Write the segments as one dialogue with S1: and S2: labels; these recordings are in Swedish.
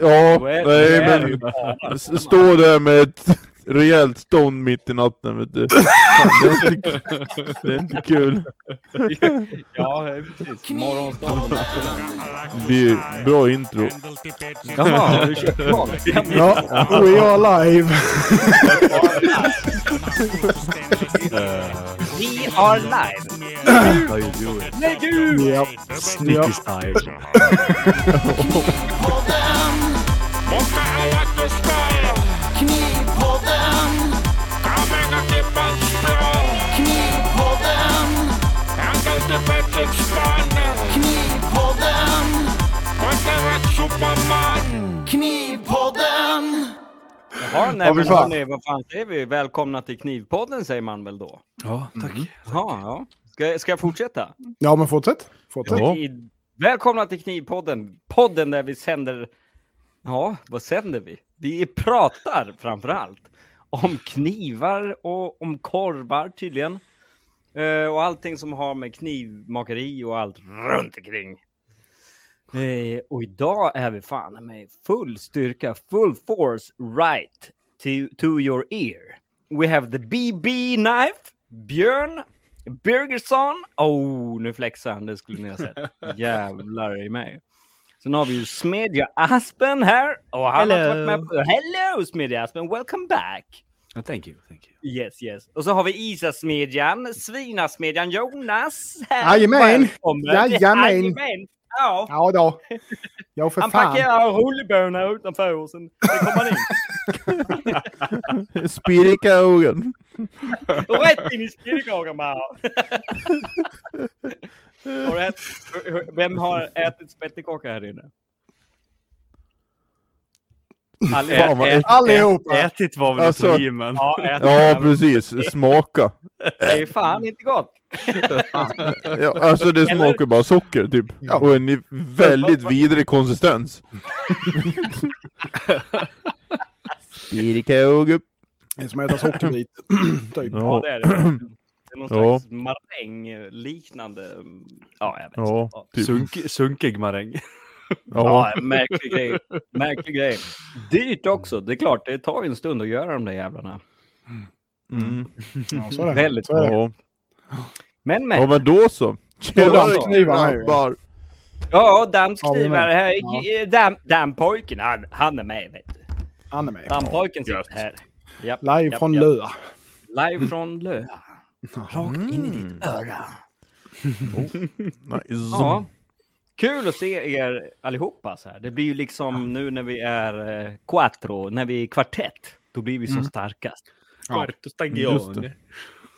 S1: Ja,
S2: Well,
S1: nej
S2: well,
S1: men
S2: bara.
S1: s- stå där med ett rejält stånd mitt i natten vet du. Fan, det, är inte, det är inte kul.
S2: Ja, precis. Morgonstånd.
S1: Det är bra intro.
S2: Jaha, du kör klart.
S3: Ja, we are live!
S2: We are live!
S4: How you doing?
S2: Nej gud!
S3: Japp.
S4: Sneaky style.
S2: Jaha, nej,
S3: Ja,
S2: men
S3: fy fan.
S2: hörni, vad fan säger vi? Välkomna till Knivpodden säger man väl då? Mm.
S4: Ja, tack.
S2: Ja, ja. Ska, ska jag fortsätta?
S3: Ja men fortsätt! Fortsätt!
S1: Ja.
S2: I- Välkomna till Knivpodden, podden där vi sänder... Ja, vad sänder vi? Vi pratar framför allt om knivar och om korvar tydligen. Eh, och allting som har med knivmakeri och allt runt omkring. Eh, och idag är vi fan med full styrka, full force right to, to your ear. We have the BB knife, Björn Birgersson. Oh, nu flexar han, det skulle ni ha sett. Jävlar i mig. Sen har vi ju Smedja Aspen här. Och han har inte varit med på... Hello Smedja Aspen, welcome back!
S4: Ja, thank you, thank you.
S2: Yes, yes. Och så har vi Isasmedjan, Svinasmedjan Jonas. här.
S3: Jajamän.
S2: Välkommen.
S3: Jajamän.
S2: Jajamän! Ja,
S3: Ja då! Ja för
S2: han
S3: fan!
S2: parkerar rullbönorna utanför och sen sen kommer han in.
S1: Spirika i ögonen.
S2: Och rätt in i spillkakan bara. Har du ätit- Vem har ätit spettekaka här inne?
S1: Fan, vad äckligt.
S3: Allihopa!
S4: Ätit var väl
S1: Alltså-
S4: alltså, men...
S2: Ja, ätit.
S1: Ja precis, smaka.
S2: Det är ju fan inte gott.
S1: Ja, alltså det smakar bara socker typ.
S3: Ja.
S1: Och en väldigt vidrig konsistens. Spirika i ögonen.
S3: Det är som att äta sockerbit. typ.
S2: Ja,
S1: Ja,
S2: det är det. Det är någon
S1: Ja.
S2: slags maräng-liknande. Ja, jag vet inte.
S1: ja, typ.
S4: Sunk, sunkig maräng.
S1: Ja,
S2: Ja, märklig grej. Märklig grej. Dyrt också. Det är klart, det tar ju en stund att göra de där jävlarna.
S1: mm.
S3: Ja, så är det.
S2: Väldigt.
S3: Så är det.
S1: ja.
S2: Men
S1: ja
S2: men.
S1: men då så. Tjenare
S3: dammknivar här ju.
S1: grabbar.
S2: Ja,
S3: Ja, men-
S2: dammskrivare här.
S3: Ja.
S2: Eh, Dam, dampojken, han, han är med. Vet du.
S3: Anime.
S2: Dampojken sitter här. Japp,
S3: Live
S2: japp,
S3: från
S2: japp.
S3: Lö.
S2: Live från Lö. Rakt in i
S1: Mm.
S2: ditt öra.
S1: Nice.
S2: Ja. Kul att se er allihopa så här. Det blir ju liksom nu när vi är eh, quattro, när vi är kvartett, då blir vi som
S1: Mm.
S2: starkast.
S1: Just det.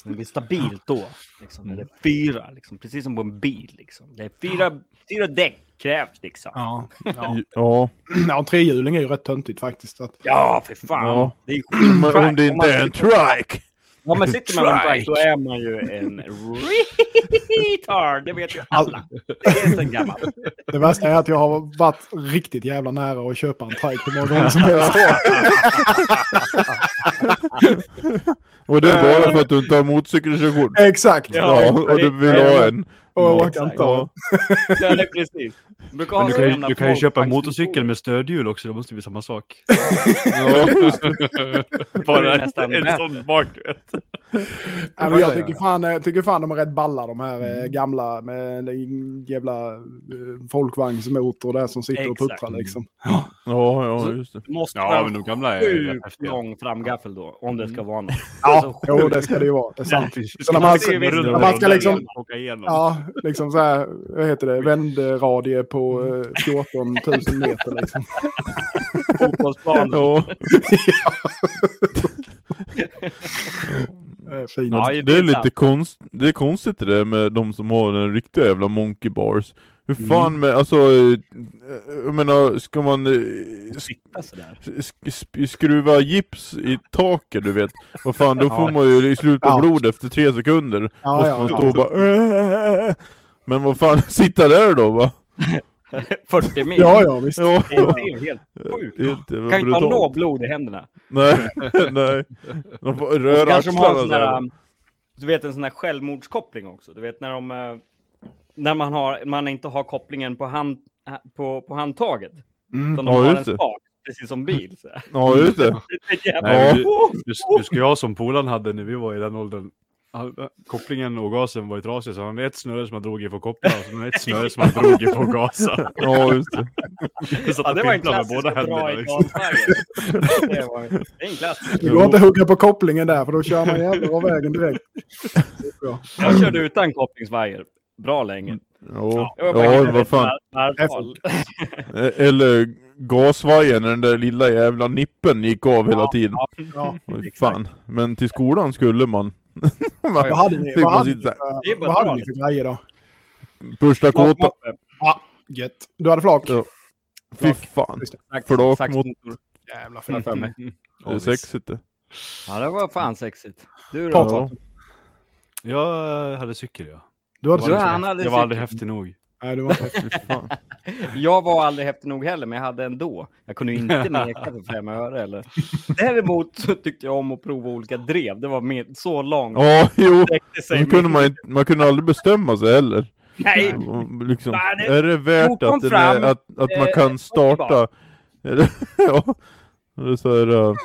S2: Det blir stabilt då. Liksom,
S1: Mm.
S2: när det är fyra, liksom, precis som på en bil. Liksom. Det är fyra, fyra däck krävs liksom.
S3: Ja. Ja.
S1: Ja.
S3: ja, en trehjuling är ju rätt töntigt faktiskt. Att,
S2: Ja, för fan.
S1: Ja.
S2: Det är
S1: Men om det
S2: skitfräckt. Om man
S1: inte är en trike.
S2: Om man sitter med en
S1: Trike.
S2: bike då är man ju en retard. Det vet ju alla. Det är sen gammalt.
S3: det värsta är att jag har varit riktigt jävla nära att köpa en trike hur många gånger som helst.
S1: Och det är bara för att du inte har motorcykelkörkort.
S3: Exakt!
S1: Ja, och du vill ha en.
S3: Och jag orkar inte ha
S1: Ja.
S2: Ja, det är precis. Du kan,
S4: Men du kan, ju- du kan ju köpa en motorcykel med stödhjul också, det måste bli samma sak.
S1: Ja, just det.
S2: Bara en- Nästan en bättre.
S4: sån bak, du vet.
S3: Ja, men jag tycker fan, jag tycker fan de är rätt balla de här
S1: Mm.
S3: eh, gamla med den jävla eh, folkvagnsmotor där som sitter och
S2: Exakt.
S3: puttrar liksom.
S1: ja, ja, just det.
S2: Du måste
S4: Ja,
S2: ha
S4: men de
S2: en
S4: gamla är rätt
S2: sjukt
S4: häftiga.
S2: lång framgaffel då, om det ska vara något.
S4: Alltså,
S3: Ja, jo, det ska det ju vara. Det är sant. Så när man- när man ska liksom- Ja, liksom så här, vad heter det, vändradie på eh, 14 000 meter liksom.
S2: Fotbollsplanen.
S1: Ja.
S3: Det är fint.
S2: Ja,
S1: Alltså, det,
S2: ju
S1: är
S2: minsann.
S1: lite konst, det är konstigt det där med de som har den riktiga jävla monkey bars. Hur
S2: Mm.
S1: fan med, alltså, eh, jag menar, ska man eh, sk- sk- sk- skruva gips i taket du vet? Vad fan, då får man ju i slut på
S3: Ja.
S1: blod efter tre sekunder.
S3: Ja,
S1: och
S3: ja,
S1: så man
S3: ja.
S1: står och bara "Äh." Men vad fan, sitta där då va?
S2: 40 mil.
S3: Ja, ja, visst.
S1: Ja,
S2: Det är ju helt sjukt.
S1: helt
S2: Du kan ju inte ha
S1: brutalt.
S2: något blod i händerna.
S1: Nej, nej. De får
S2: Och så
S1: röra
S2: kanske de har en sån
S1: axlarna
S2: där,
S1: där.
S2: um, du vet en sån här självmordskoppling också. Du vet när de, eh, när man har, man inte har kopplingen eh, på hand, på, på handtaget.
S1: Mm.
S2: Som de
S1: Ja,
S2: har en
S1: just det.
S2: spak, precis som bil. Så. här.
S1: Ja, just det.
S2: Det är jävla-
S1: Ja.
S4: Nej, men du, du, du ska jag som polaren hade när vi var i den åldern. Han, kopplingen och gasen var ju trasig, så han hade ett snöre som han drog i för att koppla och sen ett snöre som han drog i för att gasa.
S1: Ja, just det.
S4: Så
S2: Ja,
S4: att han
S2: det var en
S4: pimplade med
S2: klassisk
S4: båda
S2: att
S4: händerna.
S2: dra i
S4: Liksom.
S2: gasvagnen. Det var- det är en klassisk.
S3: Det går inte att hugga på kopplingen där för då kör man jävlar av vägen direkt. Det är bra.
S2: Jag körde utan kopplingsvajer bra länge.
S1: Ja,
S2: Jag var bara
S1: ja
S2: inne i
S1: vad
S2: ett
S1: fan.
S2: varv- varvtal.
S1: Eh, Eller gasvajern, den där lilla jävla nippen gick av hela tiden.
S3: Ja.
S1: Oj, fan. Men till skolan skulle man. man
S3: Vad hade ni,
S1: fick
S3: vad
S1: man
S3: hade ni,
S1: sitta
S2: Det är bara
S3: vad hade
S2: bra.
S3: ni för grejer då?
S1: första kåta.
S3: Gött. Du hade flak?
S1: Ja. Fy fan.
S3: Just det.
S1: Flak
S2: Sax-
S1: mot
S3: Jävlar
S2: Mm.
S3: fy fan.
S1: eh, sexet. det.
S2: Ja, det var fan sexigt. Du då?
S3: Patrik.
S1: Ja.
S4: Jag eh, hade cykel, ja.
S3: Du hade
S2: Du,
S3: flak?
S2: han hade
S4: Jag var aldrig
S2: cykel.
S4: häftig nog.
S3: Nej, du var inte
S1: Fy fan.
S2: Jag var aldrig häftig nog heller, men jag hade ändå. Jag kunde ju inte neka för fem öre. Eller. Däremot så tyckte jag om att prova olika drev. Det var med, så långt.
S1: Ja, jo.
S2: Sträckte sig
S1: Man
S2: min-
S1: kunde, man, inte, man kunde aldrig bestämma sig heller.
S2: Nej,
S1: Liksom,
S2: Nej, det-
S1: är det värt
S2: Jo, kom
S1: att, den
S2: fram.
S1: är, att, att man
S2: Eh,
S1: kan starta? ja. Det är så här, eh,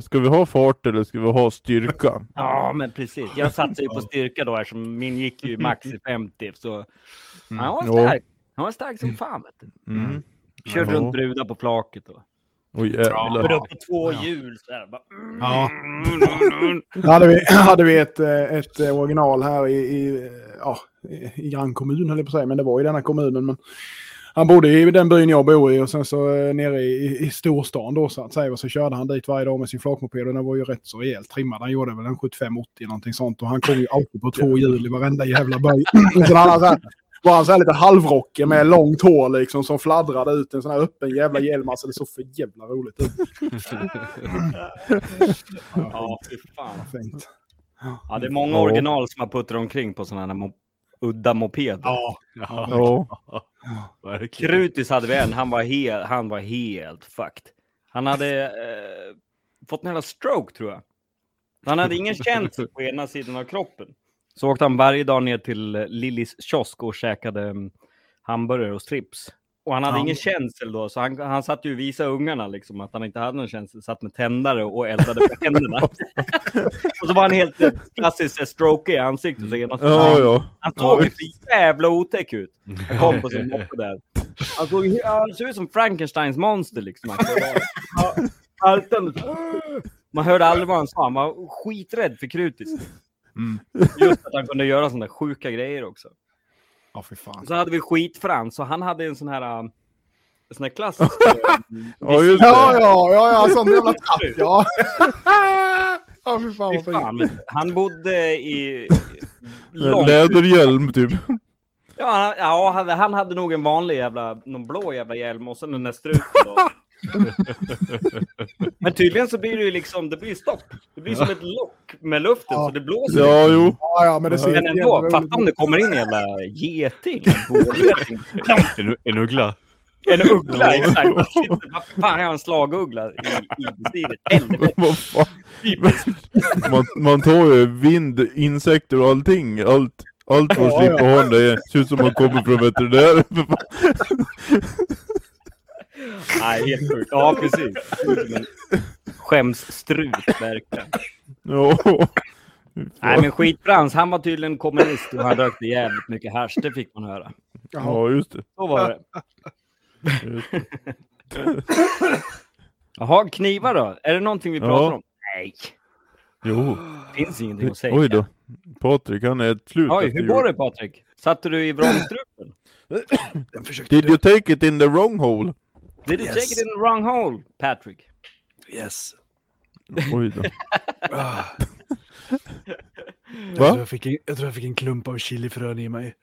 S1: ska vi ha fart eller ska vi ha styrka?
S2: ja men precis. Jag satsade ju på styrka då eftersom min gick ju max i 50.
S1: Mm.
S2: Så han var
S1: Ja.
S2: stark. Han var stark som fan. Vet du.
S1: Mm.
S2: Körde
S1: Ja.
S2: runt brudar på flaket. Och.
S1: Oj,
S2: Körde
S1: jävlar.
S2: upp på två hjul så här. Bara, mm.
S3: Ja. Då hade vi, hade vi ett, eh, ett eh, original här i, i, eh, ja, i- i grannkommun, höll jag på att säga, men det var i denna kommunen. Men han bodde i den byn jag bor i och sen så eh, nere i, i- i storstan då så att säga. Och så körde han dit varje dag med sin flakmoped och den var ju rätt så rejält trimmad. Han gjorde väl en 75-80 någonting sånt och han kom ju alltid på två hjul i varenda jävla by. Och sen hade han så här, var han så här lite halvrockig med långt hår liksom som fladdrade ut en sån här öppen jävla hjälm. Alltså det såg för jävla roligt ut.
S2: Ja, fy fan.
S3: Fint.
S2: Ja, det är många
S1: Ja.
S2: original som har puttrat omkring på sådana här mo- udda mopeder.
S3: Ja,
S4: Ja,
S1: Ja.
S4: verkligen.
S2: Krutis hade vi en, han var, hel, han var helt fucked. Han hade eh, fått en jävla stroke tror jag. Han hade ingen känsel på ena sidan av kroppen. Så åkte han varje dag ner till eh, Lillis kiosk och käkade mm, hamburgare och strips. Och han hade
S3: Ja.
S2: ingen känsel då, så han, han satt ju och visade ungarna liksom, att han inte hade någon känsel. Satt med tändare och eldade på händerna. och så var han helt eh, klassiskt eh, stroke i ansiktet. Så ena
S1: Ja, ja.
S2: han såg ju så jävla otäck ut. Han kom på sin moppe där. Han såg, ju- han såg ut som Frankensteins monster liksom. Han var- han- haltande så. Man hörde aldrig vad han sa. Han var skiträdd för Krutis.
S1: Mm.
S2: Just att han kunde göra sådana sjuka grejer också.
S3: ja fy fan.
S2: Och så hade vi skitfrans och han hade en sån här... um, En sån här klassisk... um,
S1: Ja, just
S3: Ja,
S1: det.
S3: ja, ja, ja, sån jävla trapp, ja. Ja, fy fan
S2: fy
S3: vad fint.
S2: fan. Han bodde i...
S1: En
S2: Långt.
S1: Läderhjälm typ.
S2: Ja, han, ja han, hade- han hade nog en vanlig jävla, någon blå jävla hjälm och sen den där struten då. Men tydligen så blir det ju liksom, det blir stopp. Det blir som ett lock med luften
S3: Ja.
S2: så det blåser.
S1: Ja, jo.
S3: Ja, ja, men det ser
S2: Men
S3: jävla
S2: ändå,
S3: roligt
S2: fatta om
S3: ut.
S2: det kommer in en jävla geting. en vårgeting,
S4: En, en uggla.
S2: En uggla, exakt. Shit, Vad fan, jag har en slaguggla i, i bestiget. Helvete.
S1: Vad fan. Man, man tar ju vind, insekter och allting. Allt, allt för att
S3: Ja,
S1: slippa ha den där. Ser ut som man kommer från veterinären. för fan.
S2: Nej, helt sjukt. Ja, precis. Som en Skämsstrut, verkligen.
S1: Ja.
S2: Nej, men skitfrans, han var tydligen kommunist och han rökte jävligt mycket hasch. Det fick man höra.
S3: Jaha.
S1: Ja, just det.
S2: Så var det.
S1: Just det.
S2: Jaha, knivar då? Är det någonting vi
S1: Ja.
S2: pratar om? Nej,
S1: Jo.
S2: det finns ingenting att säga.
S1: Oj då. Patrik, han är ett slut.
S2: Oj,
S1: efter
S2: hur
S1: jul.
S2: går det Patrik? Satte du i vrångstrupen?
S3: Den försökte
S1: Did you take it in the wrong hole?
S2: Did you take it in the wrong hole, Patrick?
S4: Yes.
S1: Oj då.
S4: Jag,
S1: Va?
S4: tror jag, fick en, jag tror jag fick en klump av chilifrön i mig.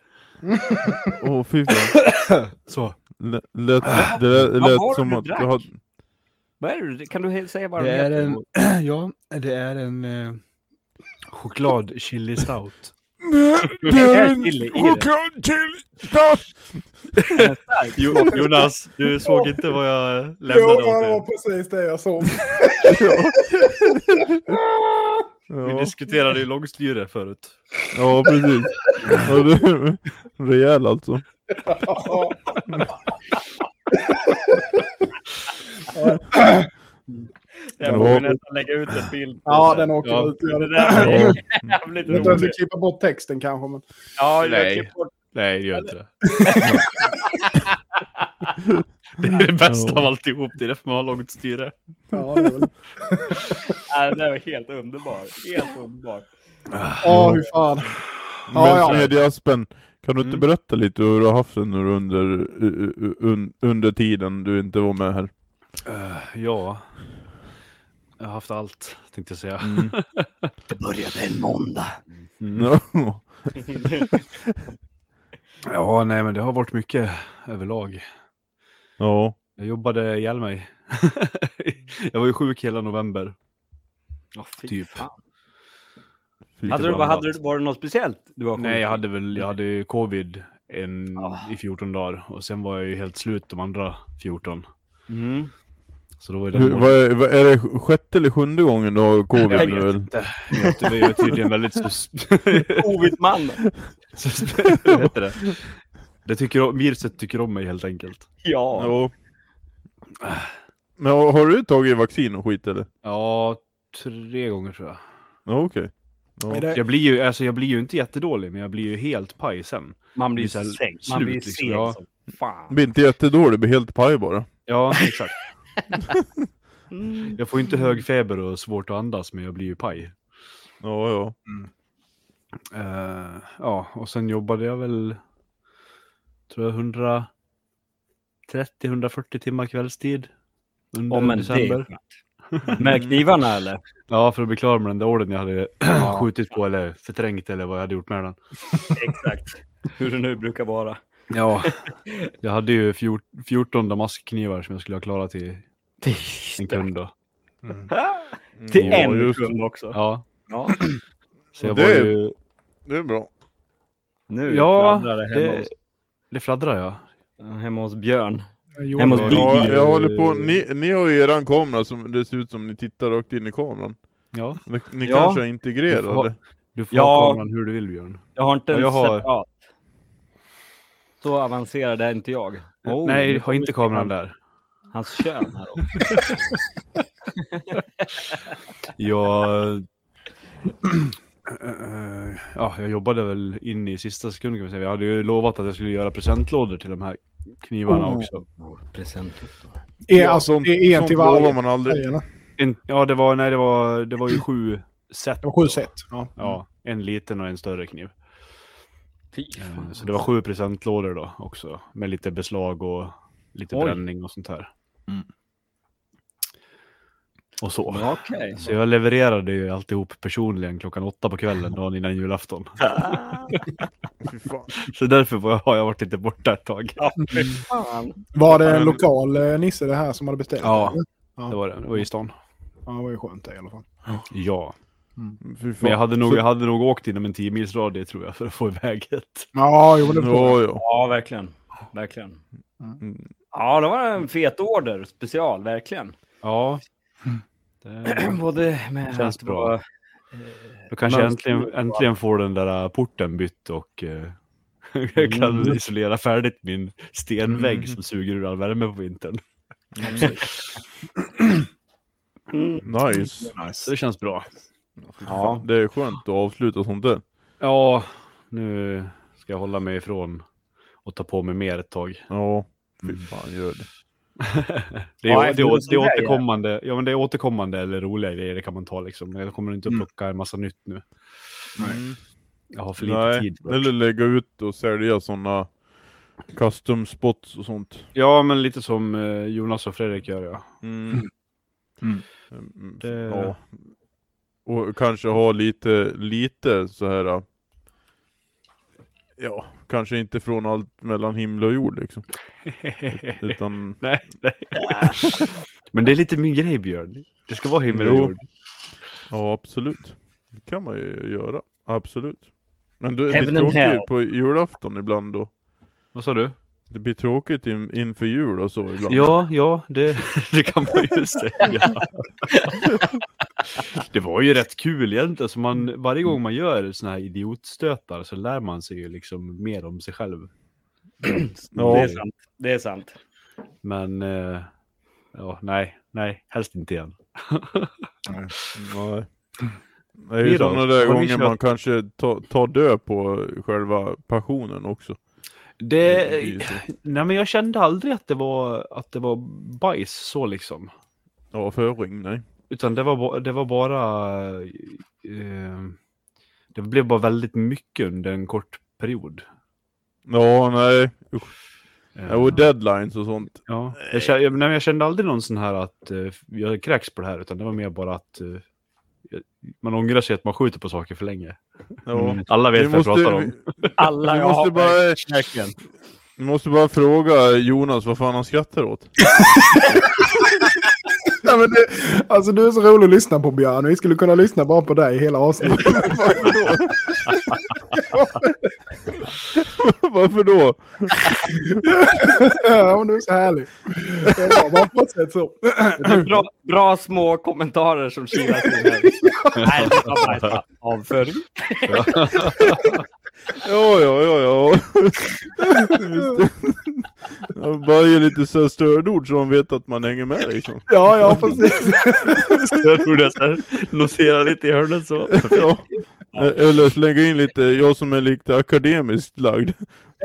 S1: Åh fy fan.
S4: Så.
S1: Lät, lät, det lät, det
S2: Ah, Vad
S1: lät
S2: var det
S1: som
S2: du
S1: att du
S2: drack?
S1: hade...
S2: Vad är det? Kan du he- säga vad
S4: Det
S2: den
S4: är
S2: heter?
S4: en- Ja, det är en eh, choklad chili stout.
S2: Det är chili i det. Den är stark.
S4: Jonas, du såg inte vad jag
S3: Jo,
S4: lämnade
S3: det var
S4: åt dig.
S3: precis det jag såg.
S4: Vi
S1: Ja,
S4: diskuterade ju långstyre förut.
S1: ja precis. Ja, det är rejäl alltså.
S2: Jag får vi nästan lägga ut en bild. på
S3: Ja,
S2: det.
S3: den åker
S4: Ja.
S3: ut. Ja,
S2: Det
S3: det-
S2: där
S1: Ja.
S2: är jävligt
S3: Jag vet inte om jag
S2: roligt.
S3: ska klippa bort texten kanske. Men...
S2: Ja, jag
S4: Nej.
S2: klipper bort
S4: Nej, gör inte det. det är det bästa av alltihop. Det är därför man har långt styre.
S3: Ja, det är väl...
S2: Ja, Den där var helt underbar. Helt underbar.
S3: Åh, hur fan. E,
S1: Men
S3: Ja, ja.
S1: Smedjeaspen, kan du inte
S4: Mm.
S1: berätta lite hur du har haft det nu under, u- u- un, under tiden du inte var med här?
S4: Eh, ja. Jag har haft allt, tänkte jag säga.
S2: Mm. Det började en måndag.
S1: Ja.
S4: Ja, nej, men det har varit mycket överlag.
S1: ja.
S4: Jag jobbade ihjäl mig. jag var ju sjuk hela november. Typ.
S1: Fy
S2: Hade du,
S1: förbannat.
S2: vad hade du, var det något speciellt du var sjuk
S4: Nej, jag
S2: i?
S4: hade väl jag hade ju covid en,
S2: Ah.
S4: i 14 dagar och sen var jag ju helt slut de andra 14.
S2: Mm.
S4: Så då var ju
S1: Hur-
S4: den
S1: vad är, vad är det sjätte eller sjunde gången du har covid
S4: Jag
S1: nu?
S4: vet
S1: eller?
S4: inte. Jag vet, det är tydligen väldigt sus...
S2: Covidman.
S4: sus vad heter det? Det tycker om, viruset tycker om mig helt enkelt.
S2: Ja.
S1: Ja. Men har har du tagit vaccin och skit eller?
S4: Ja, tre gånger tror jag.
S1: Ja, okej. Ja.
S3: Är det-
S4: Jag blir ju, alltså, jag blir ju inte jättedålig, men jag blir ju helt paj sen.
S2: Man blir
S4: Det är så här
S2: seg.
S4: slut,
S2: Man blir
S4: liksom.
S2: seg
S4: Ja.
S2: som fan.
S1: Blir inte jättedålig, blir helt paj bara.
S4: Ja, exakt. Jag får ju inte hög feber och svårt att andas, men jag blir ju paj.
S1: Ja, ja.
S4: Eh, ja, och sen jobbade jag väl, tror jag, 130-140 timmar kvällstid. Under
S2: Om en
S4: december.
S2: december. Med knivarna eller?
S4: Ja, för att bli klar med den där orden jag hade skjutit på eller förträngt eller vad jag hade gjort med den.
S2: Exakt. Hur det nu brukar vara.
S4: Ja, jag hade ju fjort- 14 damaskknivar som jag skulle ha klarat till en kund då.
S2: Till
S1: ja,
S2: en
S1: just det.
S2: kund också.
S4: Ja,
S2: Ja.
S4: så jag
S1: Det-
S4: var ju...
S1: Det är bra.
S2: Nu
S4: Ja,
S2: fladdrar det hemma,
S4: det, det fladdrar jag.
S2: hos, hemma hos Björn.
S3: Jo,
S2: Hemma hos
S3: det-
S2: Bli-
S1: Ja, jag håller på. Ni, ni har ju eran kamera som det ser ut som ni tittar rakt in i kameran.
S4: Ja,
S1: Ni, ni kanske
S2: Ja.
S1: är
S4: Du får ha-
S1: integrerade?
S4: du får
S2: Ja.
S4: ha kameran hur du vill Björn.
S2: Jag har inte
S4: Ja,
S2: en
S4: jag har-
S2: separat. Så avancerad är inte jag. Oh,
S4: Nej,
S2: nu
S4: ha inte
S2: kommer
S4: kameran där.
S2: Hans kön här också.
S4: Jag... Eh, ja, jag jobbade väl in i sista sekunden kan man säga. Jag hade ju lovat att jag skulle göra presentlådor till de här knivarna
S3: Oh.
S4: också.
S2: Present.
S3: är, alltså,
S1: sånt-
S3: det är en
S1: sånt
S3: till
S1: lovar
S3: varje.
S1: man aldrig.
S3: eller?
S4: En, ja, det var, nej, det var, det var ju sju set.
S3: Det var sju set. Ja.
S4: Ja, en liten och en större kniv.
S2: Fy fan.
S4: Eh, Så det var sju presentlådor då också. Med lite beslag och lite
S2: Oj.
S4: bränning och sånt här. Och så.
S2: Ja, Okej.
S4: Så jag levererade ju alltihop personligen klockan åtta på kvällen dagen innan julafton.
S1: Fy fan.
S4: Så därför var jag, har jag varit lite borta ett tag.
S2: Ja, fy fan.
S3: Var det en
S1: Men-
S3: lokal eh, Nisse det här som hade beställt?
S4: Ja.
S3: eller?
S4: Det var det. Det var i stan.
S3: Ja, det var ju skönt det i alla fall.
S4: Ja.
S1: Fy fan.
S4: Men jag hade nog,
S1: Så-
S4: jag hade nog åkt inom en 10 mils radie tror jag för att få iväg ett.
S3: Ja, jo, det var
S1: Ja, ja.
S2: Ja, verkligen. Verkligen.
S1: Mm.
S2: Ja, det var en fet order. Special, verkligen.
S4: Ja. Det,
S2: Både med
S4: Känns
S2: att
S4: bra.
S2: vara,
S4: då kanske jag äntligen,
S2: Mönster-
S4: äntligen får den där äh, porten bytt och eh, jag kan isolera färdigt min stenvägg som suger ur all värme på vintern.
S2: Mm.
S1: Nice.
S4: Så det känns bra.
S1: Ja. Det är skönt att avsluta sånt där.
S4: Ja, nu ska jag hålla mig ifrån och ta på mig mer ett tag.
S1: Ja. Fy
S4: Mm.
S1: fan, gör det.
S4: Det
S2: Ja,
S4: är, det,
S2: efter en
S4: är, det,
S2: sån
S4: är
S2: här
S4: återkommande, ja, men det är återkommande eller roliga grejer det kan man ta liksom. Jag kommer inte att plocka en massa nytt nu.
S1: Mm.
S4: Jag har för lite
S1: Nej,
S4: tid.
S1: eller lägga ut och sälja såna custom spots och sånt.
S4: Ja, men lite som eh, Jonas och Fredrik gör ja.
S1: Mm. Mm.
S4: Det-
S1: Ja. Och kanske ha lite, lite så här. äh, Ja, kanske inte från allt mellan himmel och jord liksom. Utan,
S4: nej, nej. men det är lite min grej Björn. Det ska vara himmel och
S1: Jo.
S4: jord.
S1: ja absolut. Det kan man ju göra. Absolut. Men du, det
S2: Heaven
S1: blir
S2: and hell.
S1: tråkigt på julafton ibland då.
S4: Vad sa du?
S1: Det blir tråkigt in, inför jul och så ibland.
S4: Ja, ja, det, det kan man ju säga. det var ju rätt kul egentligen. Så man, varje gång man gör såna här idiotstötar så lär man sig ju liksom mer om sig själv.
S1: Ja.
S2: Det är sant. Det är sant.
S4: Men eh, Ja, nej, nej, helst inte igen.
S1: Nej. Det är ju
S4: Ni då?
S1: sådana där
S4: Mm. Har ni
S1: gånger
S4: kört-
S1: man kanske tar ta död på själva passionen också.
S4: Eh, Det,
S1: Det är ju så.
S4: nej, men jag kände aldrig att det var, att det var bajs så liksom.
S1: Ja, föring, nej.
S4: Utan det var, ba- det var bara... Eh, det blev bara väldigt mycket under en kort period.
S1: Ja, nej. Usch.
S4: Eh,
S1: Ja, och deadlines och sånt.
S4: ja. jag, kände, jag, nej, men jag kände aldrig någon sån här att eh, jag kräks på det här, utan det var mer bara att eh, jag- man ångrar sig att man skjuter på saker för länge.
S1: Ja.
S4: Alla vet
S1: Vi
S4: vad Mm. jag pratar
S1: måste,
S4: om.
S2: Alla
S1: Vi
S2: jag
S1: måste
S2: har
S1: bara-
S2: verkligen.
S1: vi måste bara fråga Jonas vad fan han skrattar åt.
S3: Nej, men det, alltså du är så rolig att lyssna på Björn. Vi skulle kunna lyssna bara på dig hela avsnittet.
S1: Varför då?
S3: ja, men du är så härlig. Det är bra, bara fortsätt så.
S2: Det är bra, bra små kommentarer som kilar till här. Nej, det var bajsat. Avföring.
S1: Ja, ja, ja, ja. Jag bara ger lite så här stödord så de vet att man hänger med liksom.
S3: Ja, ja, precis.
S4: Jag tror det så här, notera lite i hörnet så.
S1: Ja. Eller slänga in lite, jag som är lite akademiskt lagd,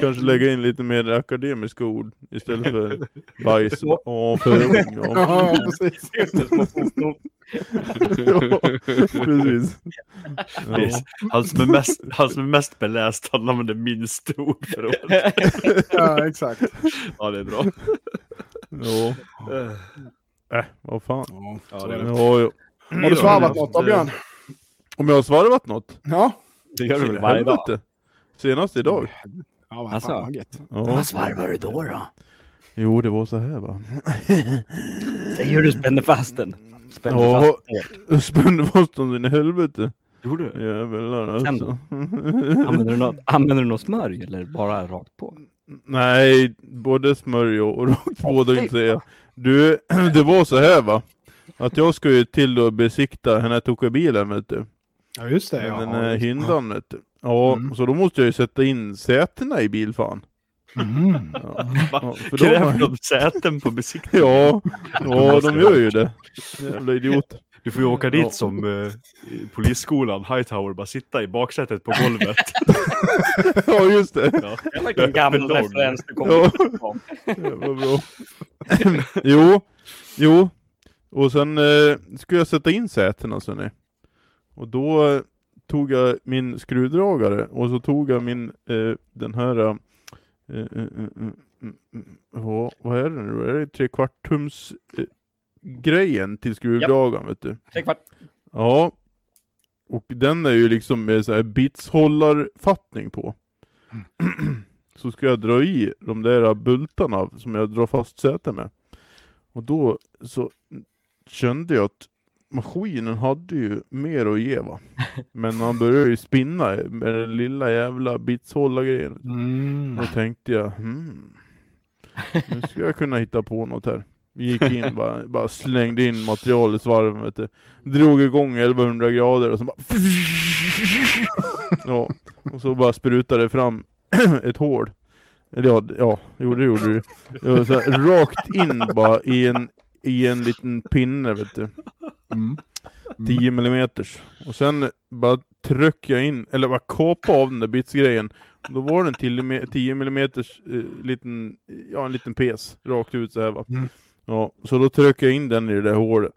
S1: kanske
S4: Mm.
S1: lägga in lite mer akademiska ord istället för bajs och avföring. Ja,
S3: Ja, precis.
S2: Mm.
S1: ja, precis.
S4: Precis. Han som är mest, han som är mest beläst, han använder minst ord för ord.
S3: Ja, exakt.
S4: Ja, det är bra.
S1: Ja, ja. Äh, vad fan.
S4: Ja, det är bra.
S1: Ja, ja.
S3: Har du svarvat något då, Björn?
S1: Om jag har svarvat något?
S3: Ja.
S4: Det gör du väl varje dag?
S1: Helvete. Senast idag.
S3: Ja, vad
S2: Alltså.
S3: fan vad gött.
S4: Mm.
S1: Ja.
S2: svarvar du då? då?
S1: Jo, det var så här va.
S2: Säger du spänner fast den? Spänner fast
S1: Ja, jag spände fast dem in i helvete.
S4: Gjorde du?
S1: Jävlar
S2: Sen
S1: alltså.
S2: då? Använder du, något, använder du något smörj eller bara rakt på?
S1: Nej, både smörj och och rakt på dig säga. Du, det var så här va. Att jag ska ju till och besikta den här tokabilen vet du.
S3: Ja, just det.
S1: Den
S3: Ja.
S1: här hyndan vet du. Ja,
S3: Mm.
S1: så då måste jag ju sätta in sätena i bilfan.
S3: Mm.
S1: Ja, ja,
S4: Va?
S1: för de,
S4: Kräver
S1: har-
S4: de säten på besiktning?
S1: ja, ja, de gör ju det. Jävla idiot.
S4: Du får ju åka
S1: Ja.
S4: dit som eh, i polisskolan, Hightower, bara sitta i baksätet på golvet.
S1: Ja, just det.
S4: Ja.
S2: Vilken gammal
S4: Öppen
S2: referens du
S1: Ja.
S2: kommer ifrån.
S1: Ja, Vad bra. jo, jo. Och sen eh, skulle jag sätta in sätena så ni. Och då eh, tog jag min skruvdragare och så tog jag min, eh, den här, eh, eh, eh, eh, eh, ja, vad är det nu? Är det trekvartums eh, grejen till skruvdragaren vet du?
S2: Tre kvart.
S1: Ja. Och den är ju liksom med så här bitshållarfattning på. Så ska jag dra i de där bultarna som jag drar fast sätet med. Och då så kände jag att maskinen hade ju mer att ge va. Men han började ju spinna med den lilla jävla bitshållargrejen.
S3: Mm.
S1: Då tänkte jag, hmm, nu ska jag kunna hitta på något här. Gick in, bara, bara slängde in material i svarven, vet du. drog igång 1100 grader och så bara... Ja, och så bara sprutade det fram ett hål. Eller ja, d- ja, jo det gjorde det. det var så här, rakt in bara i en, i en liten pinne, vet du.
S3: Mm.
S1: 10 millimeters. Och sen bara tryckte jag in, eller bara kapade av den där bitsgrejen. Då var den till och med 10 millimeters eh, liten, ja en liten pes, rakt ut så här va.
S3: Mm.
S1: Ja, så då tryckte jag in den i det där hålet.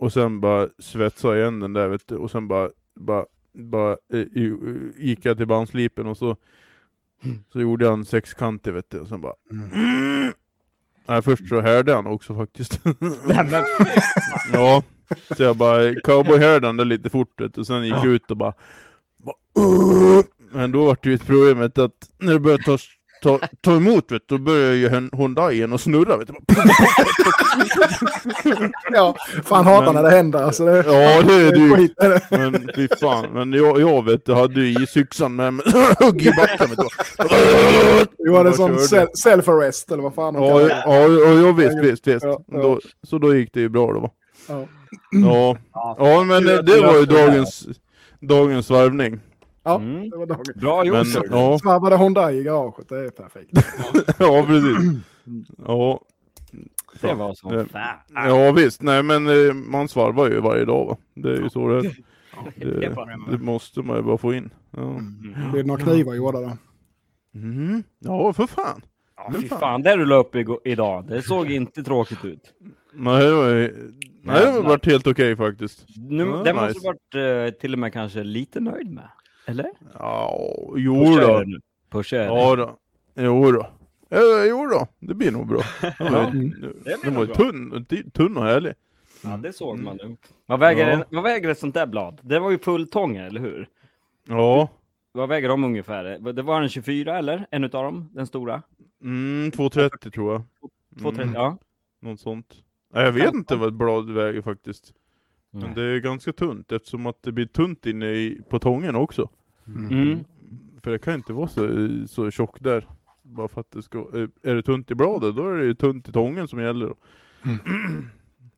S1: Och sen bara svetsade jag igen den där vet du. Och sen bara, bara, bara eh, ju- gick jag till bandslipen och så, så gjorde jag en sexkantig vet du. Och sen bara... Nej, först så härde han också faktiskt. ja. Så jag bara cowboyhärdade lite fort vet du, och sen gick jag ut och bara... bara "Åh!" men då var det ju ett problemet att när det började ta, ta, ta emot vet du, då började ju Hon- Hyundaien att snurra vet du. Bara,
S3: Ja, fan hatar
S1: Men-
S3: när det händer. Alltså, det,
S1: Ja det är
S3: det är
S1: du.
S3: skit. är det.
S1: Men fy fan. Men jag, jag vet du, hade ju isyxan med mig. Hugg i backen vet du. Bara,
S3: Du hade
S1: Bara
S3: sån
S1: körde.
S3: sel- self-arrest eller vad fan de
S1: Ja,
S3: kallar
S1: ja,
S3: det.
S1: ja, ja visst,
S3: Ja,
S1: visst, visst.
S3: ja, ja.
S1: Då, så då gick det ju bra då va?
S3: Ja.
S1: Ja, ja men eh, det var ju dagens, dagens varvning.
S3: Ja,
S2: Mm.
S3: det var dagen.
S2: Bra
S1: Men,
S2: Jonsson.
S1: ja,
S3: Svarvade Honda i garaget, det är perfekt.
S1: ja precis. Ja.
S2: Det var som
S1: Eh,
S2: fan.
S1: Ja visst, nej men eh, man svarvar ju varje dag va. Det är ju så det är.
S2: Det är
S1: Det,
S2: bara-
S1: det måste man ju bara få in. Ja,
S3: Blev det några knivar gjorda då?
S1: mm. ja för fan.
S2: Ja, fy fan, det du la upp igår- idag, det såg inte tråkigt ut.
S1: Nej det var, ju- nej, det har varit helt okej faktiskt.
S2: Nu,
S1: Ja,
S2: det måste
S1: nice.
S2: varit eh, till och med kanske lite nöjd med. Eller?
S1: Ja, jo
S2: Pusha
S1: då.
S2: er nu. Pusha er.
S1: Ja då. Jo då. Eh, Jo då, det blir nog bra. Den var, den var
S2: nog
S1: ju
S2: bra.
S1: tunn, tunn och härlig.
S2: Ja, det såg man nu. Vad väger,
S1: Mm. Ja.
S2: en- vad väger ett sånt där blad? Det var ju fulltånga, eller hur?
S1: Ja,
S2: Vad väger de ungefär? Det var en 24 eller? En utav dem? Den stora?
S1: mm, 2,30 tror jag.
S2: 230?
S1: Mm,
S2: Ja.
S1: något sånt. Nej, jag vet inte vad ett blad väger faktiskt. Men det är ganska tunt eftersom att det blir tunt inne i, på tången också.
S2: Mm.
S1: För det kan inte vara så, så tjockt där. Bara för att det ska, eh, är det tunt i bladet, då är det ju tunt i tången som gäller. då.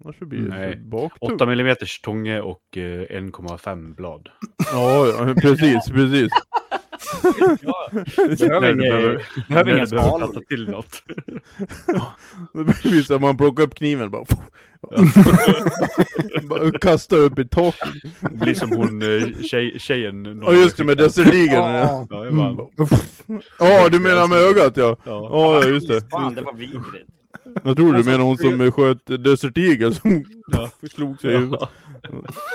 S1: Annars så blir det
S4: Mm. Nej.
S1: så baktungt.
S4: 8 mm tånge och eh, 1,5 blad.
S1: Ja, ja, precis, precis.
S2: Behöver
S4: Nej,
S2: inga- behöver inga skalor.
S4: platta till något.
S1: Det blir så att man plockar upp kniven och bara... bara kastar upp i taket.
S4: Det blir som hon eh, tjej, tjejen.
S1: Ja just det, Mm, med Desert Ja,
S3: Ja.
S4: Ja, jag bara,
S1: Ja, du menar med ögat ja.
S4: ja.
S1: Ja, ja, just det.
S2: Fan, det var Alltså, vidrigt.
S1: Jag tror du menar hon som sköt Desert Eagle som
S4: Ja.
S1: slog sig i huvudet.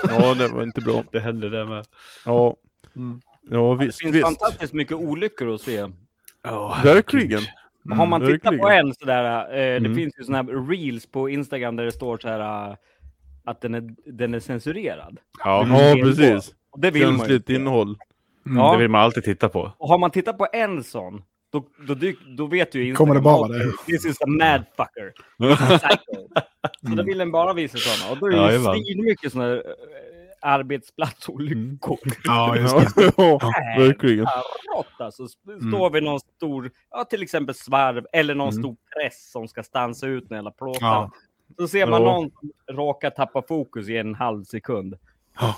S1: Ja, det var inte bra.
S4: Det hände det med.
S1: Ja.
S4: Mm.
S1: Ja,
S2: Det
S1: visst,
S2: finns
S1: visst.
S2: fantastiskt mycket olyckor att se.
S1: Verkligen.
S2: Har man tittat på
S1: Mm, verkligen.
S2: en sådär, eh, det
S1: Mm.
S2: finns ju sådana här reels på Instagram där det står så här eh, att den är, den är censurerad.
S4: Ja,
S1: Ja, precis.
S2: Och det vill man ju.
S1: Känsligt
S2: inte.
S1: innehåll.
S4: Mm, det
S2: Ja,
S4: vill man alltid titta på.
S2: och har man tittat på en sån, då, då, dyk, då vet ju Instagram.
S3: Kommer det bara det?
S2: "Okay, This is a mad fucker. This is a psycho. Så då vill den bara visa sådana. Och då är det
S4: Jajamän.
S2: ju svinmycket sådana här eh, arbetsplatsolyckor.
S1: Mm.
S3: Ja, just
S1: Ja,
S3: det.
S1: ja, verkligen.
S2: Rått alltså. Sp- Står vid någon stor, ja till exempel svarv eller någon stor press som ska stansa ut den hela plåten.
S3: Ja.
S2: Så ser man
S1: Ja.
S2: någon som råkar tappa fokus i en halv sekund.
S3: Ja.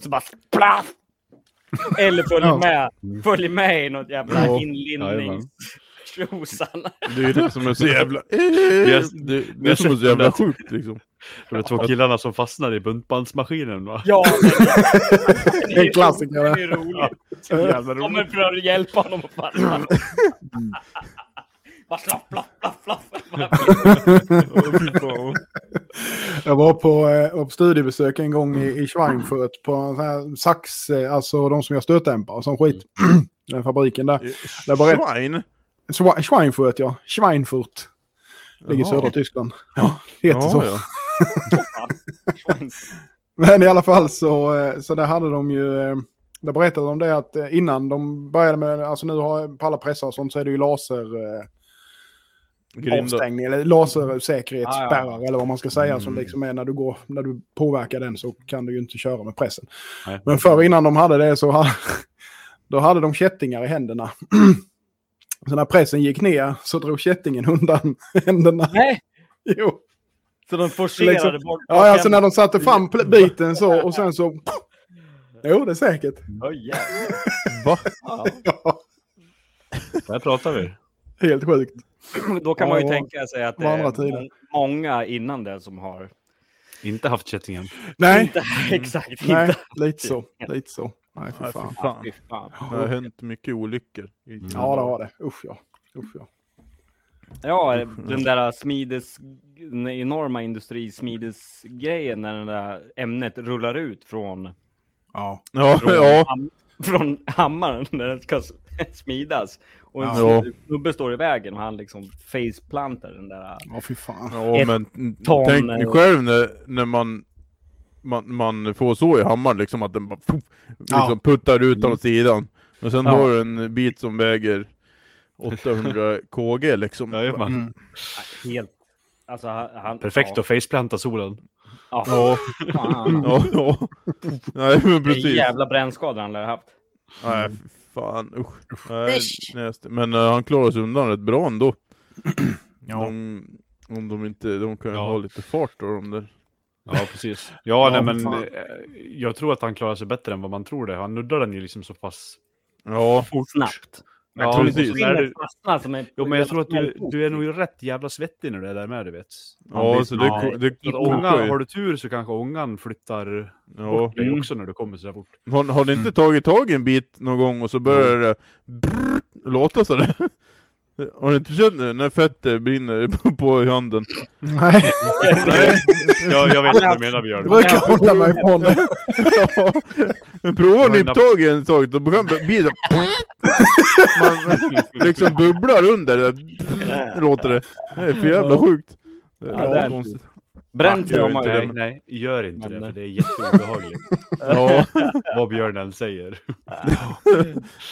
S2: Så bara splaff! Eller följer
S3: Ja.
S2: med, följer med i något jävla
S1: Ja.
S2: inlindnings... Tjosan.
S1: Det är ju det som är så jävla... Det, det är som är så jävla sjukt liksom.
S4: De två killarna som fastnade i buntbandsmaskinen va?
S2: Ja,
S3: Det är en klassiker.
S2: det
S3: det.
S2: är roligt.
S4: Så jävla roligt.
S2: Kommer för att hjälpa honom att falla. Bara slapp, slapp, slapp, slapp.
S3: Jag var på, eh, var på studiebesök en gång i, i Schweinfurt på en sån här sax, eh, alltså de som gör stötdämpare och sån skit. Den fabriken där. Det var rätt.
S1: Schwein?
S3: Schwe- Schweinfurt ja, Schweinfurt. Ligger i
S1: Jaha.
S3: södra Tyskland. Ja, heter så.
S1: ja.
S3: Men i alla fall så, eh, så där hade de ju, eh, där berättade de det att eh, innan de började med, alltså nu har på alla pressar och sånt så är det ju laser... Eh,
S1: Grindar.
S3: avstängning eller lasersäkerhetsspärrar
S2: Ah,
S3: eller vad man ska säga som liksom är när du, går, när du påverkar den så kan du ju inte köra med pressen.
S4: Nej.
S3: Men förr innan de hade det så hade, då hade de kättingar i händerna. Så när pressen gick ner så drog kättingen undan händerna.
S2: Nej,
S3: Jo.
S2: så de forcerade
S3: Liksom-
S2: bort.
S3: Ja, alltså när de satte fram pl- biten så och sen så... Jo, det är säkert.
S2: Oj, jävlar.
S1: Va?
S3: Ja,
S4: Där pratar vi.
S3: helt sjukt.
S2: Då kan man ju
S3: Ja,
S2: tänka sig att det
S3: å andra
S2: är
S3: tiden.
S2: må- många innan det som har...
S4: Inte haft kättingen.
S3: Nej,
S2: Inte, exakt,
S3: nej
S2: inte.
S3: lite så. Lite så. Nej, för
S1: Nej,
S3: fan.
S1: fy fan. Mm.
S2: Fy fan.
S1: Det har hänt mycket olyckor.
S3: Ja, det har det. Usch ja. Usch, ja.
S2: Ja, den där smides... Den enorma industrismidesgrejen när det där ämnet rullar ut från,
S3: ja.
S1: Ja,
S2: från,
S1: ja.
S2: ham, från hammaren när den ska s- smidas. Och en
S1: Ja.
S2: snubbe står i vägen och han liksom faceplantar den där...
S3: Ja, fy fan.
S1: ja
S2: Ett
S1: men
S2: ton,
S1: tänk
S2: eh,
S1: dig själv när, när man, man, man får så i hammaren liksom att den bara puff, liksom puttar ut åt sidan. Men sen
S2: Ja.
S1: har du en bit som väger 800 kg liksom.
S4: Jajamän.
S2: Helt... Alltså, han, han-
S4: Perfekt
S2: ja.
S4: att faceplanta solen.
S2: Ja,
S1: Ja,
S2: fan.
S1: ja, ja. Nej men
S2: Det är
S1: precis.
S2: jävla brännskador han lär ha haft.
S1: Nej fy fan usch. Nej, näst. Men eh, han klarar sig undan rätt bra ändå. De, om de inte, de kan ju
S4: Ja.
S1: ha lite fart då de där.
S4: Ja, precis. Ja,
S3: Ja,
S4: nej, men
S3: fan.
S4: eh, jag tror att han klarar sig bättre än vad man tror det. Han nuddar den ju liksom så pass
S1: Ja,
S2: Snabbt. Men ja,
S1: precis.
S2: skinnet fastnar som en...
S4: Jo men jag tror att du, du är nog rätt jävla svettig när du är där med du vet. Man
S1: Ja,
S4: blir-
S1: så det, ko- det
S4: Så att
S1: kokar
S4: ångan,
S1: ju.
S4: har du tur så kanske ångan flyttar
S1: ja.
S4: bort dig också när du kommer så där fort.
S1: har, har ni inte tagit tag i en bit någon gång och så börjar det brrr, låta sådär? Har ni inte känt det? När fettet brinner på, på handen?
S3: Nej,
S4: Nej, jag, jag vet inte vad du menar Björn.
S3: jag brukar hålla mig ifrån det.
S1: Ja. Men provar ni tag i en sak, då kan det bli så... Man liksom bubblar under, det. låter det. Det är för jävla sjukt. Det
S2: Ja, det
S1: är
S2: är
S1: konstigt.
S2: Bränt
S1: Gör
S2: har
S1: inte
S2: man
S1: det.
S2: ju.
S4: Nej, nej, gör inte
S2: Men-
S4: det för det är jätteobehagligt.
S1: Ja,
S4: vad Björn än säger.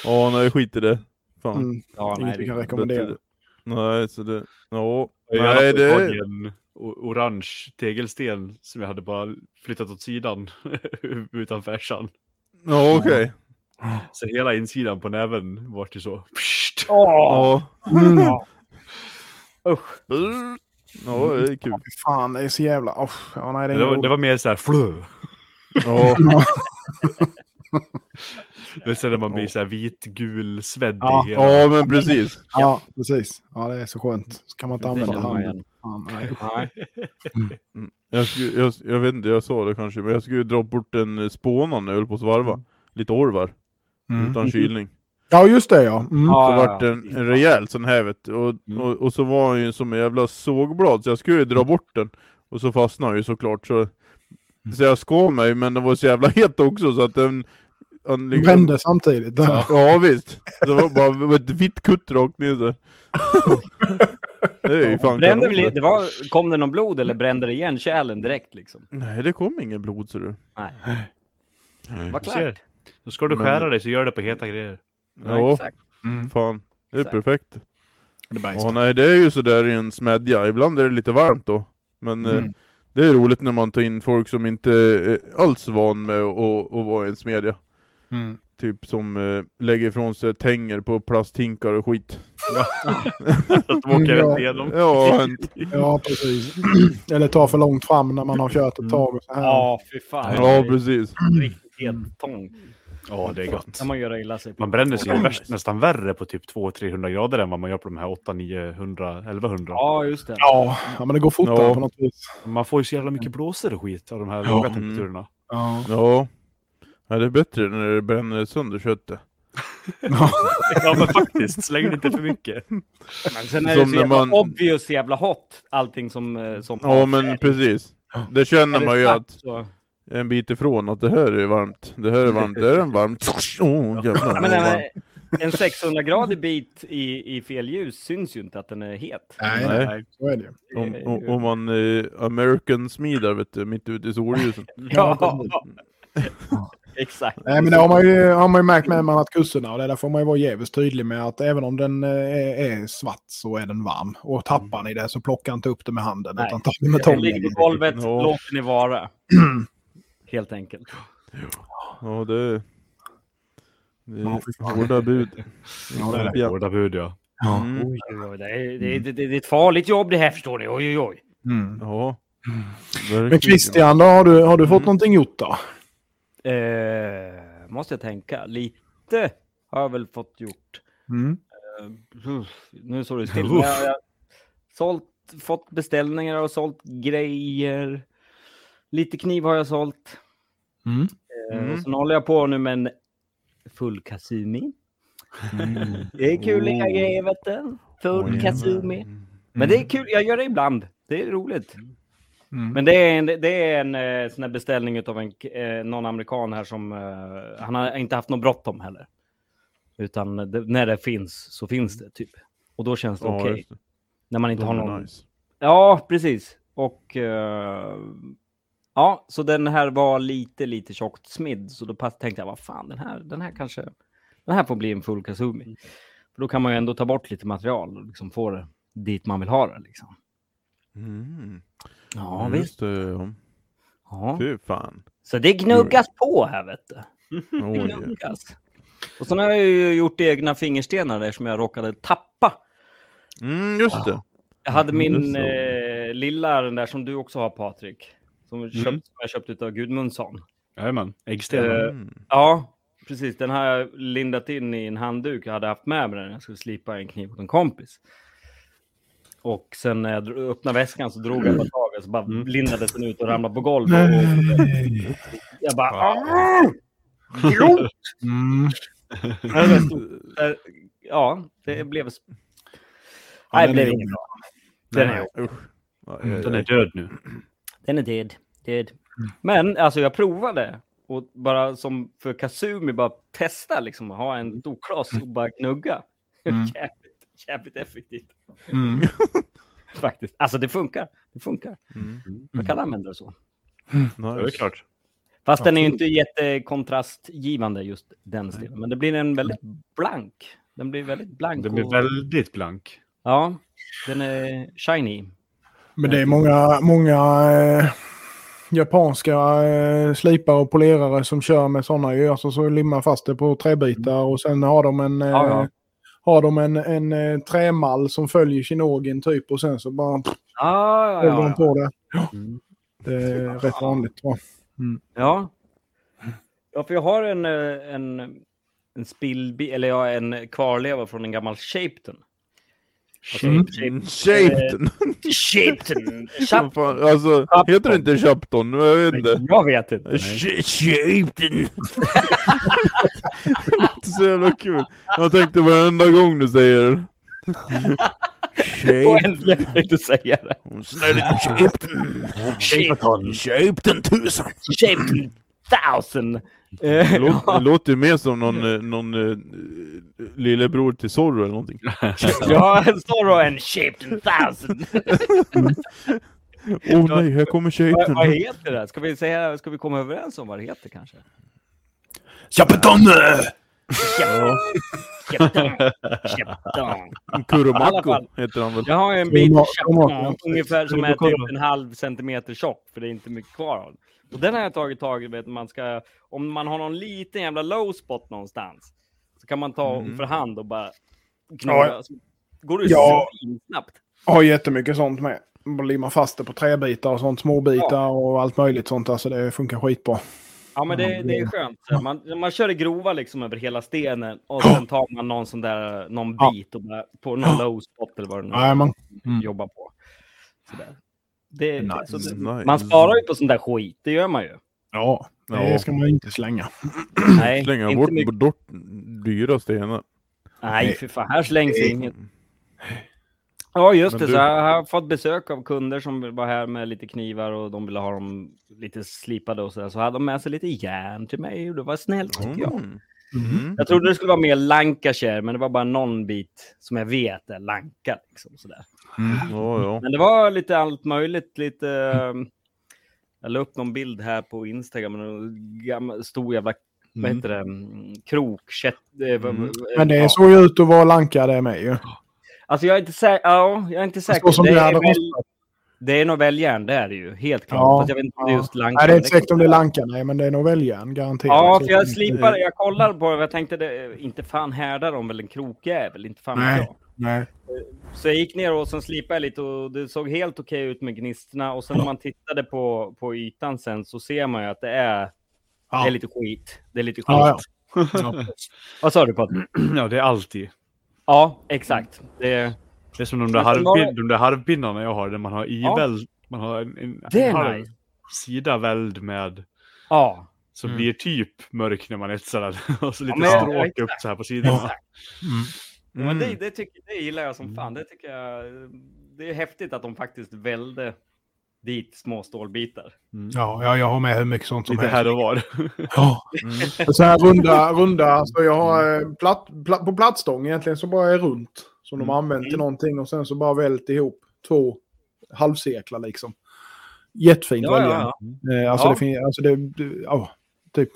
S1: ja nej skit i det. Fan.
S3: Mm,
S2: Ja, nej,
S3: inget vi
S2: det-
S3: kan rekommendera.
S1: Bättre- Nej, så det... Ja.
S4: Jag hade
S1: Nej,
S4: tagit
S1: det...
S4: en o- orange tegelsten som jag hade bara flyttat åt sidan utan färsan.
S1: Ja, okej.
S4: Så hela insidan på näven vart ju så. Pssst.
S2: Åh!
S1: Ja.
S3: Mm.
S2: Usch.
S1: Ja, det är kul.
S3: Fy Fan, det är så jävla... Oh, ja, nej, det är
S4: Det var,
S3: ingen
S4: det var mer så här flö.
S1: Ja.
S4: Men sen när man blir så här vitgul svedd
S3: Ja.
S4: i hela.
S1: ja, men precis.
S3: Ja, precis. Ja, det är så skönt. Så kan man inte
S2: Det
S3: använda
S2: känner man
S3: handen.
S2: igen.
S3: Fan, nej.
S2: Nej.
S1: Jag, skulle, jag, jag vet inte, jag sa det kanske, men jag skulle dra bort en eh, spånan när jag höll på att
S2: Mm.
S1: svarva. Lite orvar, utan kylning.
S3: Ja, just det ja. Mm.
S2: Ja,
S1: Så
S2: ja,
S1: vart
S2: ja.
S1: det en, en rejäl sån här vet du. och,
S4: Mm.
S1: och, och så var han ju som en jävla sågblad, så jag skulle ju dra bort den. Och så fastnade han ju såklart, så,
S2: Mm.
S1: så jag skar mig, men den var så jävla het också så att den... han liksom-
S3: Brände samtidigt.
S1: Ja, ja visst. Det var bara ett vitt kutt rakt ner så. Det är ju fan
S2: Brände
S1: kanon,
S2: väl,
S1: det.
S2: det var, kom det någon blod eller brände det igen kärlen direkt liksom?
S1: Nej, det kom ingen blod ser du.
S2: Nej. Vad
S4: Du
S2: klart.
S4: ser. Då ska du
S1: Men-
S4: skära dig så gör det på heta grejer.
S1: Ja,
S2: exakt.
S1: fan. Det är
S2: Exakt.
S1: perfekt.
S3: Det är
S1: Ja, nej, det är ju sådär i en smedja. Ibland är det lite varmt då. Men eh,
S3: Mm.
S1: det är roligt när man tar in folk som inte är alls van med att- att, att vara i en smedja.
S3: Mm.
S1: Typ som eh, lägger ifrån sig tänger på plasthinkar och skit.
S4: Att de åker
S3: Ja.
S4: rätt igenom.
S1: Ja, hänt.
S3: Ja, precis. Eller ta för långt fram när man har kört ett tag. Och så här.
S2: Ja, fy fan.
S1: ja precis.
S2: Riktigt helt tång.
S4: Ja, det är gott.
S2: Kan man göra illa sig på.
S4: Man bränner sig ju värst, nästan värre på typ 200-300 grader än vad man gör på de här 800-900, 1100.
S2: Ja, just det.
S3: ja. ja, men det går fortare
S1: Ja.
S3: på något vis.
S4: Man får ju så jävla mycket blåsor och skit av de här
S3: Ja.
S4: låga
S1: Mm.
S4: temperaturerna.
S3: Ja.
S1: Ja. ja, det är bättre när det bränner sönder köttet.
S4: Ja men faktiskt, släng det inte för mycket.
S2: Men sen är det
S1: Som
S2: så
S1: när
S2: jävla
S1: man-
S2: obvious jävla hot, allting som... eh, som
S1: Ja, men precis. Det
S2: Är
S1: känner
S2: det
S1: man ju
S2: svart
S1: att
S2: så-
S1: en bit ifrån att det här är varmt. Det här är varmt. Det här är varmt. Åh, oh, jävlar. vad
S2: Men
S1: varmt.
S2: en, en 600-gradig bit i, i fel ljus syns ju inte att den är het.
S3: Nej,
S1: Nej.
S3: så är det ju.
S1: Om, om, om man eh, American smidar vet du, mitt ute i solljuset.
S2: Ja, exakt.
S3: Nej, men det har man ju, har man ju märkt med när man har haft kurserna. Och det där får man ju vara jävligt tydlig med att även om den eh, är, är svart så är den varm. Och tappar ni det så plocka inte upp det med handen
S2: Nej.
S3: utan ta det med
S2: Den ligger
S3: tången.
S2: på golvet,
S1: Ja.
S2: låt den vara. Helt enkelt.
S1: Ja, det är... Det
S3: Ja,
S1: är
S3: fy fan.
S1: hårda bud.
S3: Ja, det är det.
S1: Ja.
S4: Hårda bud ja.
S1: Mm.
S2: Oj, oj, oj, Det är, det, är- det, det är ett farligt jobb det här förstår ni. Oj, oj, oj.
S3: Mm.
S1: Ja.
S3: Men Christian, då, har du, har du fått någonting gjort då?
S2: Eh, måste jag tänka. Lite har jag väl fått gjort. Eh, uff, nu står det still. Men Jag, jag, sålt, fått beställningar och sålt grejer. Lite kniv har jag sålt.
S3: Mm.
S2: Eh,
S1: Mm.
S2: och sen håller jag på nu med en full kasumi. Det är kul
S1: Oh.
S2: grejer vet du. Full kasumi. Men
S1: Mm.
S2: det är kul, jag gör det ibland. Det är roligt.
S3: Mm.
S2: Men det är en, det är en eh, sån här beställning utav en, k- eh, någon amerikan här som... Eh, han har inte haft något bråttom heller. Utan det, när det finns så finns det typ. Och då känns det
S1: Ja,
S2: okej.
S1: just det.
S2: När man inte har
S1: De är
S2: någon...
S1: nice.
S2: Ja, precis. Och... Eh, ja, så den här var lite, lite tjockt smidd. Så då pass, tänkte jag, vad fan, den här, den här kanske... Den här får bli en full kasumi. För då kan man ju ändå ta bort lite material och liksom få det dit man vill ha det liksom.
S1: Mm.
S2: Ja, visst.
S1: Just det, ja.
S2: Ja.
S1: Fy fan.
S2: Så det gnuggas på här, vet du. Det
S1: Oj.
S2: gnuggas. Och sen har jag ju gjort egna fingerstenar där som jag råkade tappa.
S1: Mm, just det.
S2: Jag hade min
S1: det
S2: eh, lilla, den där som du också har Mm. Patrik. Som, köpt, som jag köpte av Gudmundsson.
S4: Jajamän, äggstenar.
S2: Eh,
S1: Mm.
S2: ja, precis, den har jag lindat in i en handduk jag hade haft med mig när jag skulle slipa en kniv åt en kompis. Och sen när jag dro- öppnade väskan så drog jag på taget så bara lindades den ut och ramlade på golvet. Och jag bara... "Aah!" Grovt!
S3: Mm.
S2: Jag stod där. Ja, det blev... Nej, det blev inget bra. Den är,
S1: Usch. Ja, ja,
S4: Den
S1: ja.
S2: Eh,
S4: är död nu.
S2: den är död. död. Men alltså jag provade. Och bara som för Kasumi, bara testa liksom. Ha en doklas och bara gnugga.
S3: Mm.
S2: jävligt, jävligt effektivt
S3: Mm.
S2: faktiskt. Alltså det funkar. Det funkar.
S1: Mm.
S2: Man kan använda det så.
S4: Ja, det är klart.
S2: Fast den är ju inte jättekontrastgivande just den stilen. Men det blir en väldigt blank. Den blir väldigt blank.
S4: Den blir
S2: och-
S4: väldigt blank.
S2: Ja, den är shiny.
S3: Men det är många, många eh, japanska eh, slipare och polerare som kör med sådana ju. Alltså så limmar fast det på träbitar och sen har de en, eh,
S2: Mm. Ja, ja.
S3: Har de en, en eh, trämall som följer kinogen typ och sen så bara pff,
S2: Ah, ja,
S3: håller
S2: ja,
S3: de
S2: ja.
S3: på det.
S4: Mm.
S3: Det är rätt vanligt. Ja.
S2: Ja. ja, för jag har en, eh, en, en spillbil, eller jag en kvarleva från en gammal Shapeton. Alltså,
S3: Mm.
S2: Shape-
S1: Shaped!
S2: Eh, Shapeton!
S1: Fan,
S2: Shapeton!
S1: Alltså, heter det inte Chapton? Jag vet inte.
S2: Jag vet inte.
S1: Sh- Shaped! Det låter så jävla kul. Jag tänkte varenda gång du säger det.
S2: Och
S1: Shaped.
S2: äntligen fick du säga det.
S1: Snälla, Shaped!
S2: Shapeton!
S1: Shaped tusen!
S2: Shapeton! Thousand!
S1: Det
S2: Eh,
S1: låter, det låter ju mer som någon, eh, någon eh, lillebror till Zorro eller någonting.
S2: Jag har en Zorro och en Shapeton Thousand!
S1: Åh nej, här kommer
S2: vad,
S1: Shaped!
S2: vad heter det? Ska vi, säga, ska vi komma överens om vad det heter kanske? Shapeton! Shapeton! I alla
S1: Kuromako
S2: fall.
S1: heter han väl?
S2: Jag har en
S3: Hur
S2: bit
S3: ma- hur många
S2: champignon,
S3: kan-
S2: ungefär som
S4: Hur
S2: är
S4: många
S2: typ
S4: kollar?
S2: en halv centimeter tjock, för det är inte mycket kvar av den. Och den har jag tagit tag i, vet man ska, om man har någon liten jävla low spot någonstans, så kan man ta
S1: Mhm.
S2: för hand och bara knorra.
S3: Ja.
S2: Så Går det ju
S3: Ja.
S2: svinsnabbt.
S3: Jag har jättemycket sånt med. Man limmar fast det på träbitar och sånt, småbitar och allt möjligt sånt. Alltså det funkar skitbra.
S2: Mm. Ja, men det,
S3: Ja,
S2: det är skönt. Så Man, man kör det grova liksom över hela stenen och sen tar man någon sån där, någon
S3: Ja.
S2: bit och bara, på någon low spot eller vad det nu är
S3: Nej, man,
S2: man jobbar på. Sådär. Det,
S3: Nice.
S2: så det,
S1: Nice.
S2: man sparar ju på sån där skit, det gör man ju.
S3: ja,
S1: Ja.
S3: det ska man inte slänga.
S2: Nej,
S1: Slänga
S2: inte
S1: bort
S2: mycket.
S1: bort dyra stenar.
S2: Nej, för fan, här slängs
S3: Nej.
S2: inget. Ja, just
S1: Men
S2: det.
S1: du-
S2: Så jag har fått besök av kunder som var här med lite knivar och de ville ha dem lite slipade och sådär. Så hade de med sig lite järn till mig och det var snällt tycker jag.
S1: Mm. Mm.
S2: Jag trodde det skulle vara mer Lancashire, men det var bara någon bit som jag vet är Lanka. Liksom, sådär.
S1: Ja, ja.
S2: Men det var lite allt möjligt. Lite, ehm, jag la upp någon bild här på Instagram, en gammal, stor jävla vad heter det? Mm, Krok, kätt, eh, vad-
S1: Mm.
S2: vad-
S3: Men det
S2: ja.
S3: såg ju ut att vara lanka det med ju.
S2: Alltså jag är inte säker. Ja, jag är inte säker.
S3: Så som
S2: Det,
S3: det
S2: är
S3: hade
S2: väl,
S3: kostat.
S2: det är nog väljärn, det är det ju. Helt klart.
S3: Ja.
S2: Fast jag vet inte om det är just Lanka.
S3: Nej, det är inte säkert om det är lanka nej, men det är nog väljärn garanterat. Mm.
S2: Ja, för jag
S3: Så-
S2: slipade. Jag kollade på det. Jag tänkte, det, inte fan härdar de väl en krokjävel? Inte fan
S3: Nej.
S2: vet jag.
S3: Nej.
S2: Så jag gick ner och sen slipade jag lite och det såg helt okej ut med gnistorna. Och sen när man tittade på, på ytan sen så ser man ju att det är, det är lite skit. Det är lite skit.
S3: Ja, ja. ja.
S2: Vad sa du på det?
S4: Ja, det är alltid.
S2: Ja, exakt. Det,
S4: Det är som de där,
S2: Men sen var det-
S4: harvpin, de där harvpinnarna jag har, där man har
S2: Ja.
S4: iväld. Man har en, en,
S2: det
S4: en
S2: är
S4: halv
S2: nice.
S4: sida väld med,
S2: Ja.
S4: som
S1: Mm.
S4: blir typ mörk när man etsar den. Och så lite
S2: men- ja,
S4: stråk
S2: exakt.
S4: upp så här på sidorna.
S2: Ja, men det,
S1: Mm.
S2: det, tycker, det gillar jag som fan. Det tycker jag. Det är häftigt att de faktiskt välde dit små stålbitar.
S4: Mm.
S3: ja, ja, jag har med hur mycket sånt som
S4: Lite
S3: helst.
S4: här och var.
S3: Ja. Så här runda, runda. Alltså jag har eh, platt, pla- på plattstång egentligen så bara är runt. Som de har använt till någonting och sen så bara vält ihop två halvcirklar liksom. Jättefint
S2: Ja,
S3: väljärn.
S2: ja,
S3: Eh, Alltså
S2: Ja.
S3: det finns, alltså det, det- ja, typ.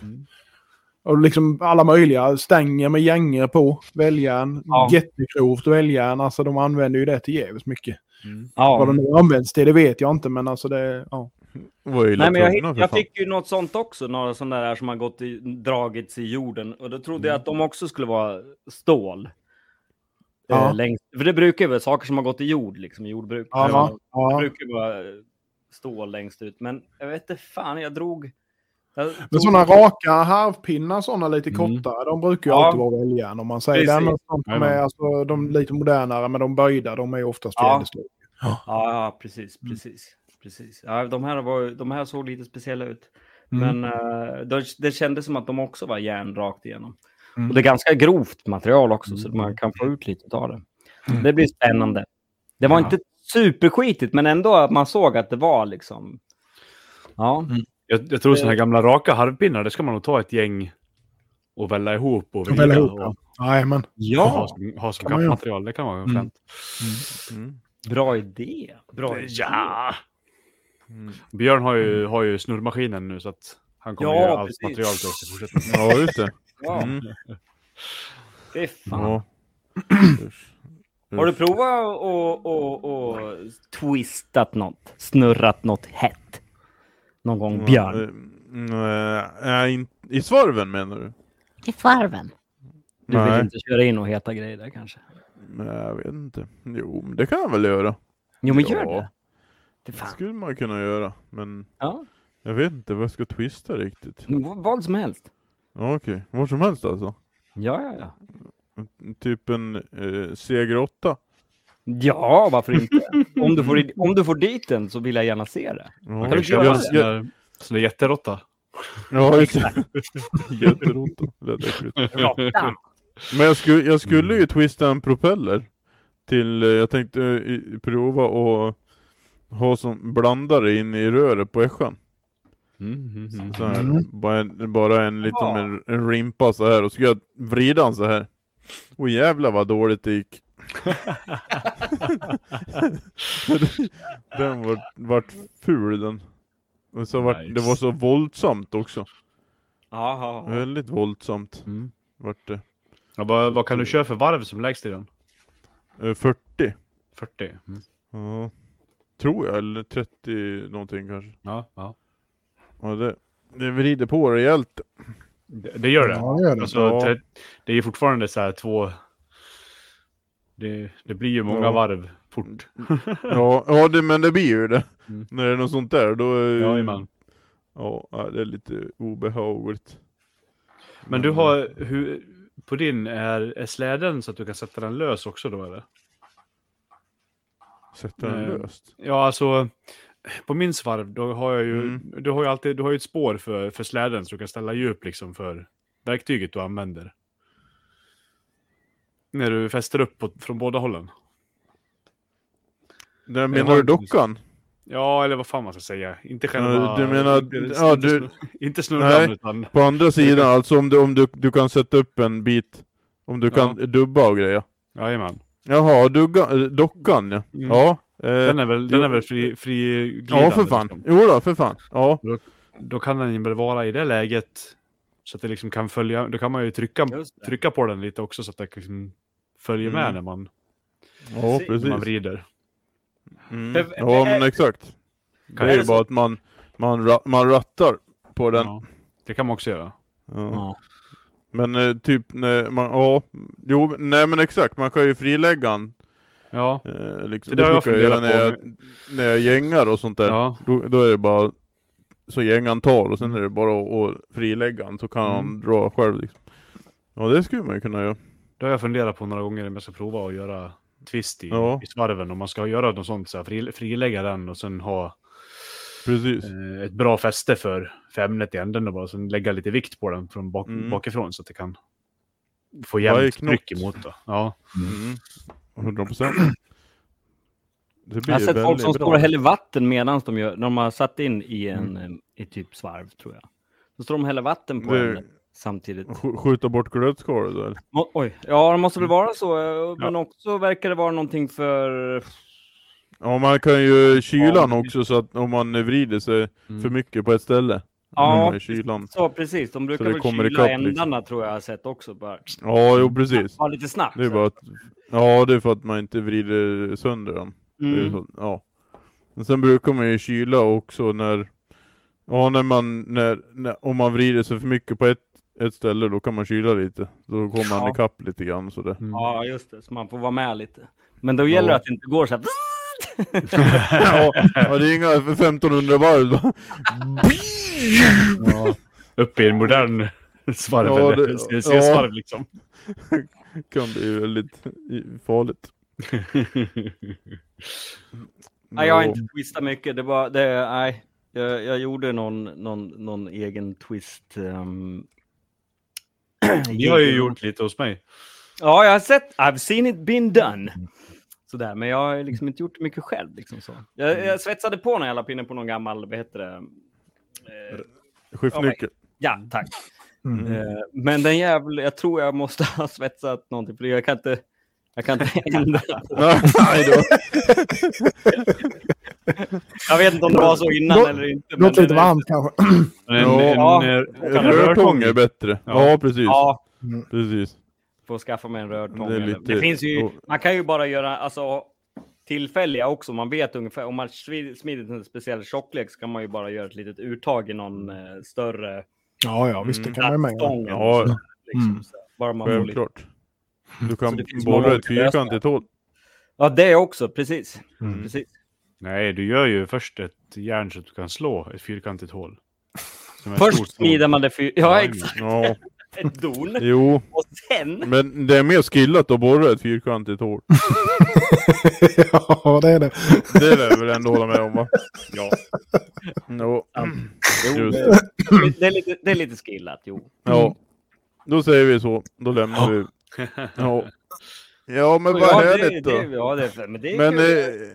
S3: Och liksom alla möjliga stänger med gänger på, väljärn,
S2: Ja.
S3: jättegrovt väljärn. Alltså de använder ju det till jävligt mycket. Vad
S2: ja.
S3: de nu används till det vet jag inte men alltså det, ja.
S1: Vad illa
S2: Nej, men jag,
S1: tvungna,
S2: hitt-
S1: för
S2: jag
S1: fan.
S2: fick ju något sånt också, några sådana där som har gått i, dragits i jorden. Och då trodde jag att de också skulle vara stål.
S3: Ja.
S2: Eh, längst. För det brukar ju vara saker som har gått i jord, liksom i jordbruk.
S3: Ja,
S2: Eh,
S3: ja.
S2: Det brukar ju vara eh, stål längst ut. Men jag vet inte fan, jag drog
S3: Men sådana raka halvpinnar, sådana lite kortare, de brukar ju
S2: Ja.
S3: alltid vara väljaren om man säger
S2: Precis.
S3: det. Men sånt som är
S4: Jajamän.
S3: alltså, de lite modernare, men de böjda, de är ju oftast
S2: Ja.
S3: jävligt stora.
S2: Ja, ja precis,
S3: Mm.
S2: precis. precis. Ja, de, här var, de här såg lite speciella ut.
S3: Mm.
S2: Men eh, det, det kändes som att de också var järn rakt igenom.
S3: Mm.
S2: Och det är ganska grovt material också, så man kan få ut lite av det.
S3: Mm.
S2: Det blir spännande. Det var
S4: Ja.
S2: inte superskitigt, men ändå att man såg att det var liksom... Ja,
S4: Jag, jag tror sådana här gamla raka harvpinnar, det ska man nog ta ett gäng och välla ihop och vrida.
S3: Välla ihop,
S4: och,
S3: ja. Jajamän.
S4: och ha som, ha som
S3: Kan man göra.
S4: kappmaterial, det kan vara
S3: Mm.
S4: fränt. Eh,
S1: Mm.
S2: bra idé. Bra idé.
S4: Ja!
S1: Mm.
S4: Björn har ju, har ju snurrmaskinen nu så att han kommer
S2: Ja,
S4: göra allt
S2: precis.
S4: material till oss i fortsättningen.
S1: Ja, just det.
S2: Ja,
S1: Mm.
S2: fy fan.
S1: Ja. Usch.
S2: Har du provat och, och, och twistat något? Snurrat något hett? Någon gång, Björn?
S1: Mm, eh, nej, in- I svarven menar du?
S5: I farven.
S2: Du vill
S1: Nej.
S2: inte köra in och heta grejer där kanske?
S1: Nej, jag vet inte. Jo, men det kan jag väl göra.
S2: Jo, men gör
S1: ja,
S2: det. det
S1: det
S2: fan.
S1: skulle man kunna göra. Men
S2: Ja,
S1: jag vet inte vad jag ska twista riktigt.
S2: v- vad som helst.
S1: Ja, Okej, vad som helst alltså.
S2: Ja, ja, ja.
S1: Typ en eh, seger 8.
S2: Ja, varför inte? Om du, får, i- om du får dit den så vill jag gärna se det.
S1: Ja,
S4: Man
S2: du
S4: kan
S1: jag-
S2: inte
S4: köpa
S2: göra
S4: en
S1: jag-
S2: det?
S4: sån där- sån där jätteråtta.
S1: Ja, just det. Jätterotta. Det är äckligt. Men jag skulle, jag skulle ju twista en propeller. Till, eh, jag tänkte eh, i- prova och ha som blandare in i röret på äschan.
S4: Mm, mm,
S1: Så här,
S3: Mm.
S1: bara, en, bara en liten
S2: Ja.
S1: med en- en rimpa så här och så skulle jag vrida den så här. Och jävla vad dåligt det gick. den vart, vart ful den. Och så vart, Det
S4: Nice.
S1: var så våldsamt också.
S2: Ja, ja,
S1: Väldigt våldsamt
S4: mm.
S1: vart det.
S4: Ja, vad, vad kan du köra för varv som lägst i den?
S1: Eh, 40.
S4: 40? Mm.
S1: Ja. Tror jag, eller 30 någonting kanske.
S4: Ja, ja.
S1: Ja, det, det vrider på rejält.
S4: Det, det gör det.
S3: Ja, gör det.
S4: Alltså,
S1: Ja.
S4: te- det är ju fortfarande så här två... Det, det blir ju många
S1: Ja.
S4: varv fort.
S1: Ja, ja det, men det blir ju det.
S4: Mm.
S1: När det är något sånt där då... eh,
S4: Jajamän.
S1: Ja, ja, det är lite obehagligt.
S4: Men du har... Hur, på din, är, är släden så att du kan sätta den lös också då eller?
S1: Sätta den
S4: Eh,
S1: löst.
S4: Ja, alltså... På min svarv, då har jag ju...
S1: Mm.
S4: Du har ju alltid du har ju ett spår för, för släden så du kan ställa djup liksom för verktyget du använder. När du fäster upp på, från båda hållen.
S1: Den
S4: jag
S1: menar
S4: har
S1: du
S4: inte just-
S1: dockan?
S4: Ja, eller vad fan man ska säga. Inte själva...
S1: Ja, du menar-
S4: Inte,
S1: ja,
S4: inte,
S1: du-
S4: snur- inte snurran,
S1: Nej.
S4: utan...
S1: På andra sidan, alltså om du, om du, du kan sätta upp en bit. Om du kan dubba och grejer.
S4: Jajamän.
S1: Jaha, dugga, eh, dockan ja.
S4: Mm.
S1: Ja, eh,
S4: Den är väl, den är väl fri, fri glidande,
S1: ja för fan.
S4: liksom.
S1: Jo då, för fan. Ja.
S4: Då kan den ju väl vara i det läget så att det liksom kan följa. Då kan man ju trycka,
S2: Just det.
S4: trycka på den lite också så att det liksom följer
S1: Mm.
S4: med när man,
S1: Ja,
S2: Precis.
S4: när man
S1: precis.
S4: vrider.
S1: Mm. Ja, men exakt. Det
S4: Kan
S1: är
S4: jag-
S1: ju bara att man, man, ra, man rattar på den.
S4: Ja. Det kan man också göra.
S1: Ja.
S2: ja.
S1: Men eh, typ, när man, ja. Jo, nej men exakt. Man kan ju frilägga den.
S4: Ja,
S1: Eh, liksom.
S4: Det
S1: Det,
S4: där har jag
S1: brukar jag göra
S4: funderat
S1: när jag, när jag gängar och sånt där.
S4: ja.
S1: Då, då är det bara så gängan tar och sen är det bara att, att frilägga han så kan han dra själv liksom. Ja det skulle man ju kunna göra.
S4: Det har jag funderat på några gånger om jag ska prova att göra twist i,
S1: Ja.
S4: i svarven. Om man ska göra något sånt, så här, fri, frilägga den och sen ha
S1: Precis.
S4: eh, ett bra fäste för, för ämnet i änden och bara sen lägga lite vikt på den från bak,
S1: Mm.
S4: bakifrån så att det kan få
S1: Varje
S4: jämnt
S1: knott.
S4: tryck emot. Då. Ja.
S1: Mm. 100%. Det
S2: Jag har sett folk
S1: väldigt
S2: som
S1: bra.
S2: står och häller vatten medan de, gör, de har satt in i en eh, i typ svarv, tror jag. Då står de och häller vatten på
S1: Mm. Det-
S2: en samtidigt.
S1: Sk- Skjuta bort glödskalet då eller?
S2: Må- Oj, ja, det måste väl
S1: Mm.
S2: vara så. eh, Men också verkar det vara någonting för...
S1: Ja man kan ju kyla
S4: Ja,
S1: han
S4: men-
S1: också så att om man vrider sig
S4: Mm.
S1: för mycket på ett ställe.
S2: Ja,
S1: Ja. Kylan.
S2: Så precis, de brukar
S1: det
S2: väl
S1: kommer
S2: kyla
S1: ikapp, liksom.
S2: ändarna tror jag har sett också. Bara,
S1: Ja jo precis.
S2: bara lite snabbt.
S1: Det är
S2: så.
S1: bara att, ja det är för att man inte vrider sönder den. Det är ju
S2: mm.
S1: så- Ja. Men sen brukar man ju kyla också när, ja när man, när, när, om man vrider sig för mycket på ett, ett ställe då kan man kyla lite. Då kommer man
S2: Ja.
S1: ikapp lite grann sådär.
S2: Ja, just det. Så man får vara med lite. Men då gäller det att det inte går så här...
S1: ja, ja, det är inga 1500 varv då.
S4: Ja. upp i en modern svarv.
S1: Ja,
S4: eller
S1: det-
S4: CNC
S1: ja.
S4: svarv liksom.
S1: kan bli väldigt i- farligt.
S2: Nej, jag har inte twistat mycket. Det var, det, nej. Jag, jag gjorde någon, någon, någon egen twist. ehm.
S4: Ni har ju gjort lite hos mig.
S2: Ja, jag har sett. I've seen it been done. Sådär, men jag har liksom inte gjort mycket själv. Liksom så. Jag,
S4: Mm.
S2: jag svetsade på några jävla pinne på någon gammal, vad heter det? Eh,
S1: Skiftnyckel.
S2: ja, tack.
S3: Mm.
S2: Eh, men den jävla, jag tror jag måste ha svetsat någonting, för jag kan inte, jag kan inte ändra.
S1: Nej då.
S2: Jag vet inte om det var så innan
S3: Lå-
S2: eller inte. men
S3: Låter lite
S2: det-
S3: varmt kanske.
S4: En, en, eh,
S1: Ja.
S4: en,
S1: En Rörtång är bättre. Ja,
S4: Ja.
S1: precis.
S2: Ja,
S1: precis.
S2: får skaffa mig en rörtång.
S1: Det är
S2: eller-
S1: lite-
S2: Det finns ju,
S1: och-
S2: man kan ju bara göra alltså, tillfälliga också. Man vet ungefär, om man svi- smidigt en speciell tjocklek så kan man ju bara göra ett litet uttag i någon eh, större
S3: Ja, ja, visst det
S2: Mm.
S3: kan man ju med.
S2: plattstång. eller
S1: Ja.
S2: så, liksom,
S3: Mm.
S2: så. Bara man får lite...
S1: Självklart. Du kan
S2: det finns många
S1: borra ett
S2: olika lösningar.
S1: fyrkantigt hål.
S2: Ja, det också, precis.
S1: Mm.
S2: precis.
S4: Nej, du gör ju först ett järn så att du kan slå ett fyrkantigt hål. Som är stort
S2: Först
S4: nog.
S2: smider man det fyr...
S4: Ja,
S2: Ja,
S4: jajamän.
S2: exakt.
S1: Ja,
S2: Ett don.
S1: jo.
S2: Och sen...
S1: Men det är mer skillat att borra ett fyrkantigt hål.
S3: ja, det är det.
S1: Det lär jag väl ändå hålla med om va? Ja. Jo. Just. det.
S2: Det är lite, det är lite skillat, jo.
S1: Ja. Då säger vi så. Då lämnar vi. Ja. Ja men vad
S2: ja,
S1: härligt
S2: det,
S1: då.
S2: det, ja, det, men det är
S1: Men...
S2: kul.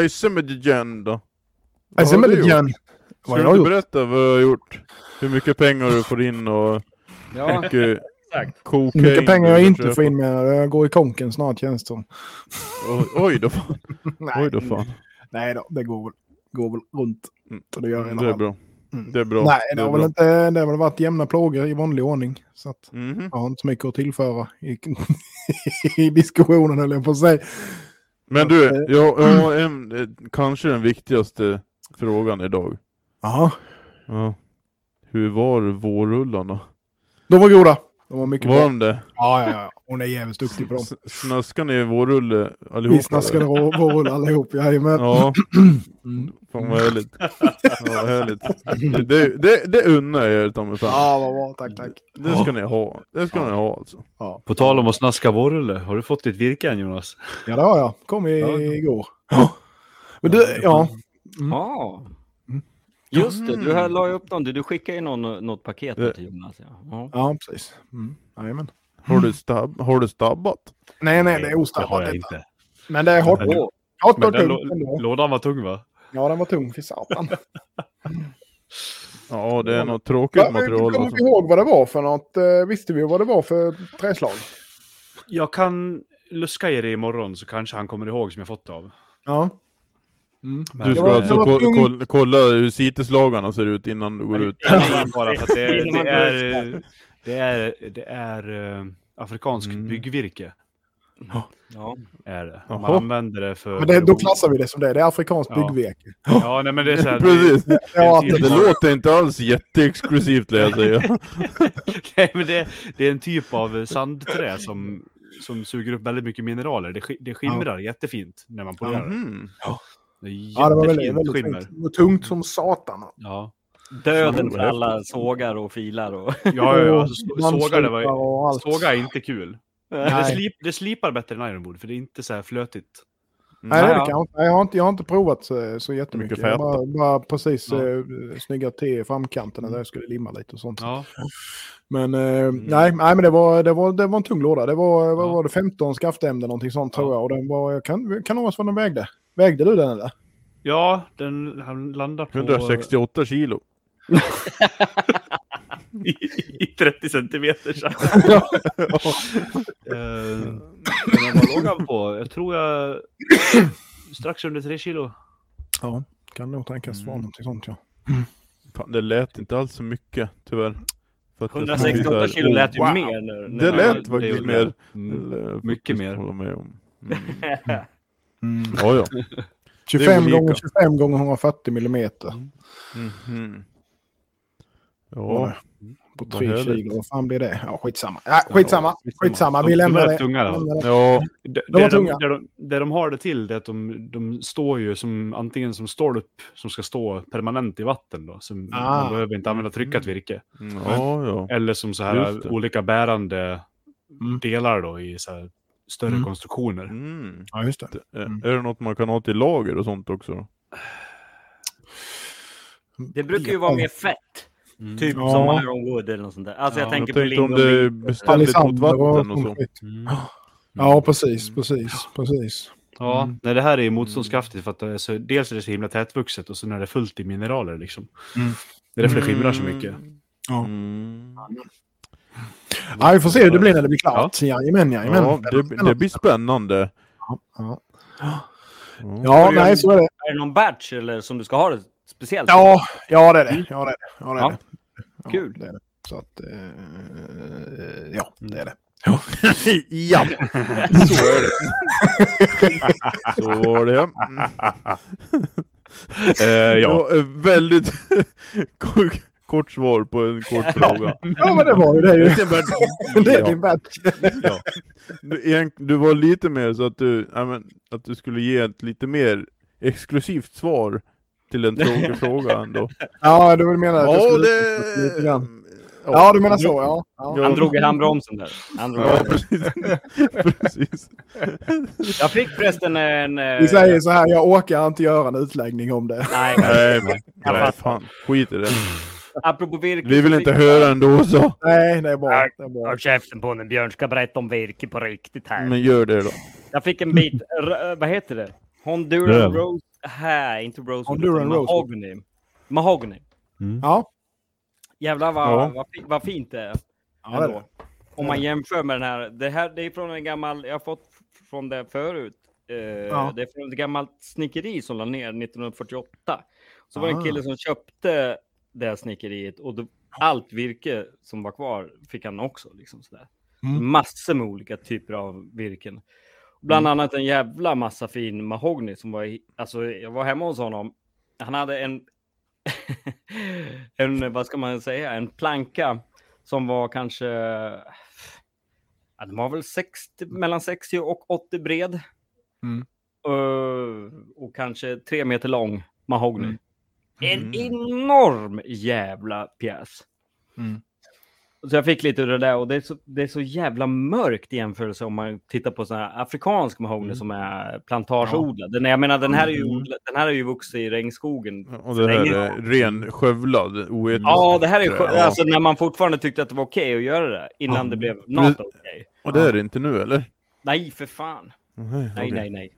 S1: Eh, Icemedejan då? Vad
S3: Jag ser
S1: har
S3: med
S1: du
S3: lite
S1: gjort?
S3: grann
S1: Ska
S3: vad
S1: du
S3: jag har
S1: inte
S3: gjort.
S1: berätta vad du har gjort? Hur mycket pengar du får in och hur
S2: ja,
S1: mycket
S2: exakt.
S1: kokain
S3: Hur mycket pengar
S1: du
S3: jag
S1: får
S3: inte
S1: köpa?
S3: får in med det. Jag går i konken snart känns det som.
S1: Oj, oj då fan.
S3: Nej,
S1: Oj då fan.
S3: nej då, det går väl, går väl runt.
S1: Mm.
S3: Så det gör
S1: Det är
S3: det
S1: bra. Det är bra.
S3: Nej, det
S1: är
S3: har,
S1: bra.
S3: väl inte, det har väl varit jämna plågor i vanlig ordning. Så att
S1: Mhm.
S3: jag har inte så mycket att tillföra i, i diskussionen höll jag på att säga.
S1: Men du, jag, jag har en, eh, kanske den viktigaste frågan idag.
S3: Ja,
S1: Ja. Hur var vårrullarna?
S3: de var goda. De var mycket
S1: Var
S3: bra.
S1: de det?
S3: Ja, ja, ja. Hon är jävligt duktig på dem.
S1: S- Snaskar ni vårrulle allihopa?
S3: Vi snaskade rå- vårrulle allihop, jajamän.
S1: Ja,
S3: Mm.
S1: fan vad härligt. Ja, vad härligt. Det, det, det, det unnar jag er ta mig fan.
S3: Ja, vad bra. Tack, tack.
S1: Det ska ni ha. Det ska ni ha alltså.
S3: Ja,
S4: På tal om att snaska borrulle, har du fått ditt virke än Jonas?
S3: ja det har jag. Kom i,
S4: Ja.
S3: igår. Ja. Men du, ja.
S2: Ja.
S1: Mm.
S2: Just det, du här la ju upp någon. Du, du skickade ju någon, något paket
S1: Det-
S2: till Jonas. Ja. Ja.
S3: Ja, precis. Mm. Jajamän.
S1: Har du, stab- har du stabbat?
S3: Nej, nej, det är
S4: Det har
S3: ostraffat
S4: jag
S3: detta.
S4: inte.
S3: Men det är hårt.
S4: Men-
S3: Hårt
S4: Men
S3: och
S4: den
S3: tungt
S4: lå-
S3: ändå.
S4: lådan var tung va?
S3: Ja, den var tung. Fy satan.
S1: Ja, det är något tråkigt
S3: Va,
S1: material.
S3: Kommer
S1: Alltså.
S3: vi ihåg vad det var för något? Eh, Visste vi vad det var för träslag?
S4: Jag kan luska i det imorgon så kanske han kommer ihåg som jag fått det av.
S3: Ja.
S1: Du ska
S3: Det var-
S1: alltså
S3: det var
S1: ko-
S3: tungt.
S1: koll- kolla hur citeslagarna ser ut innan du går ut.
S4: bara för att det,
S2: Innan man
S4: det är, det är, det är eh, afrikanskt
S1: Mm.
S4: byggvirke.
S2: Ja.
S4: Är det.
S1: Jaha.
S4: Man använder det för...
S3: Men det, då klassar vi det som det. Det är afrikanskt
S4: Ja.
S3: byggvirke.
S4: Ja, nej men det är så här,
S1: Precis.
S3: Ja, att
S4: Det är
S1: Det
S3: det-
S1: låter inte alls jätteexklusivt lär jag säga.
S4: Nej, men det, det är en typ av sandträ som, som suger upp väldigt mycket mineraler. Det, sk- det skimrar jättefint när man polerar det.
S1: Mhm.
S4: Det är jättefint
S3: ja, det var väldigt, väldigt
S4: skimmer.
S3: tungt. Det var tungt som satan.
S4: Ja,
S2: Döden för alla sågar och filar. Och...
S4: ja, ja, ja. Alltså, så-
S3: Och
S4: sågar det var,
S3: dammsugare och allt.
S4: såga är inte kul. Men det,
S3: Nej.
S4: slip, det slipar bättre än ironwood, för det är inte så här flötigt.
S3: Nej, det
S2: Ja, ja.
S3: kan jag inte. Nej, Jag har inte, jag har inte provat så, så jättemycket.
S1: Mm. Mycket
S3: Jag bara, bara precis
S4: Ja.
S3: ja. snygga till framkanterna där jag skulle limma lite och sånt.
S4: Ja,
S3: Men, eh, nej, nej, men det var, det, var, det var en tung låda. Det var, vad
S4: Ja.
S3: var det, 15 skaftämnen någonting sånt tror
S4: Ja.
S3: jag. Och den var, jag kan, kan åras vad den vägde. Vägde du den eller?
S4: ja den han landar på...
S1: 168 kilo.
S4: I 30 centimeter så här. Eh, men Vad låg han på? Jag tror jag... Strax under 3 kilo.
S3: Ja, kan nog tänkas vara
S1: Mm.
S3: någonting sånt ja.
S1: Fan, det lät inte alls så mycket, tyvärr. För att det-
S2: 168 kilo lät ju
S1: Wow.
S2: mer nu. nu
S1: Det lät
S4: det
S1: faktiskt
S4: gjorde
S1: mer.
S4: Mm.
S1: Det lär jag
S4: Mycket
S1: faktiskt
S4: mer.
S1: hålla Med om. Mm. Ja, ja.
S3: 25
S1: olika.
S3: gånger 25 gånger 140 millimeter.
S1: Mhm. Ja.
S3: På
S1: Vad
S3: tre
S1: härligt.
S3: kilo, vad fan blir det? Ja, skitsamma. Ja, skitsamma, skitsamma. Vi
S4: De-
S3: lämnar
S4: de är
S3: det.
S4: tunga, då.
S3: Lämnar det.
S1: Ja.
S4: Det,
S3: De
S4: de,
S3: var
S4: det, de,
S3: tunga.
S4: det, de, det de har det till det är att de, de står ju som antingen som stolp som ska stå permanent i vatten då. Som
S3: Ah.
S4: man behöver inte använda tryckat virke.
S1: Ja, ja.
S4: Eller som så
S1: Just det.
S4: här olika bärande
S3: Mm.
S4: delar då i så här större
S3: Mm.
S4: konstruktioner.
S1: Mm.
S3: Ja, just det.
S1: Eh,
S3: Mm.
S1: Är det något man kan ha till lager och sånt också?
S2: Det brukar ju vara mer fett.
S1: Mm.
S2: Typ
S3: Ja.
S2: som Iron Wood eller något sånt där. Alltså jag
S4: Ja,
S2: tänker
S1: Jag
S2: på
S1: tänkte om
S2: lingon.
S1: det är
S2: Det...
S1: beständigt mot vatten och så.
S4: Mm.
S3: Ja, precis, precis, precis.
S4: Ja, nej, det här är ju motståndskraftigt för att det är så, dels är det så himla tätvuxet och sen är det fullt i mineraler liksom.
S3: Mm.
S4: Det är därför det skimrar så mycket.
S3: Ja.
S1: Mm.
S3: Ja, vi får se hur det blir när det blir klart. Jajamän, jajamän.
S1: Ja, det, det blir spännande.
S3: Ja,
S1: Ja.
S3: ja nej, så är det.
S2: Är det någon batch eller som du ska ha det speciellt?
S3: Ja, ja det är det. Ja, det är det. Mm. Ja, det, är
S2: Ja.
S3: det. Ja,
S2: Kul.
S3: Det är det. Så att, eh, ja, det är det.
S1: ja, så är det. så är det. Mm.
S4: Eh, ja.
S1: Ja, eh, väldigt kort, kort svar på en kort fråga.
S3: Ja, men det var ju det. Ju. det är
S1: Ja.
S3: din batch.
S1: Du, egent- du var lite mer så att du, ja, men, att du skulle ge ett lite mer exklusivt svar till en tråkig fråga ändå.
S3: Ja, du menar att jag skulle- lite
S1: Ja,
S3: grann. Ja, du menar så. Ja. ja.
S2: Han drog i handbromsen där. Han drog.
S1: Ja, precis. precis.
S2: Jag fick förresten en... eh,
S3: Vi säger så här, jag orkar inte göra en utläggning om det.
S2: Nej,
S1: Nej, men, nej, fan. Skit i det.
S2: apropå virke.
S1: Vi vill inte höra ändå så.
S3: Nej, det är bra. Det är bra.
S2: Håll käften på nu, Björn ska berätta om virke på riktigt här.
S1: Men gör det då.
S2: Jag fick en bit, r- eh, vad heter det? Honduran
S4: Röv.
S2: Rose... Nej, inte Rose.
S3: Honduran
S2: utan
S3: Rose.
S2: Mahogany. Mahogany.
S3: Ja,
S2: Jävlar vad,
S1: Ja.
S2: vad, fi- vad fint det är.
S3: Ja, det är
S2: ändå. Om man jämför med den här. Det här det är från en gammal, jag har fått f- från det förut. Eh, Det är från ett gammalt snickeri som la ner 1948. Så var det en
S3: Ah.
S2: kille som köpte det här snickeriet och då, allt virke som var kvar fick han också. Liksom sådär.
S3: Mm.
S2: Massor med olika typer av virken. Bland
S3: Mm.
S2: annat en jävla massa fin mahogny som var, i- alltså jag var hemma hos honom. Han hade en, en, vad ska man säga, en planka som var kanske, ja, den var väl 60, mellan 60 och 80 bred.
S3: Mm.
S2: Ö, och kanske tre meter lång mahogny.
S3: Mm.
S2: En enorm jävla pjäs.
S3: Mm.
S2: Så jag fick lite ur det där och det är så, det är så jävla mörkt i jämförelse om man tittar på sån här afrikansk mahogny
S3: Mm.
S2: som är plantageodlad. Den, jag menar den här är ju, odlad- den här är ju vuxit i regnskogen
S1: Och det här är ren skövlad, oetisk.
S2: Ja, det här är skö-
S1: Ja.
S2: alltså när man fortfarande tyckte att det var okej att göra det innan
S1: Ja.
S2: det blev not okej.
S1: Och det är det inte nu eller?
S2: Nej, för fan. Nej,
S1: okej.
S2: nej, nej.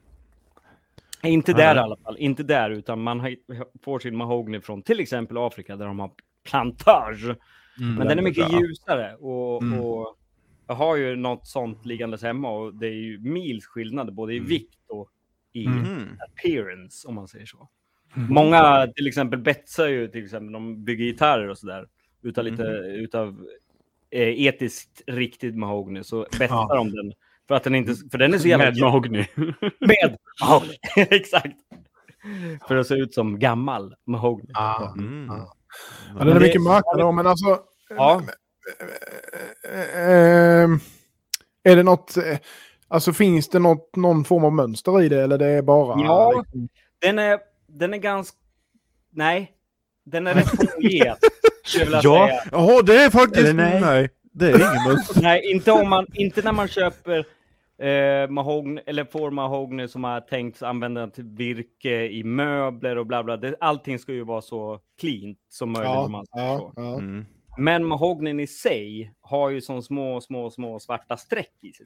S2: Inte
S1: Nej,
S2: där i
S1: nej.
S2: alla fall. Inte där, utan man har- får sin mahogny från till exempel Afrika där de har plantage. Men den är mycket
S1: Ja.
S2: ljusare och,
S3: Mm.
S2: och jag har ju något sånt liggandes hemma och det är ju mils skillnad både i
S3: Mm.
S2: vikt och i
S1: Mhm.
S2: appearance om man säger så.
S3: Mm.
S2: Många till exempel betsar ju till exempel, de bygger gitarrer och sådär. Utav lite
S3: Mm.
S2: utav eh, etiskt riktigt mahogny så betsar
S3: Ja.
S2: de den. För att den inte, för den är så jävla
S4: Med Mahogny.
S2: med mahogny. Exakt. För att se ut som gammal mahogny.
S3: Ja,
S1: Mm.
S3: den är mycket mörkare då, men alltså... eh,
S2: Ja.
S3: Ehm, är det något... eh, Alltså finns det något, någon form av mönster i det eller det är bara...
S2: Ja. Den är, den är ganska... Nej. Den är rätt foliert. skulle jag vilja
S4: Ja.
S2: säga.
S1: Jaha, det är
S4: Eller
S1: faktiskt...
S4: nej.
S1: Nej. det är ingen möss.
S2: Nej, inte, om man, inte när man köper eh, mahogny, eller får mahogny som har tänkt använda till virke i möbler och bla bla. Det, allting ska ju vara så cleant som möjligt. om
S3: Ja,
S2: man säger
S3: ja,
S2: så.
S3: ja.
S1: Mm.
S2: Men mahognyn i sig har ju som små, små, små svarta streck i sig.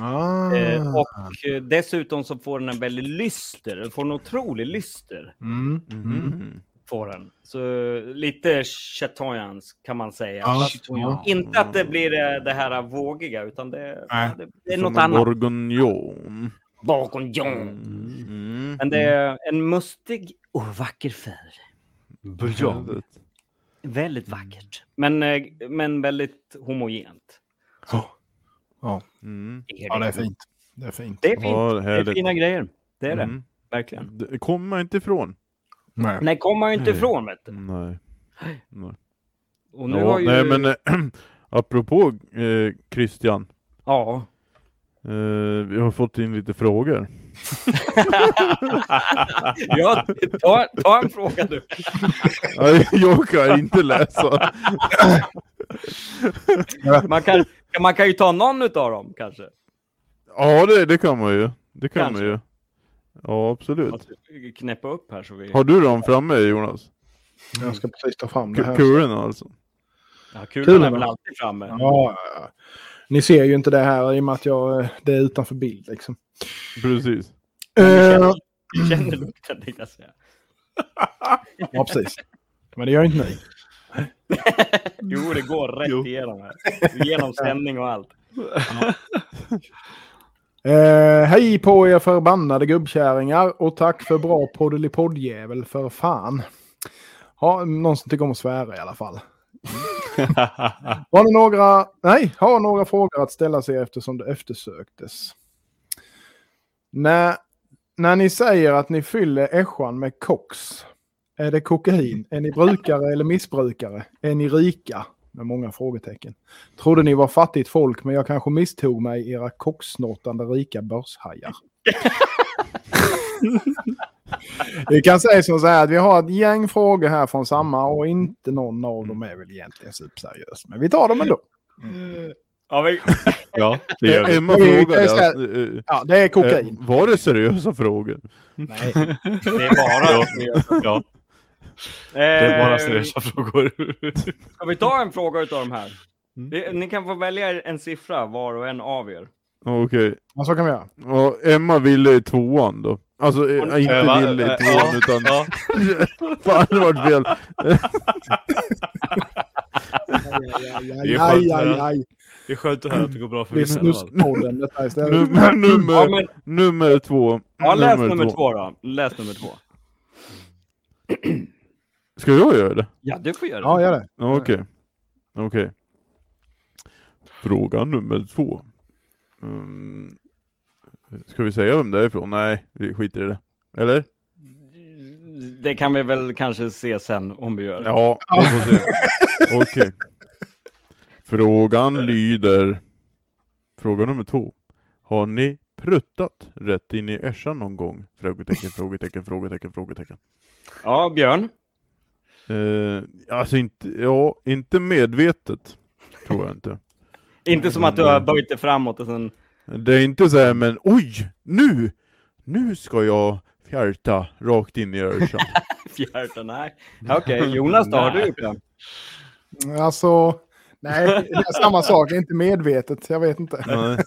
S3: Ah.
S2: Eh, och eh, dessutom så får den en väldigt lyster, den får en otrolig lyster.
S3: Mm.
S1: Mhm.
S2: får den. Så eh, lite chatons kan man säga.
S3: Ja,
S2: Fast
S3: ja.
S2: Inte att det blir eh, det här vågiga, utan det,
S3: Nej.
S2: det, det är
S1: Som
S2: något
S1: en
S2: annat.
S1: Bourguignon.
S2: Bakom John.
S1: Mm.
S2: Men det är en mustig och vacker färg.
S4: Buljong.
S2: Väldigt vackert. Men, eh, men väldigt homogent.
S3: Ja.
S1: Mm.
S3: Oh. ja, det är fint. Det är fint.
S2: Det är fint.
S1: Ja,
S2: Det är
S1: härligt.
S2: fina grejer. Det är det.
S1: Mm.
S2: Verkligen.
S1: Det kommer man inte ifrån.
S3: Nej.
S2: Nej, kommer man ju inte
S1: Nej.
S2: ifrån. Vet du.
S1: Nej. Nej.
S2: Och nu
S1: Ja,
S2: har ju...
S1: Nej men, eh,
S2: eh,
S1: apropå eh, Christian.
S2: Ja.
S1: Eh, vi har fått in lite frågor.
S2: ja ta, ta en fråga du.
S1: Nej, jag kan inte läsa.
S2: Man kan, man kan ju ta någon utav dem kanske.
S1: Ja, det, det kan man ju. Det kan
S2: Kanske.
S1: man ju. Ja, absolut.
S2: Att Knäppa upp här så vi...
S1: Har du dem framme Jonas?
S3: Jag ska precis ta fram det
S1: K-
S3: här.
S1: Kulorna alltså?
S2: Ja, kulan
S3: Kul,
S2: är väl
S3: va?
S2: alltid framme.
S3: Ja, ja. ni ser ju inte det här i och med att jag, eh, det är utanför bild. Liksom.
S1: Precis.
S3: Eh,
S2: Jag känner lukten tänkte jag säga.
S3: ja, precis. Men det gör inte ni.
S2: Jo, det går rätt
S4: Jo.
S2: igenom här. Genom sändning och allt.
S3: Eh, hej på er förbannade gubbkärringar och tack för bra poddelipoddjävel för fan. Ja, någon som tycker om att svära i alla fall. Har ni några, nej, har några frågor att ställa sig eftersom det eftersöktes? När, när ni säger att ni fyller äschan med koks, är det kokain? Är ni brukare eller missbrukare? Är ni rika? Med många frågetecken. Trodde ni var fattigt folk, men jag kanske misstog mig, era koksnortande rika börshajar. Vi kan säga som så här att vi har ett gäng frågor här från samma och inte någon av dem är väl egentligen superseriös. Men vi tar dem ändå.
S2: Ja, vi...
S4: ja, det gör vi.
S1: Emma
S3: Det är-
S1: frågade.
S3: det är så här-
S1: alltså, eh,
S3: Ja, det är
S1: eh,
S3: kokain.
S1: Var det seriösa frågor?
S2: Nej, det är bara...
S4: Ja, ja, det är bara seriösa frågor.
S2: Eh, Ska vi ta en fråga utav de här?
S1: Mm.
S2: Det, ni kan få välja er en siffra var och en av er.
S1: Okej.
S3: Ja, så kan vi göra.
S1: Ja, Emma ville i tvåan då. Alltså eh, inte
S4: Eh, va?
S1: ville i
S4: Eh,
S1: tvåan
S4: ja,
S1: utan...
S4: ja.
S1: Fan det vart fel.
S4: Det är skönt, ja. Det är skönt att höra att det går bra för
S3: Det är
S4: vissa i alla fall.
S3: snuskpodden detta istället.
S1: Nummer, nummer,
S2: Ja, men,
S1: nummer två.
S2: ja läs nummer två. då. Läs nummer två.
S1: Ska jag göra det?
S2: Ja, du får göra det.
S3: Ja, gör det.
S1: Ja, Okej. Okej. Fråga nummer två. Mm. Ska vi säga vem det är ifrån? Nej, vi skiter i det. Eller?
S2: Det kan vi väl kanske se sen om vi gör.
S1: Ja, vi får se. Okej. Frågan lyder. Fråga nummer två. Har ni pruttat rätt in i äschan någon gång? Frågetecken, frågetecken, frågetecken, frågetecken.
S2: ja Björn.
S1: Eh, alltså inte, ja, inte medvetet. Tror jag inte.
S2: Inte som att du har böjt dig framåt och sen...
S1: Det är inte så här, men oj, nu! Nu ska jag fjärta rakt in i örsan.
S2: Fjärta, nej. Okej, Jonas då, har du gjort det?
S3: Alltså, nej, det är samma sak. Det är inte medvetet. Jag vet inte.
S1: Nej.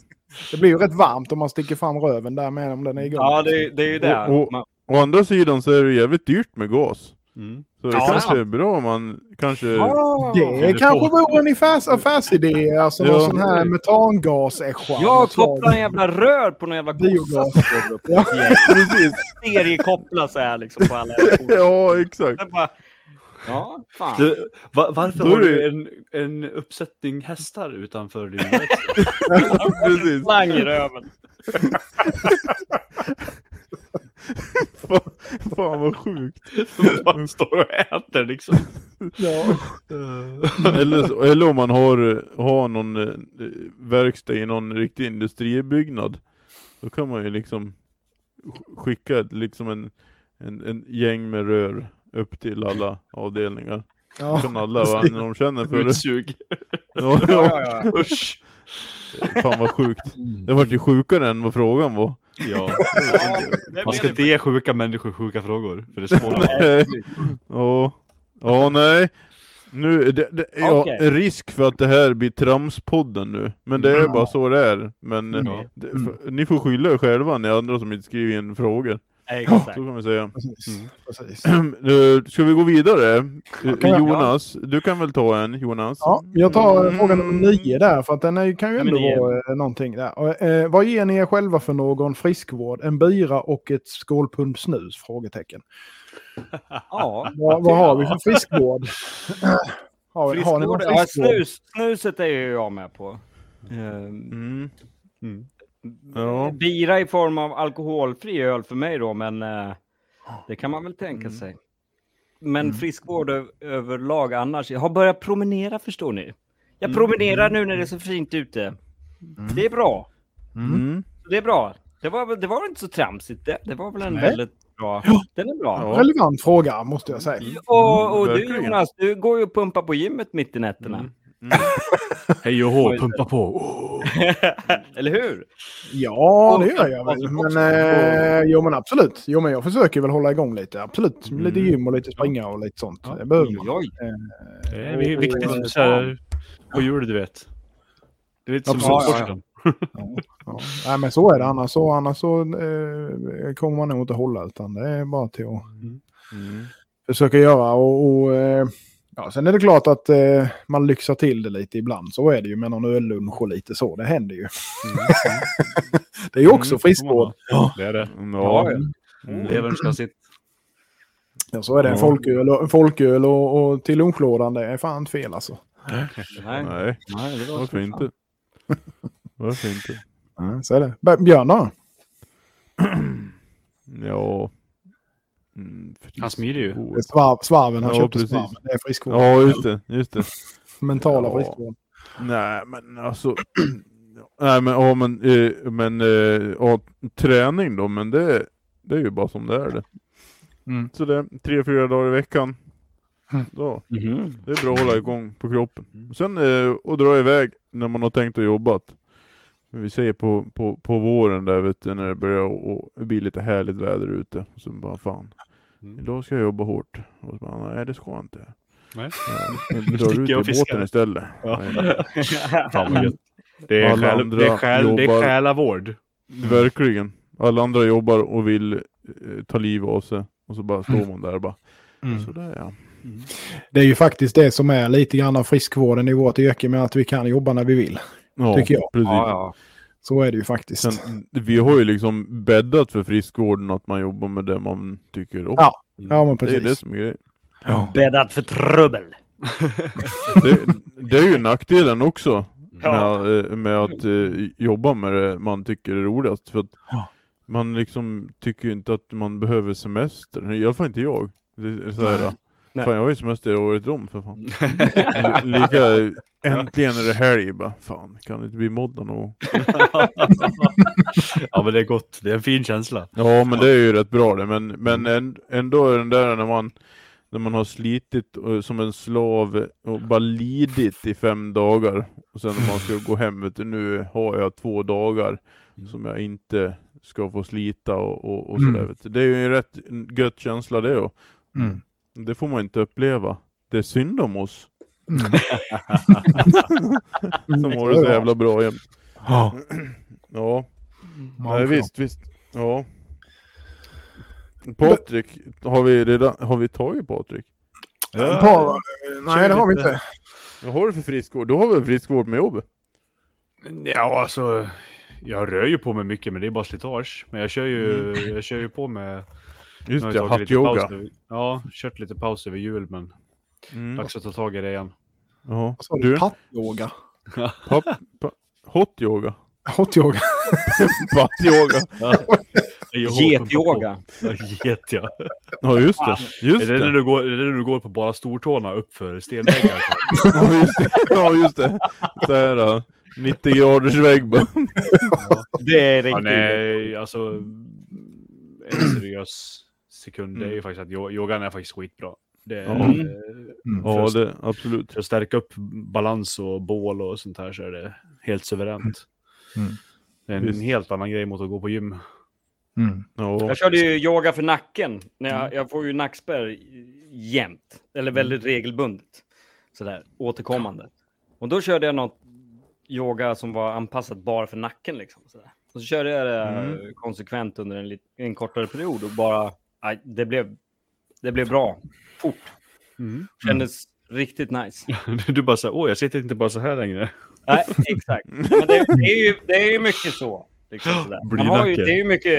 S3: Det blir ju rätt varmt om man sticker fram röven där med om den är igång.
S2: Ja, det, det är ju det.
S1: Och- och-
S2: Man-
S1: Å andra sidan så är det jävligt dyrt med gas.
S4: Mm.
S1: Så det
S2: Ja,
S1: kanske
S2: sant.
S1: är bra om man kanske...
S2: Ah!
S3: Det är kanske vore en affärs, affärsidé, alltså någon
S1: Ja.
S3: sån här metangas
S2: Jag kopplar en jävla rör på någon jävla kossa.
S3: Biogas. Ja.
S1: Precis.
S2: Seriekoppla så här liksom på alla jävla
S1: Ja, exakt.
S2: Det är bara... Ja, fan.
S4: Du, va, varför
S1: Då
S4: har
S1: är
S4: du en, en uppsättning hästar utanför din verkstad?
S1: Precis.
S2: Slang i röven.
S1: Fan, fan vad sjukt.
S4: som bara står och äter liksom?
S3: Ja.
S1: Eller, så- eller om man har, har någon eh, verkstad i någon riktig industribyggnad. Då kan man ju liksom sk- skicka liksom en, en, en gäng med rör upp till alla avdelningar. Då
S3: Ja.
S1: kan alla va, när de känner för det.
S4: Utsug.
S1: Ja, ja.
S2: ja,
S4: Usch.
S1: Fan vad sjukt. Det vart ju sjukare än vad frågan var.
S4: Ja.
S2: Det
S4: Man ska
S2: blir
S4: inte ge sjuka människor sjuka frågor. För det spårar.
S1: Ja, ja nej. Nu, det, det, ja,
S2: Okej.
S1: Risk för att det här blir Tramspodden nu, men det är bara så det är. Men eh,
S4: Ja.
S1: det, för, ni får skylla er själva ni andra som inte skriver in frågor.
S2: det. Exakt.
S1: Så kan vi säga.
S3: Precis. Precis.
S1: Eh, Ska vi gå vidare? Eh,
S3: kan jag.
S1: Jonas, du kan väl ta en Jonas?
S3: Ja, jag tar eh, fråga
S1: Mm.
S3: nummer nio där, för att den är, kan ju
S2: Nummer
S3: ändå
S2: nio.
S3: vara eh, någonting där. Och, eh, vad ger ni er själva för någon friskvård? En bira och ett skålpund snus? Frågetecken.
S2: Ja.
S3: Vad, vad har vi för friskvård? har, har ni någon
S2: Friskvård, ja,
S3: friskvård?
S2: snus, snuset är ju jag med på. Ehm,
S1: Mm. Ja.
S2: Bira i form av alkoholfri öl för mig då, men eh, det kan man väl tänka sig. men friskvård ö- överlag annars. Jag har börjat promenera förstår ni. Jag promenerar nu när det är så fint ute. Det är bra.
S1: Mm.
S2: Det är bra. Det var, väl- det var inte så tramsigt det. Det var väl en
S3: Nej.
S2: väldigt bra. Den är bra.
S1: Ja.
S3: Relevant fråga måste jag
S2: Mm.
S3: säga.
S2: Och, och du
S1: verkligen.
S2: Jonas, du går ju och pumpar på gymmet mitt i nätterna.
S4: Hej och hå, pumpa på. Oh.
S2: Eller hur?
S3: Ja,
S2: Och-
S3: det gör
S2: och-
S3: jag väl.
S2: och-
S3: Men, eh, jo, men absolut. Jo, men jag försöker väl hålla igång lite. Absolut.
S1: Mm.
S3: Lite gym och lite springa och lite sånt.
S4: Ja.
S3: Det behöver man.
S2: Oj, oj.
S4: Det är vi- viktigt så här, på jul, du vet. Det är lite som
S3: Ja, ja, ja.
S4: solskorsen.
S3: Ja. Nej, men så är det. Annars så, annars så eh, kommer man nog inte hålla. Utan det är bara till att
S1: Mm.
S3: försöka göra. Och, och, eh, ja, sen är det klart att eh, man lyxar till det lite ibland. Så är det ju med någon öllunch och lite så. Det händer ju. det är ju också
S1: Mm,
S3: friskvård.
S4: Det är det.
S1: Ja.
S4: Levern ska sitt.
S3: Ja, så är det. En
S1: Ja.
S3: folköl, och, en folköl och, och till lunchlådan, det är fan inte fel alltså.
S2: Nej,
S1: Nej,
S2: nej, det var
S1: varför inte? Varför inte?
S3: Mm, så är det. B- Björn då?
S1: Ja... Mm,
S4: Han smider ju.
S1: friskvård.
S3: Det är Svarv, svarven han
S1: Ja,
S3: köpte
S1: precis.
S3: svarven. Det är friskvård.
S1: Ja, just det. Just det.
S3: Mentala
S1: Ja.
S3: friskvård.
S1: Nej, men alltså... Nej, men, ja, men, eh, men eh, ja, träning då, men det, det är ju bara som det är det.
S3: Mm.
S1: Så det, tre, fyra dagar i veckan. Då,
S2: Mhm.
S1: det är bra att hålla igång på kroppen.
S4: Mm.
S1: Sen eh, och dra iväg när man har tänkt och jobbat. Vi säger på, på, på våren där vet du, när det börjar och, och bli lite härligt väder ute. Och så bara fan,
S4: Mm.
S1: idag ska jag jobba hårt. Och så bara, nej det ska jag inte.
S4: Nej.
S1: Ja, jag drar
S4: sticker
S1: ut
S4: jag och
S1: i
S4: fiskar.
S1: båten istället.
S4: Ja.
S1: Nej.
S4: Fan vad gött. Det är,
S1: Alla
S4: själ, det är,
S1: andra
S4: själ, det är
S1: jobbar.
S4: själavård.
S1: Verkligen. Alla andra jobbar och vill eh, ta liv av sig. Och så bara
S3: Mm.
S1: står man där och bara, sådär ja.
S3: Det är ju faktiskt det som är lite grann av friskvården i vårt yrke med att vi kan jobba när vi vill.
S1: Ja,
S3: Tycker jag.
S1: Precis.
S2: Ja, ja.
S3: Så är det ju faktiskt.
S1: Sen, vi har ju liksom bäddat för friskvården att man jobbar med det man tycker om.
S3: Ja, ja, men
S1: det är
S3: precis.
S1: det som är grejen.
S2: Bäddat för trubbel.
S1: Det, det är ju nackdelen också med, eh, med att eh, jobba med det man tycker är roligast. För att
S3: Ja.
S1: man liksom tycker ju inte att man behöver semester. I alla fall inte jag. Det är så här,
S2: Nej.
S1: Fan jag har ju semester året om för fan. L- Lika, äntligen är det helg bara. Fan, kan det inte bli måndag någon gång?
S4: Ja, men det är gott. Det är en fin känsla.
S1: Ja men det är ju rätt bra det, men, men
S3: Mm.
S1: änd- ändå är den där när man, när man har slitit eh, som en slav och bara lidit i fem dagar och sen när man ska gå hem, vet du, nu har jag två dagar som jag inte ska få slita och, och, och sådär.
S3: Mm.
S1: Vet du. Det är ju en rätt gött känsla det och
S3: Mm.
S1: det får man inte uppleva. Det är synd om oss
S3: Mm.
S1: som har det så jävla bra jämt.
S3: Ja,
S1: Ja,
S3: man
S1: Nej,
S3: får-
S1: visst, visst. Ja. Patrik, har vi, redan, har vi tagit Patrik?
S3: En Par, nej, det har vi
S4: lite.
S3: inte.
S1: Vad har du för friskvård? Du har väl friskvård med jobb?
S4: Ja, alltså. Jag rör ju på mig mycket, men det är bara slitage. Men jag kör ju, jag kör ju på med...
S1: Just
S4: nu
S1: det,
S4: har tagit lite paus
S1: hattyoga.
S4: över- Ja, kört lite paus över jul, men
S1: Mm.
S4: dags att ta tag i det igen.
S1: Ja.
S3: Vad sa du?
S1: Du,
S3: Pattyoga.
S1: papp, pa, hotyoga.
S3: Hotyoga.
S1: Pattyoga.
S2: Getyoga.
S4: Ja, Get, ja.
S1: Ja, just det.
S4: Är
S1: Just
S4: det när
S1: det.
S4: du går, är det när du går på bara stortårna uppför stenväggar? Alltså,
S1: Ja, just det. Ja, just det. Så här, ja. 90 graders vägg bara.
S2: Det är
S4: Ja,
S2: riktigt.
S4: nej, alltså. En seriös sekund, det är ju faktiskt att yo- yogan är faktiskt skitbra. Det är,
S1: Ja.
S4: eh,
S2: Mm.
S1: Ja, det, absolut.
S4: För att stärka upp balans och bål och sånt här så är det helt suveränt.
S3: Mm.
S4: Det är en
S1: Visst.
S4: helt annan grej mot att gå på gym.
S3: Mm.
S1: Ja.
S2: Jag körde ju yoga för nacken. När jag, jag får ju nackspärr jämt. Eller väldigt regelbundet. Sådär återkommande. Och då körde jag något yoga som var anpassat bara för nacken. Liksom, sådär. Och så körde jag det
S1: Mm.
S2: konsekvent under en, lit- en kortare period. Och bara, aj, det, blev, det blev bra. Fort. Kändes riktigt nice.
S4: Du bara såhär, åh jag sitter inte bara så här längre.
S2: Nej, exakt. Men det, det, är ju, det är ju mycket så. Liksom sådär. Man har ju,
S4: Blynacke.
S2: det är ju mycket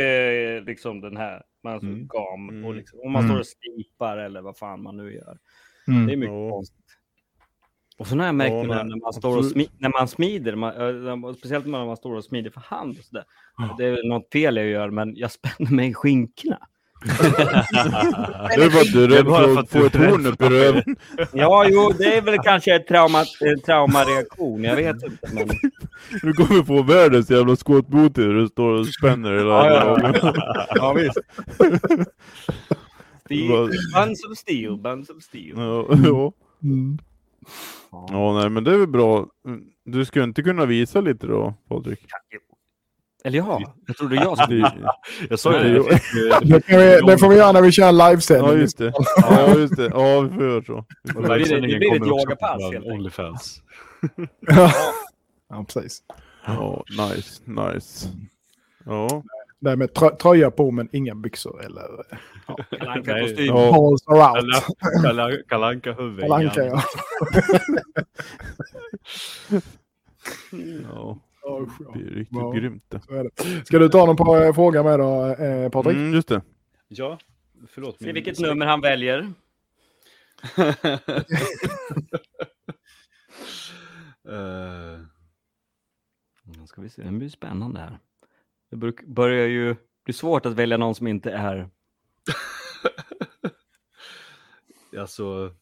S2: eh, liksom den här, man så
S1: Mm.
S2: gam och
S1: Mm.
S2: liksom, om man
S3: Mm.
S2: står och slipar eller vad fan man nu gör. Det är
S3: Mm.
S2: mycket
S1: Ja.
S2: konstigt. Och sen har jag märkt
S1: Ja,
S2: nu när-
S1: men
S2: när man står och
S1: absolut.
S2: smi, när man smider, man, eh, när- speciellt när man står och smider för hand och sådär. Det är väl något fel jag gör, men jag spänner mig i skinkorna.
S1: Det var du
S4: Det är
S1: rädd
S4: bara
S1: för
S4: för
S1: att
S4: att
S1: få
S4: du är
S1: ett
S4: rädd
S1: horn upp i röven.
S2: Ja, jo, det är väl kanske ett trauma, en traumareaktion. Jag vet inte. Men...
S1: Du kommer få världens jävla skåtbot där du står och spänner hela
S2: Ja,
S1: dagen.
S2: Ja, visst. Steel.
S1: Vad-
S2: Buns of steel, buns of steel.
S1: Ja, ja.
S3: Mm.
S1: ja, nej men det är väl bra. Du skulle inte kunna visa lite då, Patrik?
S2: Eller ja, jag trodde jag skulle...
S1: Det-
S4: Jag sa ju det.
S1: Jo.
S4: jag fick, eh,
S3: Det, kan vi, det får vi göra när vi kör en
S1: Ja,
S3: livesändning.
S1: just det. Ja, just det. Ja, vi får göra så. Vi får
S2: blir
S1: göra
S2: det-
S1: så.
S2: det blir ett
S4: kommer också
S2: yogapass,
S4: på
S2: helt enkelt.
S4: Onlyfans.
S3: Ja, precis.
S1: Ja, nice, nice. Ja,
S3: Det här med trö- tröja på men inga byxor eller...
S2: Kalle Anka
S4: Nej.
S2: kostym.
S1: ja.
S3: Balls are out.
S4: Kalle- Kalle- Kalle Anka huvud.
S3: Kalle Anka, ja.
S1: ja.
S3: Ja, usch,
S1: Det
S3: ja.
S1: är riktigt
S3: Ja.
S1: grymt det.
S3: Så är det. Ska du ta någon på, eh, fråga med då, eh, Patrik?
S1: Mm, just det.
S4: Ja, förlåt.
S2: Se vilket nummer han väljer.
S4: Eh,
S2: Nu ska vi se, det blir spännande här. Det bruk- börjar ju bli svårt att välja någon som inte är...
S4: Alltså...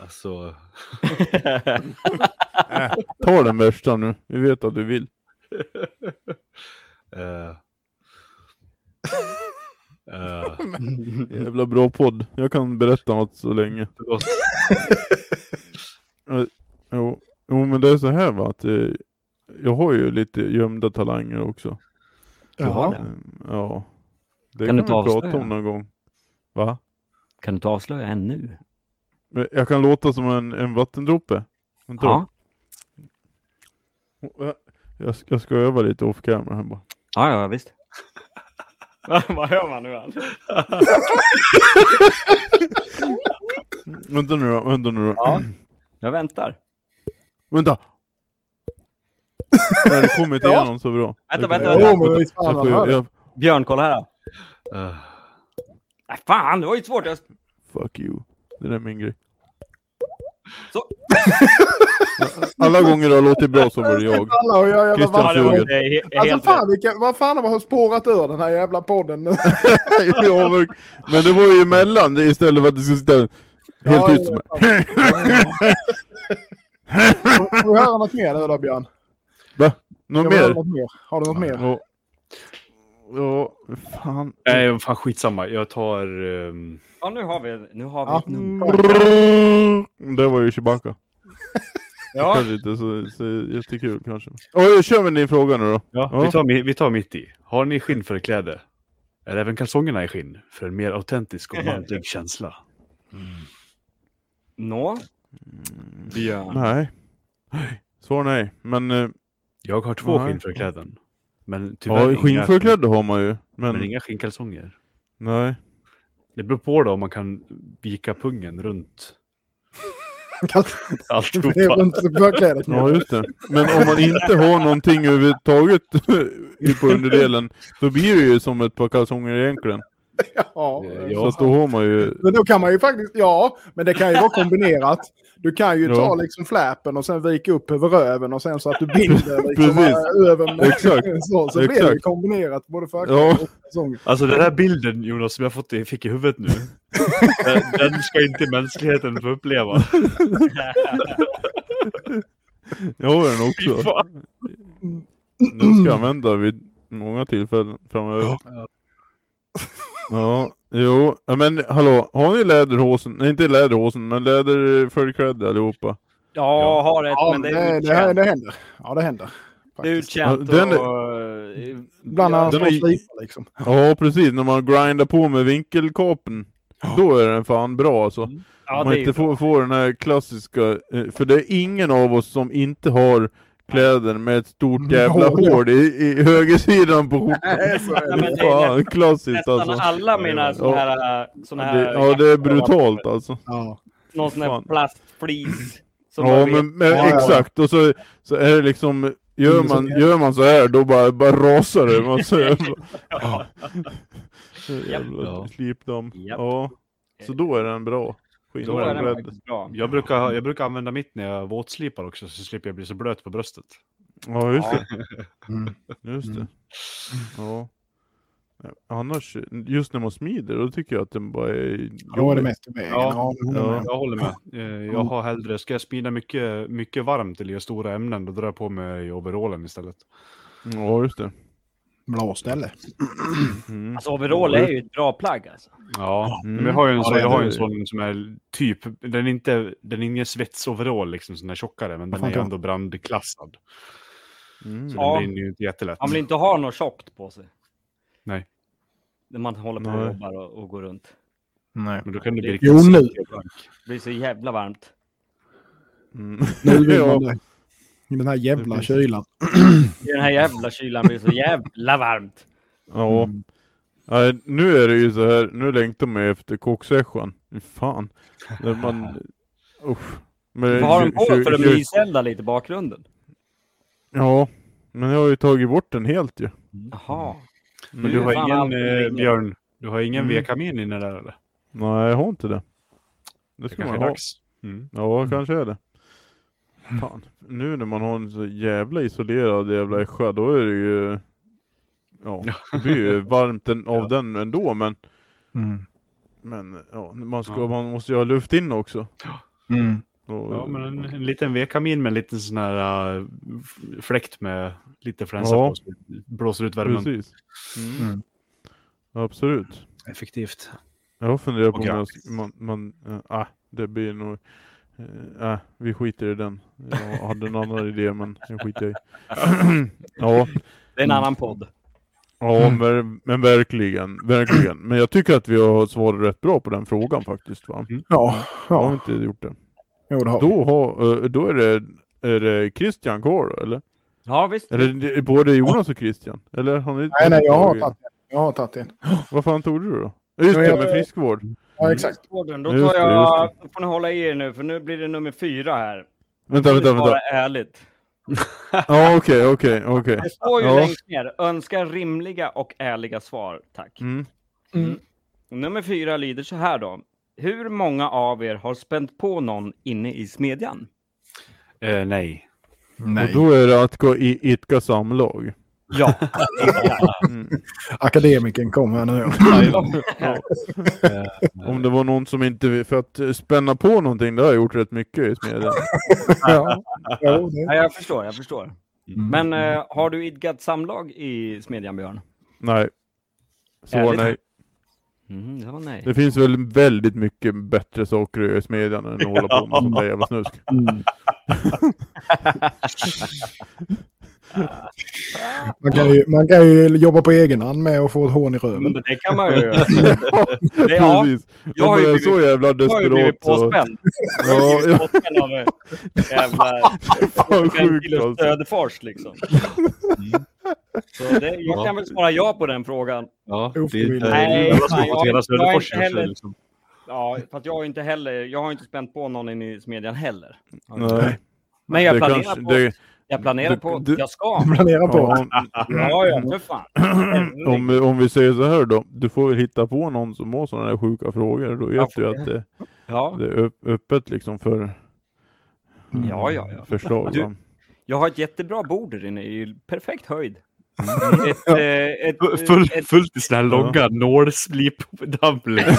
S4: Alltså...
S1: Ta den värsta nu. Vi vet att du vill.
S4: eh, eh,
S1: Jävla bra podd. Jag kan berätta något så länge.
S4: förlåt.
S1: Jo, jo men det är så här va. Att, eh, jag har ju lite gömda talanger också.
S2: har
S3: Ja.
S2: det.
S1: Mm, Ja. Det
S2: Kan
S1: kan,
S2: du
S1: vi
S2: inte
S1: prata
S2: avslöja?
S1: om någon gång. Va?
S2: Kan du inte avslöja en nu?
S1: Men Jag kan låta som en, en vattendroppe. Vänta
S2: Ja,
S1: då. Jag, ska- jag ska öva lite off camera här bara.
S2: ja, ja visst. Vad hör man nu? Ann?
S1: Vänta nu då, vänta nu då.
S2: Ja. Jag väntar.
S1: Vänta! Nej, det kommer inte igenom så bra.
S2: Vänta,
S1: Det
S2: vänta,
S1: kommer-
S3: Jo, men visst fan
S1: Jag
S3: han
S1: får,
S3: hör
S1: jag,
S3: det.
S1: jag,
S2: Björn, kolla här.
S4: Eh,
S2: Äh, fan, det var ju svårt. Jag...
S1: fuck you. Det där är min grej.
S2: Så.
S1: Alla gånger det har låtit bra så var det jag.
S3: Alla och jag, jävla
S1: Christian
S3: vatten-
S1: Fjugel.
S2: Det är he-
S3: Alltså
S2: helt
S3: fan, vilka, vad fan har man spårat ur den här jävla podden nu?
S1: Ja, men- men det var ju emellan det- istället för att det skulle sitta helt
S3: Ja,
S1: tyst.
S3: jag
S1: som
S3: vet Får vi höra något mer nu då Björn?
S1: Något
S3: Ska vi höra
S1: mer?
S3: Något mer? Har du något mer?
S1: Ja. Ja, fan.
S4: Nej, fan skitsamma. Jag tar... ehm,
S2: Ja, nu har vi. Nu har vi.
S3: Ja.
S2: ett nummer.
S1: Mm, Det var ju Chewbacca.
S2: Ja.
S1: Kanske inte så, så jättekul kanske. Oh, jag kör med din fråga nu då.
S4: ja,
S1: Ja.
S4: Vi, tar, mi- vi tar mitt i. Har ni skinnförkläde? Är även kalsongerna i skinn? För en mer autentisk och manlig känsla.
S2: Nå, Björn.
S1: Nej. Svar nej. Men eh,
S4: Jag har två
S1: Nej.
S4: skinnförkläden. Men tyvärr
S1: ja,
S4: inga-
S1: skinnförkläde har man ju. Men,
S4: Men inga skinnkalsonger.
S1: nej.
S4: Det beror på då om man kan vika pungen runt
S3: Det är
S4: alltihopa.
S3: runt förklädet nu.
S1: Ja, just det. Men om man inte har någonting överhuvudtaget i- på underdelen, då blir det ju som ett par kalsonger egentligen.
S3: Ja.
S1: Så att då har man ju...
S3: Men då kan man ju faktiskt, ja, men det kan ju vara kombinerat. Du kan ju
S1: Ja.
S3: ta liksom fläpen och sen vika upp över röven och sen så att du binder liksom
S1: Precis.
S3: eh, över med-
S1: Exakt.
S3: Så, så blir det ju
S1: Exakt.
S3: kombinerat både förkläde
S1: Ja.
S3: och kalsonger.
S4: Alltså den här bilden Jonas som jag fått i, fick i huvudet nu. den, den ska inte mänskligheten få uppleva.
S1: Jag har den
S4: Fy
S1: också.
S4: fan.
S1: Den ska jag använda vid många tillfällen framöver. Ja, jo. Ja, men hallå, har ni läderhosen? Nej, inte läderhosen, men läderförkläde allihopa.
S2: Ja, jag har ett,
S3: Ja,
S2: men det är
S3: det, det, här,
S2: utkänt.
S3: det händer. Ja, det händer.
S2: Det är
S3: faktiskt.
S2: utkänt
S1: Ja, den är-
S2: och... eh,
S3: Bland annat
S1: Den
S3: från
S1: är-
S3: slipar liksom.
S1: Ja, precis. När man grindar på med vinkelkapen. Då är den fan bra alltså.
S2: Mm. Ja,
S1: Om man
S2: det är
S1: inte får, får den här klassiska, eh, för det är ingen av oss som inte har kläder med ett stort jävla
S3: Hål, ja.
S1: hål i, i högersidan på skjortan.
S3: Nej, så är
S2: Ja, men
S3: det.
S2: det är
S1: Fan, klassiskt
S2: Nästan
S1: alltså.
S2: alla mina såna här... Såna här typ
S1: Det, ja, det är brutalt alltså.
S3: Ja.
S2: Någon sån här
S1: Fan.
S2: plastflis. Som
S1: Ja,
S2: man vet-
S1: men, men
S3: Ja, ja.
S1: exakt. Och så, så är det liksom, gör
S3: Mm, så
S1: man,
S3: är det.
S1: gör man så här då bara, bara rasar det. Man så jävla,
S2: Ja.
S1: jävla
S4: Ja.
S1: slipdamm.
S2: Japp.
S1: Ja, så då är den bra.
S4: Då
S2: Då
S4: är
S2: är
S1: Skinnförklädd.
S2: den faktiskt bra.
S4: Jag brukar, jag brukar använda mitt när jag våtslipar också så slipper jag bli så blöt på bröstet.
S1: Ja, just
S2: Ja.
S1: det. Just det. Ja. Annars, just när man smider, då tycker jag att den bara är...
S3: Då är det mest i vägen.
S4: Ja.
S3: men-
S1: Ja.
S4: Jag håller med. Eh, Jag har hellre, ska jag smida mycket, mycket varmt eller göra stora ämnen, då drar jag på mig overallen istället.
S1: Ja, just det.
S3: Bra ställe.
S1: Mm.
S2: Alltså overall är ju ett bra plagg alltså.
S4: Ja,
S1: Mm.
S4: men jag har ju en,
S3: Ja,
S4: sån,
S3: det-
S4: jag har ju en
S1: det-
S4: sån som är typ, den är inte, den är ingen svetsoverall liksom, sån här tjockare, men den
S3: fan
S4: är ju
S3: kan-
S4: ändå brandklassad.
S1: Mm.
S4: Så
S2: Ja.
S4: den brinner ju inte jättelätt.
S2: Man vill inte ha något tjockt på sig.
S4: Nej.
S2: När man håller på
S1: Nej.
S2: och jobbar och, och går runt.
S3: Nej.
S4: Men då kan det bli
S3: Jo,
S4: riktigt
S3: nu.
S2: Det blir så jävla varmt.
S1: Mm.
S3: Nu vill
S1: Ja.
S3: man det. I den här jävla kylan.
S2: I den här jävla kylan blir det så jävla varmt.
S1: Ja. Nej, nu är det ju så här, nu längtar man ju efter kocksession. Fy Fan. När man... Usch. Men,
S2: Vad har de på
S1: tju-
S2: för att
S1: tju-
S2: myselda lite i bakgrunden?
S1: Ja. Men jag har ju tagit bort den helt ju.
S2: Jaha.
S4: Men du har
S2: Fan, allt
S4: ingen,
S2: brinner.
S4: eh, Björn, du har ingen
S1: Mm.
S4: vedkamin inne där eller?
S1: Nej, jag har inte det. Det
S4: Det
S1: ska
S4: kanske
S1: man
S4: är
S1: ha.
S4: dags. Mm.
S1: Ja, kanske är det. Fan. Nu när man har en så jävla isolerad jävla Ässja, då är det ju... Ja, det blir ju varmt en, av den ändå, men...
S3: Mm.
S1: Men ja, man, ska,
S4: Ja.
S1: man måste ju ha luft in också.
S3: Mm.
S1: Och,
S4: Ja, men en, en liten vedkamin med en liten sån här eh, f- fläkt med lite flänsa
S1: Ja.
S4: på. så det Blåser ut värmen.
S1: Precis. Mm.
S3: Mm.
S1: Absolut.
S4: Effektivt.
S1: Jag funderar på
S4: Och
S1: om jag,
S4: gratis.
S1: man, man äh, äh, det blir nog, äh, äh, vi skiter i den. Jag hade en annan idé men jag skiter i. ja,
S2: Det
S1: Mm.
S2: är en annan podd.
S1: ja men, men verkligen, verkligen. Men jag tycker att vi har svarat rätt bra på den frågan faktiskt va?
S3: Ja,
S1: Jag har
S3: ja.
S1: inte gjort det.
S3: Jo, det har vi.
S1: Då, har, eh, då är det är det Christian kvar då, eller?
S2: Ja visst.
S1: Eller det är både Jonas och Christian? Eller har ni
S3: Nej, nej, jag har tagit en. Jag har tagit en.
S1: Vad fan tog du då? Just
S3: Jo,
S1: det,
S3: jag-
S1: med friskvård.
S3: Ja, exakt.
S2: Orden, Då
S1: Just
S2: tar
S1: det,
S2: jag... får ni hålla i er nu för nu blir det nummer fyra här.
S1: Vänta, vänta,
S2: Bara
S1: vänta.
S2: ärligt.
S1: Ja, okej, okej, okej.
S2: Det står ju
S1: Ja.
S2: längst ner. Önska rimliga och ärliga svar. Tack.
S1: Mm.
S2: Nummer fyra lyder så här då. Hur många av er har spänt på någon inne i smedjan?
S4: Eh, nej.
S1: Och då är det att gå i idka samlag.
S2: Ja.
S1: Mm.
S3: Akademikern kom här nu.
S1: Ja. Om det var någon som inte... För att eh, spänna på någonting, det har jag gjort rätt mycket i smedjan.
S3: ja. Jo, det.
S2: ja, jag förstår, jag förstår.
S1: Mm.
S2: Men eh, har du idkat samlag i smedjan, Björn?
S1: Nej. Så
S2: Ärligt?
S1: nej.
S2: Mm, ja, nej.
S1: Det finns väl väldigt mycket bättre saker att göra i smedjan än att hålla på med sånt där jävla snusk.
S3: Man, kan ju, man kan ju jobba på egen hand med och få ett hån i
S2: Men
S3: röven.
S2: det kan man ju göra. Det, ja,
S1: Precis.
S2: jag har
S1: Jag
S2: ju
S1: är
S2: blivit-
S1: så jävla
S2: jag har ju
S1: desperat
S2: blivit
S1: så...
S2: påspänd. Jag har
S1: Ja, jag
S2: blivit påspänd av eh, jävla
S1: fan
S2: en
S1: sjukt
S2: kilos
S1: alltså.
S2: Söderfors liksom.
S1: Mm.
S2: Så det, jag kan väl svara ja på den frågan.
S4: Ja,
S3: Jo,
S4: det är inte
S2: nej,
S4: alla som
S2: fan,
S4: har
S2: jag
S4: fått
S2: har
S4: hela
S2: inte- jag har
S4: Söderfors
S2: inte
S4: kanske,
S2: heller-
S4: liksom.
S2: Ja, för att jag har ju inte heller, jag har ju inte spänt på någon inne i smedjan heller.
S1: Nej.
S2: Men jag
S1: Det
S2: planerar
S1: kanske-
S2: på,
S1: det-
S2: jag planerar
S1: det-
S2: på,
S1: det-
S2: jag ska.
S3: Planera på.
S1: ja,
S2: Ja, ja, för fan. Herregud.
S1: om, om vi säger så här då, du får väl hitta på någon som har sådana här sjuka frågor. Då
S2: Ja,
S1: vet du att det,
S2: Ja,
S1: det är öpp- öppet liksom för
S2: ja, ja, ja.
S1: förslag.
S2: Du-
S1: va?
S2: Jag har ett jättebra bord där inne i perfekt höjd.
S1: Mm.
S2: Ett, eh, ett,
S4: Full- Full,
S2: ett,
S4: fullt i sån här långa nålslipdamm liksom.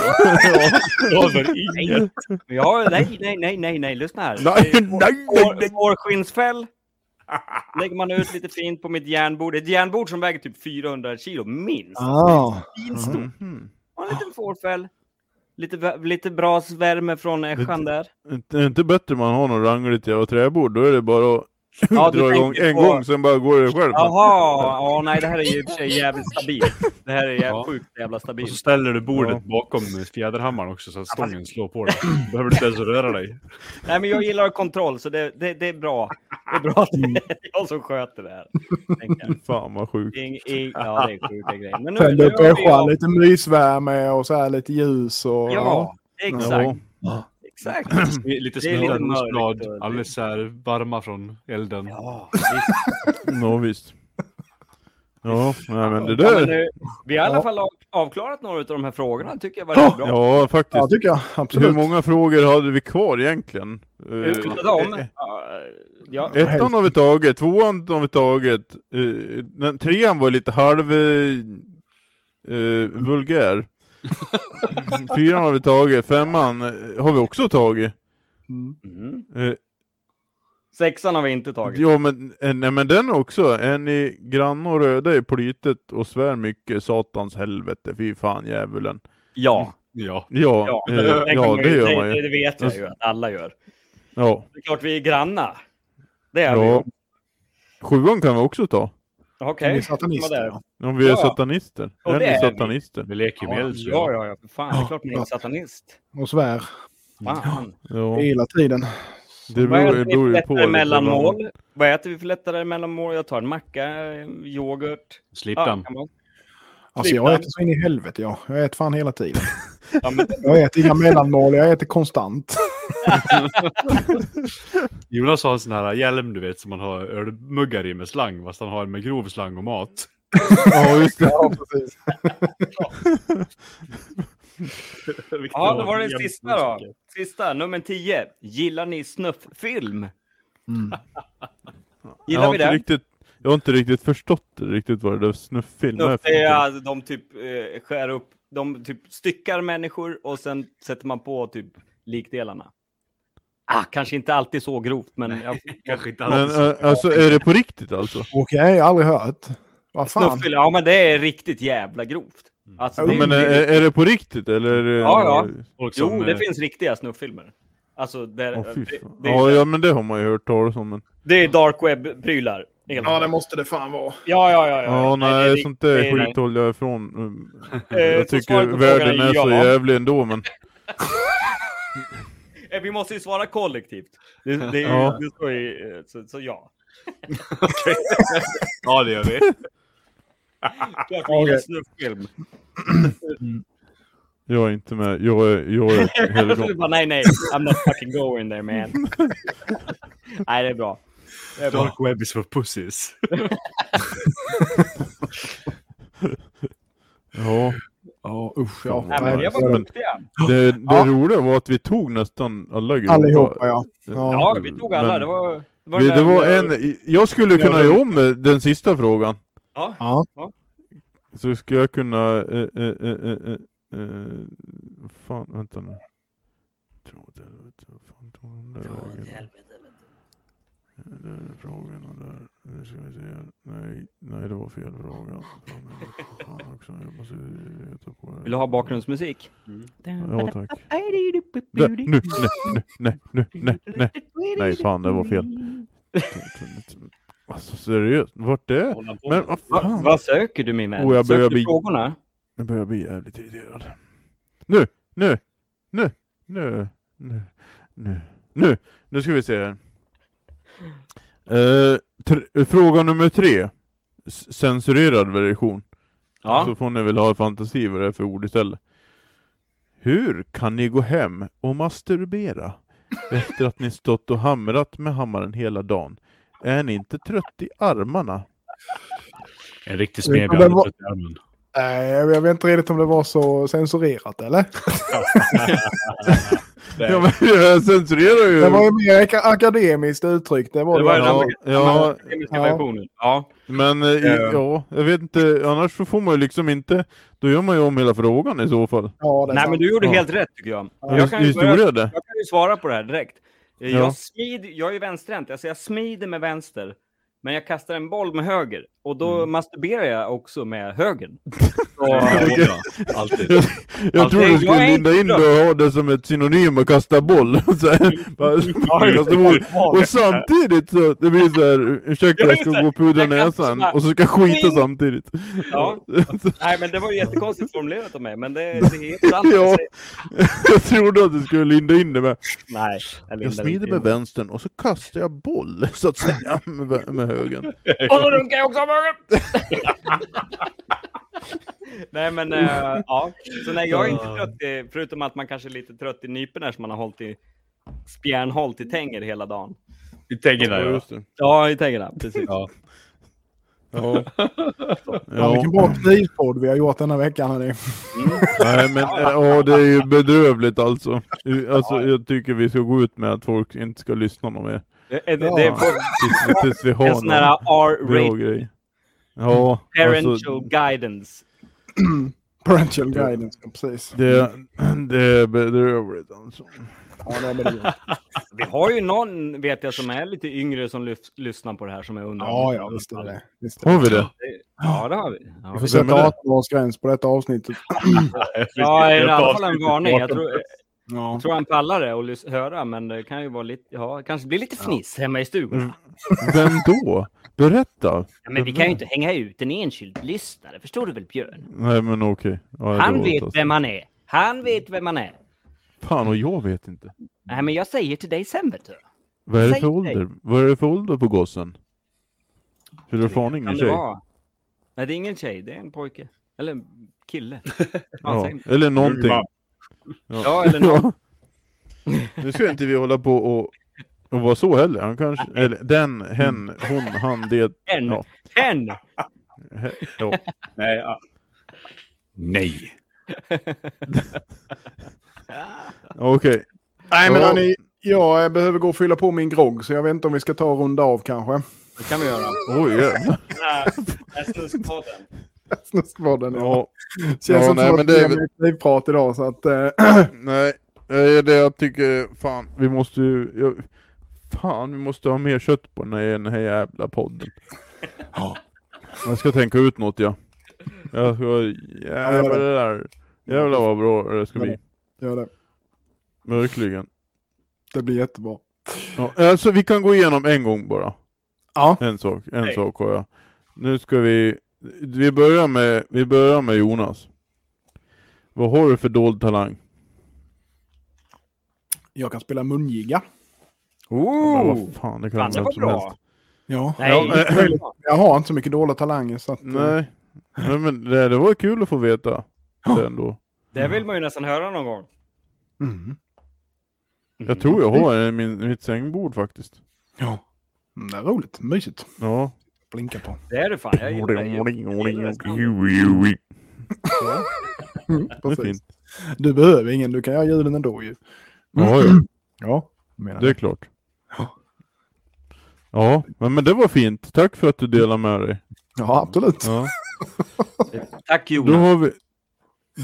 S4: Ja, men inget.
S2: ja, nej, nej, nej, nej, nej, lyssna här. Eh,
S1: Nej, nej, nej, nej.
S2: Vår- Vårskinnsfäll lägger man ut lite fint på mitt järnbord. Ett järnbord som väger typ 400 kilo, minst.
S3: Ah.
S2: Minst då.
S1: Mhm.
S2: Och en liten fårfäll. Lite, vä- lite brasvärme från äschan där.
S1: Inte, inte bättre om man har något rangligt jävla träbord. Då är det bara att
S2: Ja, du
S1: dra igång
S2: tänker
S1: en
S2: på-
S1: gång, sen bara går det själv.
S2: Jaha, ja, nej det här är ju i och för sig jävligt stabilt. Det här är
S4: Ja.
S2: jävligt sjukt jävla
S4: Och så
S2: stabilt.
S4: ställer du bordet bakom fjäderhammaren också så att stången slår på dig. Du behöver inte ens röra dig.
S2: Nej men jag gillar kontroll så det, det, det är bra. Det är bra att
S3: Mm.
S2: det är jag som sköter det här. tänker jag.
S1: Fan vad sjukt.
S2: Ing, ing, ja det är sjuka grejer. Men nu,
S3: Tänd upp
S2: har vi
S3: ässjan,
S2: av-
S3: lite mysvärme och så här lite ljus. Och,
S2: Ja,
S1: Ja.
S2: exakt. Exakt.
S4: Lite
S2: Det är lite mörkt
S4: smultronblad,
S2: och-
S4: alldeles så här varma från elden.
S2: Ja, visst.
S1: Nå, visst. Ja, nej, men det
S2: Ja, men
S1: där.
S2: nu, vi har i alla
S3: Ja.
S2: fall av- avklarat några av de här frågorna. tycker jag var rätt bra.
S1: Ja,
S3: Ja,
S1: faktiskt.
S3: tycker jag.
S1: Hur
S3: Absolut.
S1: många frågor hade vi kvar egentligen? Eh,
S2: Utav dem,
S1: eh,
S2: ja, Ja.
S1: Ettan har vi tagit, tvåan har vi tagit. eh, den, trean var lite halv... eh, eh, vulgär. Fyran har vi tagit, femman eh, har vi också tagit.
S2: Mm.
S1: Eh,
S2: Sexan har vi inte tagit.
S1: Ja men, eh, nej, men den också, är ni grann och röda i politet och svär mycket satans helvete, fy fan djävulen.
S2: Ja.
S4: Ja.
S1: Ja,
S2: Ja,
S1: eh, ja det gör man
S2: det,
S1: ju.
S2: det vet jag ju att alla gör.
S1: Ja.
S2: Det är klart vi är granna. Det är vi.
S1: ja. Sjuan kan vi också ta,
S3: Okay.
S2: Okej.
S3: Ni är satanister.
S2: Vad är det?
S3: Ja.
S1: om vi är
S2: Ja.
S1: satanister.
S2: Och
S1: Är
S2: det
S1: ni
S2: är vi.
S1: satanister?
S4: Vi leker med
S2: Ja,
S4: eld. så
S2: ja, ja, ja, för fan. Det är klart man är en satanist.
S3: Och svär
S2: Fan.
S1: Ja.
S3: hela tiden.
S1: Det
S2: Vad
S1: beror,
S2: äter
S1: det
S2: vi för
S1: beror ju på. liksom,
S2: lättare
S1: lite vad
S2: mellanmål? Vad äter vi för lättare mellanmål? Jag tar en macka, eh, yoghurt. Ja,
S4: Slippan.
S2: kan man-
S3: Alltså jag
S2: Slippan.
S3: äter så in i helvete jag. Jag äter fan hela tiden.
S2: ja, men,
S3: Jag äter inga mellanmål, jag äter konstant.
S4: Jonas har en sån här hjälm du vet som man har ölmuggar i med slang. Fast han har en med grov slang och mat.
S1: Ja, just det.
S3: Ja, precis.
S2: ja, då var det sista då. Sista, nummer 10. Gillar ni snufffilm?
S3: Mm.
S1: Jag
S2: Gillar
S1: har
S2: vi
S1: inte
S2: det?
S1: riktigt, jag har inte riktigt förstått det, riktigt vad det där snufffilm är
S2: Snuff,
S1: för
S2: det är
S1: någonting.
S2: alltså, de typ eh, skär upp, de typ styckar människor och sen sätter man på typ likdelarna. Ah, kanske inte alltid så grovt, men jag,
S4: Kanske inte
S1: Men
S4: alls.
S1: eh, alltså är det på riktigt alltså?
S3: Okej, jag har aldrig hört. Vad fan?
S2: snufffilm, ja men det är riktigt jävla grovt. Alltså,
S3: Ja,
S2: det,
S1: Mm. Men eh, är,
S2: det,
S1: är det på riktigt eller? är det-
S2: Ja, ja.
S4: Folk
S2: jo,
S4: som, eh,
S2: det finns riktiga snufffilmer. Alltså, det,
S1: Åh, fy
S2: det,
S1: fan.
S2: det,
S1: ja, ja, men det har man ju hört talas om. Men...
S2: det är dark web-prylar. helt enkelt.
S3: måste det fan vara.
S2: ja, ja, ja, ja.
S1: Ja, nej,
S2: det är
S1: sånt där
S2: det är-
S1: skit håller jag ifrån. Mm.
S2: Eh,
S1: Jag
S2: så svaret
S1: tycker
S2: på frågan
S1: världen är
S2: ja.
S1: så jävlig ändå, men
S2: Eh, Vi måste ju svara kollektivt. Det, det, är ju-
S1: Ja.
S2: det står ju, eh, så, så ja.
S4: Ja, det gör vi.
S2: Klart vi gillar
S3: Okej.
S2: snufffilm.
S1: jag är inte med. Jag är, jag är ett
S2: Jag skulle
S1: helgon.
S2: bara, nej, nej, I'm not fucking going there man. nej, det är bra. Det är bra.
S4: Dark web is for pussies.
S1: Ja,
S3: Ja, usch. Ja.
S2: Nej, men det var
S1: Men-
S2: duktiga.
S1: det det
S3: Ja.
S1: roliga var att vi tog nästan alla grupper.
S3: Allihopa ja. ja.
S2: Ja, vi tog alla.
S1: Men-
S2: det var... Det
S1: Vi,
S2: den
S1: det
S2: där-
S1: var en, jag skulle kunna göra om eh, den sista frågan.
S2: Ja,
S3: Ja.
S1: Så skulle jag kunna... Eh, eh, eh, eh, eh, eh, fan, vänta nu. Dra åt helvete, vad fan tog de där vägen? Där är frågorna där. Nu ska vi se. Nej, nej det var fel fråga. Fan, fan också, jag måste veta på det.
S2: Vill du ha bakgrundsmusik?
S1: Ja tack. Där, nu, nej, nu, nej, nu, nej, nej. Nej fan, det var fel. Alltså seriöst, vart är?
S4: Hålla på.
S1: Men vad
S2: Va,
S1: fan.
S2: vad söker du min vän?
S1: Oh, jag börjar
S2: söker du
S1: bli-
S2: frågorna?
S1: Nu börjar jag bli jävligt irriterad. Nu, nu, nu, nu, nu, nu, nu, nu ska vi se här. Eh, tr- fråga nummer tre. S- Censurerad version.
S2: Ja.
S1: Så får ni väl ha i fantasi vad det är för ord istället. Hur kan ni gå hem och masturbera efter att ni stått och hamrat med hammaren hela dagen? Är ni inte trött i armarna?
S4: En riktig
S3: Ja,
S4: smedja.
S3: men vad- Nej, Eh, jag vet inte riktigt om det var så censurerat eller?
S1: Ja, men jag censurerar ju.
S3: Det var ju mer ak- akademiskt uttryckt. Det var
S2: Det
S3: det.
S2: var ju
S1: ja, ja,
S2: Engelska
S3: Ja.
S2: versionen. Ja.
S1: Men eh, i-
S2: Eh.
S1: ja, jag vet inte, annars så får man ju liksom inte, då gör man ju om hela frågan i så fall.
S3: Ja, det är
S2: Nej, men
S3: sant.
S2: du gjorde
S1: Ja.
S2: helt rätt tycker jag.
S1: Ja,
S2: Jag kan ju börja
S1: Historia det.
S2: Jag kan ju svara på det här direkt. Eh,
S1: Ja.
S2: Jag, smid, jag är ju vänsterhänt, alltså jag smider med vänster, men jag kastar en boll med höger. Och då masturberar jag också med högern. Så,
S4: Alltid.
S1: Jag, jag
S4: Alltså,
S1: trodde du
S2: jag
S1: skulle
S2: är inte
S1: linda in det och ha det som ett synonym och kasta boll. Så här, bara, kasta boll. Och samtidigt så, det blir så här, ursäkta
S2: Ja,
S1: jag
S2: just
S1: ska
S2: det.
S1: gå och pudra
S2: Jag kan
S1: näsan
S2: sådär.
S1: och så ska jag skita
S2: Pling.
S1: samtidigt.
S2: ja. Nej, men det var ju jättekonstigt formulerat av mig, men det, det är helt sant.
S1: Ja. Jag trodde att du skulle linda in det med,
S2: Nej, jag,
S1: jag
S2: lindar
S1: smider
S2: inte
S1: med
S2: in.
S1: vänstern och så kastar jag boll, så att säga, med, med högern.
S2: Och så runkar jag också av högern! Nej men eh, ja, så nej jag är inte trött i, förutom att man kanske är lite trött i nyporna som man har hållit i spjärnhållt i tänger hela dagen.
S4: I tängerna
S1: Ja,
S4: ja.
S1: just det.
S2: Ja, i tängerna. Precis.
S4: Ja.
S1: Ja.
S3: Ja,
S1: Ja.
S3: vilken bra knivpodd vi har gjort denna veckan. Hörni.
S1: Nej men eh, ja, det är ju bedrövligt alltså. Eh, Alltså jag tycker vi ska gå ut med att folk inte ska lyssna något mer.
S2: Det är, det är
S1: Ja. Tills, tills vi har
S2: en sån här
S1: bra
S2: R-rated
S1: grej. Ja,
S2: parental
S1: alltså,
S2: guidance.
S3: Parental guidance, ja, precis.
S1: det, det är bedrövligt alltså.
S3: Ja, det är väl det.
S2: Vi har ju någon, vet jag, som är lite yngre som lyf- lyssnar på det här som är under.
S3: ja, ja, visst är det. Visst är det.
S1: Har vi det?
S2: Ja, det har vi. Ja,
S3: Vi får
S1: Vem är
S3: sätta
S1: det?
S3: 18-årsgräns på detta avsnittet.
S2: ja i
S4: Ett
S2: alla fall en
S4: avsnitt
S2: varning. Jag
S4: bakom.
S2: tror,
S3: Ja.
S2: jag tror han pallar det och lys- höra, men det kan ju vara lite, ja, det kanske blir lite fniss hemma i stugan.
S1: Mm. Vem då? Berätta!
S2: Ja, men vi kan ju inte hänga ut en enskild lyssnare, förstår du väl Björn?
S1: Nej men okej. Ja, jag
S2: Han
S1: lovar
S2: vet
S1: alltså.
S2: vem han är. Han vet vem han är.
S1: Fan och jag vet inte.
S2: Nej, men jag säger till dig sen vet du.
S1: Vad är det
S2: Säg
S1: för
S2: dig.
S1: ålder? Vad är det för ålder på gossen? Fyller fan
S2: Kan
S1: ingen
S2: det
S1: tjej?
S2: vara? Nej, det är ingen tjej, det är en pojke. Eller en kille. Fan,
S1: Ja.
S2: säg det.
S1: Eller någonting.
S4: Gumma.
S2: Alltså, Ja, eller någon.
S1: Ja. Nu ska inte vi hålla på och, och vara så heller. Han kanske, eller den, hen, hon, han, det.
S2: Hen.
S1: Ja.
S2: Hen!
S1: He, ja.
S4: Nej. ja. Nej.
S1: Okej.
S3: Nej, men
S1: Ja.
S3: hörni, jag eh, behöver gå och fylla på min grogg, så jag vet inte om vi ska ta och runda av kanske.
S2: Det kan vi göra.
S1: Oj, jävlar.
S2: Snuskpodden.
S3: Snuskpodden. Ja.
S1: ja.
S3: Känns
S1: Ja,
S3: som
S1: nej,
S3: att
S1: men
S3: det
S1: det är
S3: är
S1: väl-
S3: mitt livprat idag, så att... Eh,
S1: Nej, eh, det jag tycker, fan, vi måste ju... Jag, fan, vi måste ha mer kött på den här, den här jävla podden. Jag ska tänka ut något, ja. Jag ska... Jävlar det där. Jävlar vad bra det ska bli.
S3: gör det.
S1: Verkligen.
S3: det blir jättebra.
S1: Ja, alltså vi kan gå igenom en gång bara.
S3: Ja.
S1: En sak, en sak har jag. Nu ska vi... Vi börjar med, vi börjar med Jonas. Vad har du för dold talang?
S3: Jag kan spela mungiga.
S1: Men
S2: Oh!
S1: vad fan, det kan
S2: Fan, det
S1: vem
S2: var
S1: som helst.
S2: bra.
S3: Ja.
S2: Nej,
S1: Ja, eh,
S2: det var bra.
S3: Jag har inte så mycket dåliga talanger, så att... eh,
S1: Nej, Nej men det, det var kul att få veta. Det ändå.
S2: det vill man ju nästan höra någon gång.
S3: Mm.
S1: Jag tror jag har
S2: Mm.
S1: en i min, mitt sängbord faktiskt.
S3: Ja. Mm, Det är roligt. Mysigt.
S1: Ja.
S3: Blinka på.
S2: Det är det fan. Jag gillar det. ju.
S1: Det är fint.
S3: Du behöver ingen, du kan göra ljuden ändå ju.
S1: Ja, ja,
S3: Ja, menar
S1: det är klart. Ja, men men det var fint. Tack för att du delade med dig.
S3: Ja, absolut.
S1: Ja.
S2: Tack
S1: Då
S2: Jonas.
S1: har vi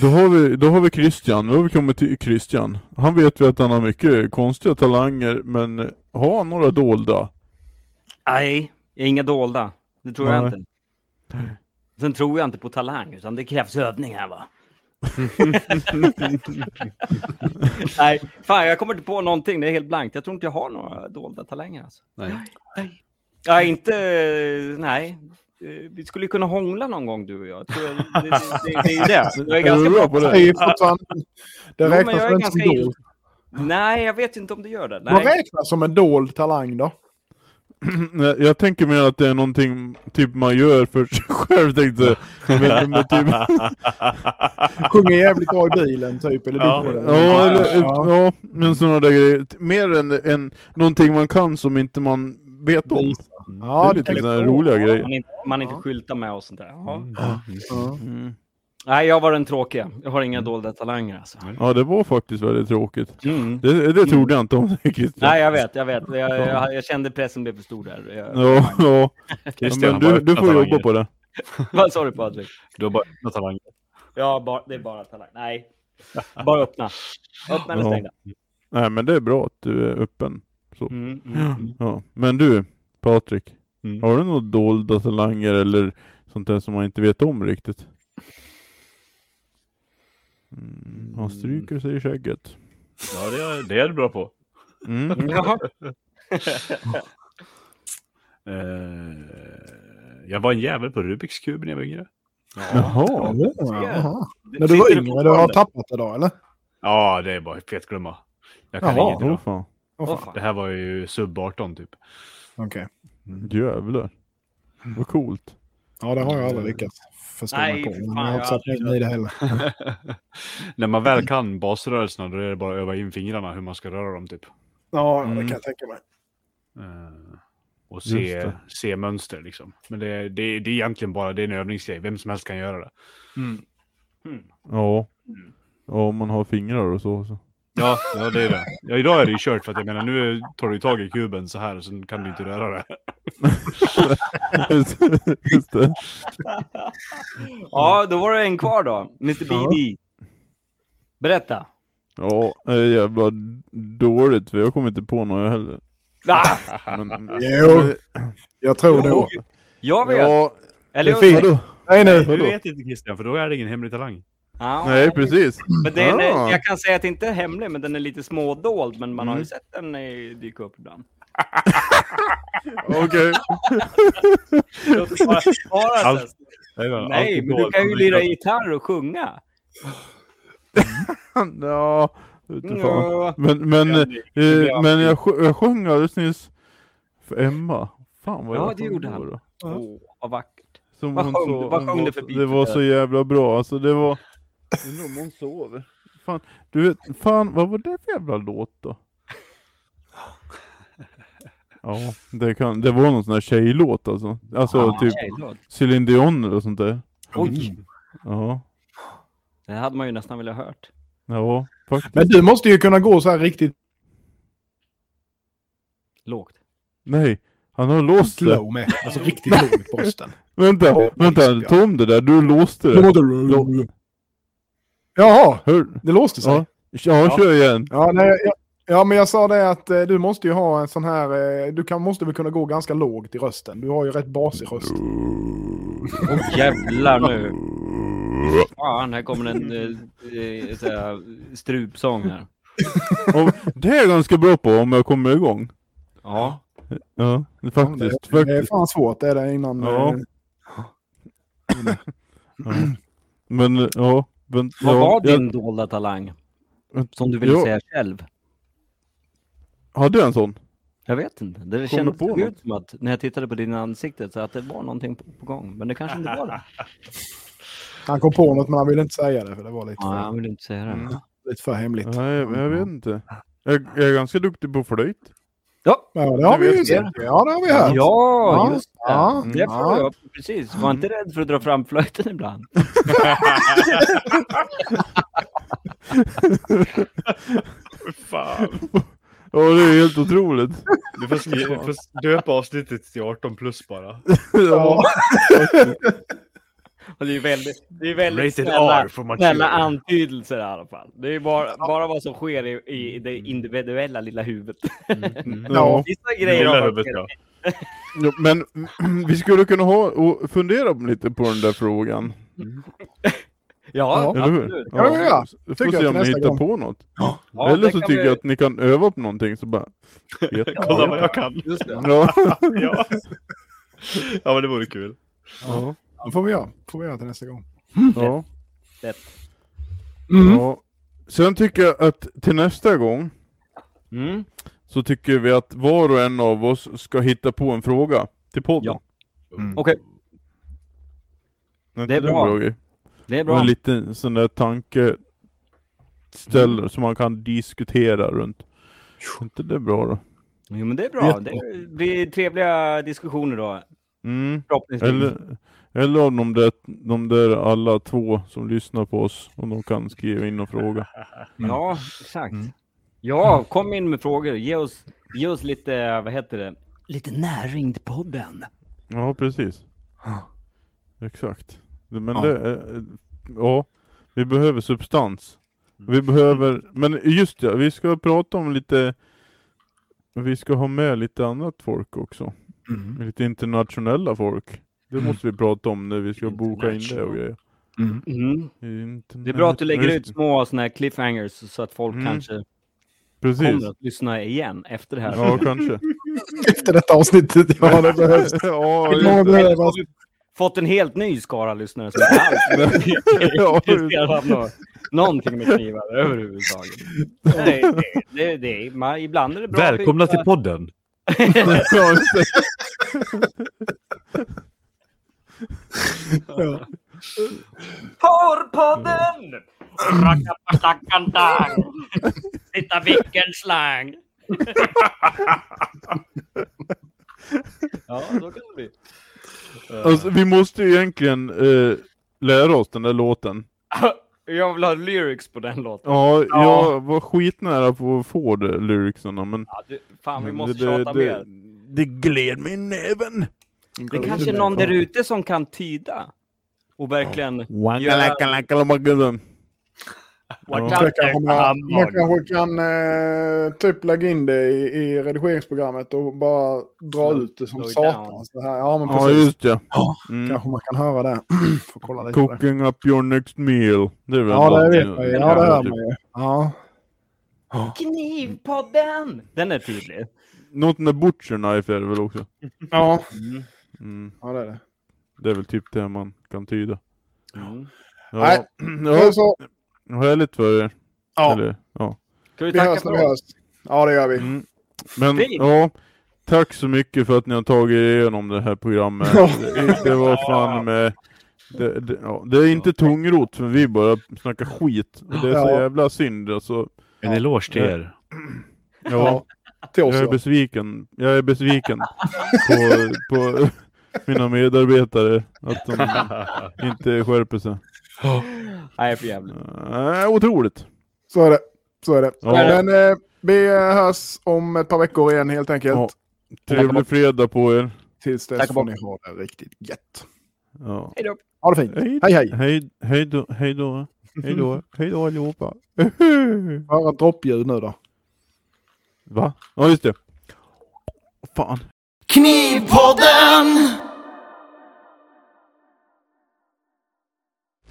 S1: då har, vi, då har vi Christian, nu har vi kommit till Christian. Han vet vi att han har mycket konstiga talanger, men eh, har han några dolda?
S2: Nej, inga dolda. Det tror jag
S1: Nej.
S2: inte. Sen tror jag inte på talang, utan det krävs övning här va? Nej, fan jag kommer inte på någonting. Det är helt blankt. Jag tror inte jag har några dolda talanger alltså.
S4: Nej.
S2: Nej, ja, inte... Nej. Eh, Vi skulle ju kunna hångla någon gång du och jag. Jag tror jag- Det, det, det, det är ju det. Jag är ganska bra på
S3: Det är ju fortfarande... Det
S2: Jo, men
S3: räknas
S2: jag är
S3: väl inte som
S2: ganska
S3: dold?
S2: Nej, jag vet inte om det gör det.
S3: Vad
S2: Nej.
S3: räknas som en dold talang då?
S1: Nej, Jag tänker mer att det är någonting typ man gör för sig själv tänkte jag. men, men typ,
S3: Sjunger jävligt bra i bilen typ, eller
S4: Ja.
S3: dyker eller-
S1: ja, eller,
S3: ja.
S1: ja, men sådana där grejer. Mer än, än någonting man kan som inte man vet om. Det
S3: ja,
S1: är
S3: det
S1: lite
S3: tänker
S1: sådana här
S3: jag.
S1: roliga grejer.
S2: Man inte, man inte
S3: Ja.
S2: skyltar med och sånt där. Ja.
S1: Mm.
S3: Ja.
S2: Nej, jag var den tråkiga. Jag har
S1: Mm.
S2: inga dolda talanger alltså.
S1: Ja, det var faktiskt väldigt tråkigt.
S2: Mm.
S1: Det, det trodde jag inte om dig Christian.
S2: Nej, jag vet, jag vet. Jag, jag, jag kände pressen blev för stor där. Jag,
S1: Ja, ja.
S4: Christian,
S1: Men du,
S4: bara
S1: du
S4: öppna
S1: får
S4: talanger.
S1: jobba på det.
S2: Vad sa du Patrik?
S4: Du har bara öppna talanger.
S2: Ja, bara, det är bara talang. Nej, bara öppna. Öppna eller
S1: Ja.
S2: stängda.
S1: Nej, men det är bra att du är öppen.
S2: Mm, mm.
S1: Ja. Men du, Patrik.
S4: Mm.
S1: Har du några dolda talanger eller sånt där som man inte vet om riktigt? Mm, han stryker sig i skägget.
S4: Ja, det är, det är du bra på.
S1: Mm.
S2: Jaha.
S4: Eh, jag var en jävel på Rubiks kub när jag var yngre.
S1: Jaha.
S3: Jaha. När du var
S2: Sitter
S3: yngre, du har
S2: fortfarande?
S3: tappat det då eller?
S4: Ja, det är bara fetglömma. Jag kan
S3: Jaha.
S4: inget
S1: Åh
S4: idag.
S1: fan.
S3: Åh
S2: Åh,
S3: fan.
S4: Det
S2: fan.
S4: här var ju sub 18 typ.
S3: Okej.
S1: Jävlar. Vad coolt.
S3: Ja, det har jag aldrig lyckats förstå mig
S2: Nej,
S3: på.
S2: för
S3: men
S2: fan,
S3: Jag har inte
S2: jag
S3: satt mig in i det heller.
S4: När man väl kan basrörelserna då är det bara att öva in fingrarna hur man ska röra dem typ.
S3: Ja,
S1: Mm.
S3: det kan jag tänka mig.
S4: Eh, och
S1: Just
S4: se,
S1: det.
S4: se mönster liksom. Men det, det, det är egentligen bara det är en övningsgrej. Vem som helst kan göra det.
S1: Ja. Ja, om man har fingrar och så. så.
S4: Ja, ja, det är det. Ja, idag är det ju kört för att jag menar nu tar du ju tag i kuben så här så kan du inte röra det.
S1: Just det.
S2: Ja, då var det en kvar då. Mr. BD. Berätta.
S1: Ja, det är jävla dåligt för jag kommer inte på något heller.
S2: Ah,
S1: Men,
S3: Jo, jag tror det.
S2: jag vet.
S1: ja,
S2: Eller,
S1: vadå?
S3: Nej nu.
S4: Du
S1: Vadå?
S4: vet inte Christian, för då är det ingen hemlig talang.
S2: Ja,
S1: Nej, precis.
S2: Men den är,
S1: Ah.
S2: Jag kan säga att det inte är hemlig, men den är lite smådold. Men man har ju
S1: Mm.
S2: sett den eh, dyka upp ibland.
S1: Okej.
S2: Låt oss bara spara sen.
S4: Allt- Jajamän,
S2: Nej,
S4: alltid
S2: men du
S4: dolt.
S2: kan ju lira gitarr och sjunga.
S1: Ja, ute fan.
S2: Ja.
S1: Men, men,
S2: Ja, det-
S1: eh, men jag, sj- jag sjöng alldeles nyss för Emma. Fan vad
S2: Ja,
S1: jag
S2: det
S1: sjöng
S2: gjorde
S1: då
S2: han.
S1: då.
S2: Åh, vad vackert.
S1: Som
S2: Vad
S1: hon
S2: sjöng-
S1: sa-
S2: vad
S1: hon
S2: sjöng
S1: var-
S2: du för bit
S1: Det var
S2: där?
S1: så jävla bra, alltså det var... Undrar om hon sover. Fan, du vet, fan vad var det för jävla låt då? Ja, det, kan, det var någon sån här tjejlåt alltså. Alltså
S2: Ja,
S1: typ
S2: tjejlåt.
S1: Céline Dion eller sånt där.
S2: Oj,
S1: Ja,
S2: Mm. det hade man ju nästan velat hört.
S1: ja faktiskt.
S3: Men du måste ju kunna gå så här riktigt
S2: Lågt.
S1: Nej, han har låst det.
S5: Slow med. Alltså riktigt låg i posten.
S1: Vänta, vänta, tom det där, du låste det.
S3: Jaha,
S1: Hör,
S3: det låste sig.
S1: ja, ja, kör igen.
S3: Ja, nej, ja, ja, men jag sa det att eh, du måste ju ha en sån här... eh, Du kan, måste väl kunna gå ganska lågt i rösten. Du har ju rätt basig röst.
S2: Åh jävlar nu. Fan, här kommer en eh, eh, så här, strupsång här.
S1: Och det är jag ganska bra på om jag kommer igång.
S2: Ja.
S1: Ja, faktiskt.
S3: det, det är
S1: faktiskt.
S3: fan svårt det är det innan...
S1: Ja.
S3: eh,
S1: Ja. Men eh, ja. Vänt,
S2: Vad
S1: ja,
S2: var
S1: jag-
S2: din dolda talang?
S1: Vänta,
S2: Som du ville
S1: ja.
S2: säga själv?
S1: Hade jag en sån?
S2: Jag vet inte. Det
S1: du på
S2: kändes ut
S1: något?
S2: som att när jag tittade på din ansikte så att det var någonting på, på gång. Men det kanske inte var det.
S3: Han kom på något men han ville inte säga det för det var lite,
S2: Ja, jag vill inte säga det.
S3: för, lite för hemligt.
S1: Nej, jag, jag vet inte. Jag, jag är ganska duktig på flöjt.
S2: Ja,
S3: Ja, det har
S1: Du
S3: vi
S1: vet
S3: ju sett. Ja, det har vi hört.
S2: ja
S3: Ja,
S2: just det. Mm,
S3: ja,
S2: det får
S3: ja.
S2: jag, precis. Var inte rädd för att dra fram flöjten ibland.
S4: Fan.
S1: Ja, det är helt otroligt.
S4: Du får, skri- du får döpa avsnittet till 18 plus bara.
S1: Ja.
S2: Och det är väldigt, det är väldigt
S4: Rated
S2: snälla,
S4: R for mature.
S2: snälla antydelser i alla fall. Det är bara, bara vad som sker i, i det
S4: Mm.
S2: individuella lilla huvudet.
S1: Ja.
S2: Vissa grejer
S4: Lilla
S2: har
S4: huvudet
S2: varit-
S4: ja.
S1: Ja, men vi skulle kunna ha och fundera lite på den där frågan.
S2: Ja,
S1: Eller hur?
S2: absolut.
S3: Ja, ja, ja.
S1: Får
S3: Tycker jag
S1: se
S3: till
S1: om ni
S3: nästa
S1: hittar
S3: gång.
S1: på något.
S2: Ja,
S1: Eller
S2: det
S1: så
S2: kan
S1: tycker
S2: vi-
S1: jag att ni kan öva på någonting så bara... Vet
S4: Kolla vad jag kan.
S2: Just det.
S1: Ja.
S4: Ja. ja, men det vore kul.
S1: Ja.
S3: Det får vi göra. får vi göra till nästa gång.
S1: Ja. Mm.
S2: Lätt.
S1: ja. Sen tycker jag att till nästa gång
S2: Mm.
S1: så tycker vi att var och en av oss ska hitta på en fråga till podden.
S2: Ja. Okej,
S1: Men
S2: det är
S1: en
S2: bra.
S1: grej.
S2: det är
S1: Och
S2: bra.
S1: en liten sån där tankeställare
S2: Mm.
S1: som man kan diskutera runt. Är inte det bra då?
S2: Jo, men det är bra. Det blir trevliga diskussioner då,
S1: Mm.
S2: förhoppningsvis.
S1: Eller, eller om de där, de där alla två som lyssnar på oss, om de kan skriva in och fråga.
S4: Mm.
S2: Ja, exakt. Ja, kom in med frågor. Ge oss, ge oss lite, vad heter det? Lite näring till podden.
S1: Ja, precis. Exakt. Men det, är- ja, vi behöver substans.
S2: Mm.
S1: Vi behöver, men just det, vi ska prata om lite, vi ska ha med lite annat folk också.
S2: Mm.
S1: Lite internationella folk. Det måste vi prata om när vi ska boka in det och grejer.
S2: Mm.
S1: Interna-
S2: Det är bra att du lägger
S1: Just-
S2: ut små såna här cliffhangers så att folk
S1: Mm.
S2: kanske
S1: Precis.
S2: kommer att lyssna igen efter det här.
S1: Ja, kanske.
S3: Efter detta avsnittet. Ja, det behövs.
S1: ja,
S3: Det kommer
S1: just det.
S3: behövas.
S2: Fått en helt ny skara lyssnare som inte alls
S1: Ja, just det.
S2: intresserad av nå- någonting med knivar överhuvudtaget. Nej, det, det, det, man, ibland är det bra att
S4: Välkomna
S2: byta-
S4: till podden.
S1: Ja, just det.
S3: Ja.
S2: Porrpodden! Rackapastackantang! Titta vilken slang! ja, så kan det bli.
S1: Alltså, vi måste ju egentligen eh, lära oss den där låten.
S2: Jag vill ha lyrics på den låten.
S1: Ja, jag var skitnära på att få det, lyricsarna, men...
S2: Ja, du, fan, vi måste
S1: Mm, det, det-
S2: tjata
S1: det,
S2: mer.
S1: Det gled mig i näven!
S2: Det är kanske är någon där ute som kan tyda. Och verkligen...
S1: Wangalakalakalamagalum.
S3: Man kanske- Man kanske kan eh, typ lägga in det i, i redigeringsprogrammet och bara dra
S2: Slow-
S3: ut det som
S2: slow it
S3: satan.
S2: down.
S3: Så här. Ja, men
S1: Ja,
S3: precis.
S1: just ja. Mm.
S3: Kanske man kan höra det. Får kolla lite på det.
S1: Cooking up your next meal. Det är väl typ.
S3: Ja, det
S1: något-
S3: vet man ju. Ja, det hör man ju. Ja.
S2: Knivpodden! Den är tydlig.
S1: Något med butcher knife är det väl också?
S3: Ja.
S1: Mm.
S3: ja, det är det.
S1: Det är väl typ det man kan tyda.
S2: Mm.
S1: Ja.
S3: Nej.
S1: Ja,
S3: Så,
S1: härligt för er.
S3: Ja.
S1: Eller, ja.
S2: Ska vi
S3: vi
S2: tacka
S3: hörs när vi
S2: för oss?
S3: hörs. Ja, det gör vi.
S1: Mm. Men
S2: Fint.
S1: ja, tack så mycket för att ni har tagit er igenom det här programmet.
S3: Ja.
S1: Det, det var fan med... Det, det, ja, det är inte tungrot för vi bara snackar skit. Och det är så
S3: Ja.
S1: jävla synd alltså.
S4: En eloge till er.
S1: Ja,
S3: Till oss.
S1: jag är
S3: ja.
S1: besviken. Jag är besviken på, på mina medarbetare. Att de inte skärper sig.
S2: Nej, för jävligt.
S1: Äh, otroligt!
S3: Så är det. Så är det.
S1: Ja.
S3: Men eh, vi eh, hörs om ett par veckor igen helt enkelt.
S1: Ja. Trevlig fredag på er.
S3: Tills dess
S2: Tack och
S3: får
S2: bock.
S3: ni ha det riktigt gött.
S1: Ja.
S2: Hej då.
S3: Ha det fint.
S1: Hej,
S3: Hej, hej.
S1: hej, hej då, hej då, hej då, hej då allihopa.
S3: Bara droppljud nu då.
S1: Va? Ja just det. Fan.
S6: Knivpodden!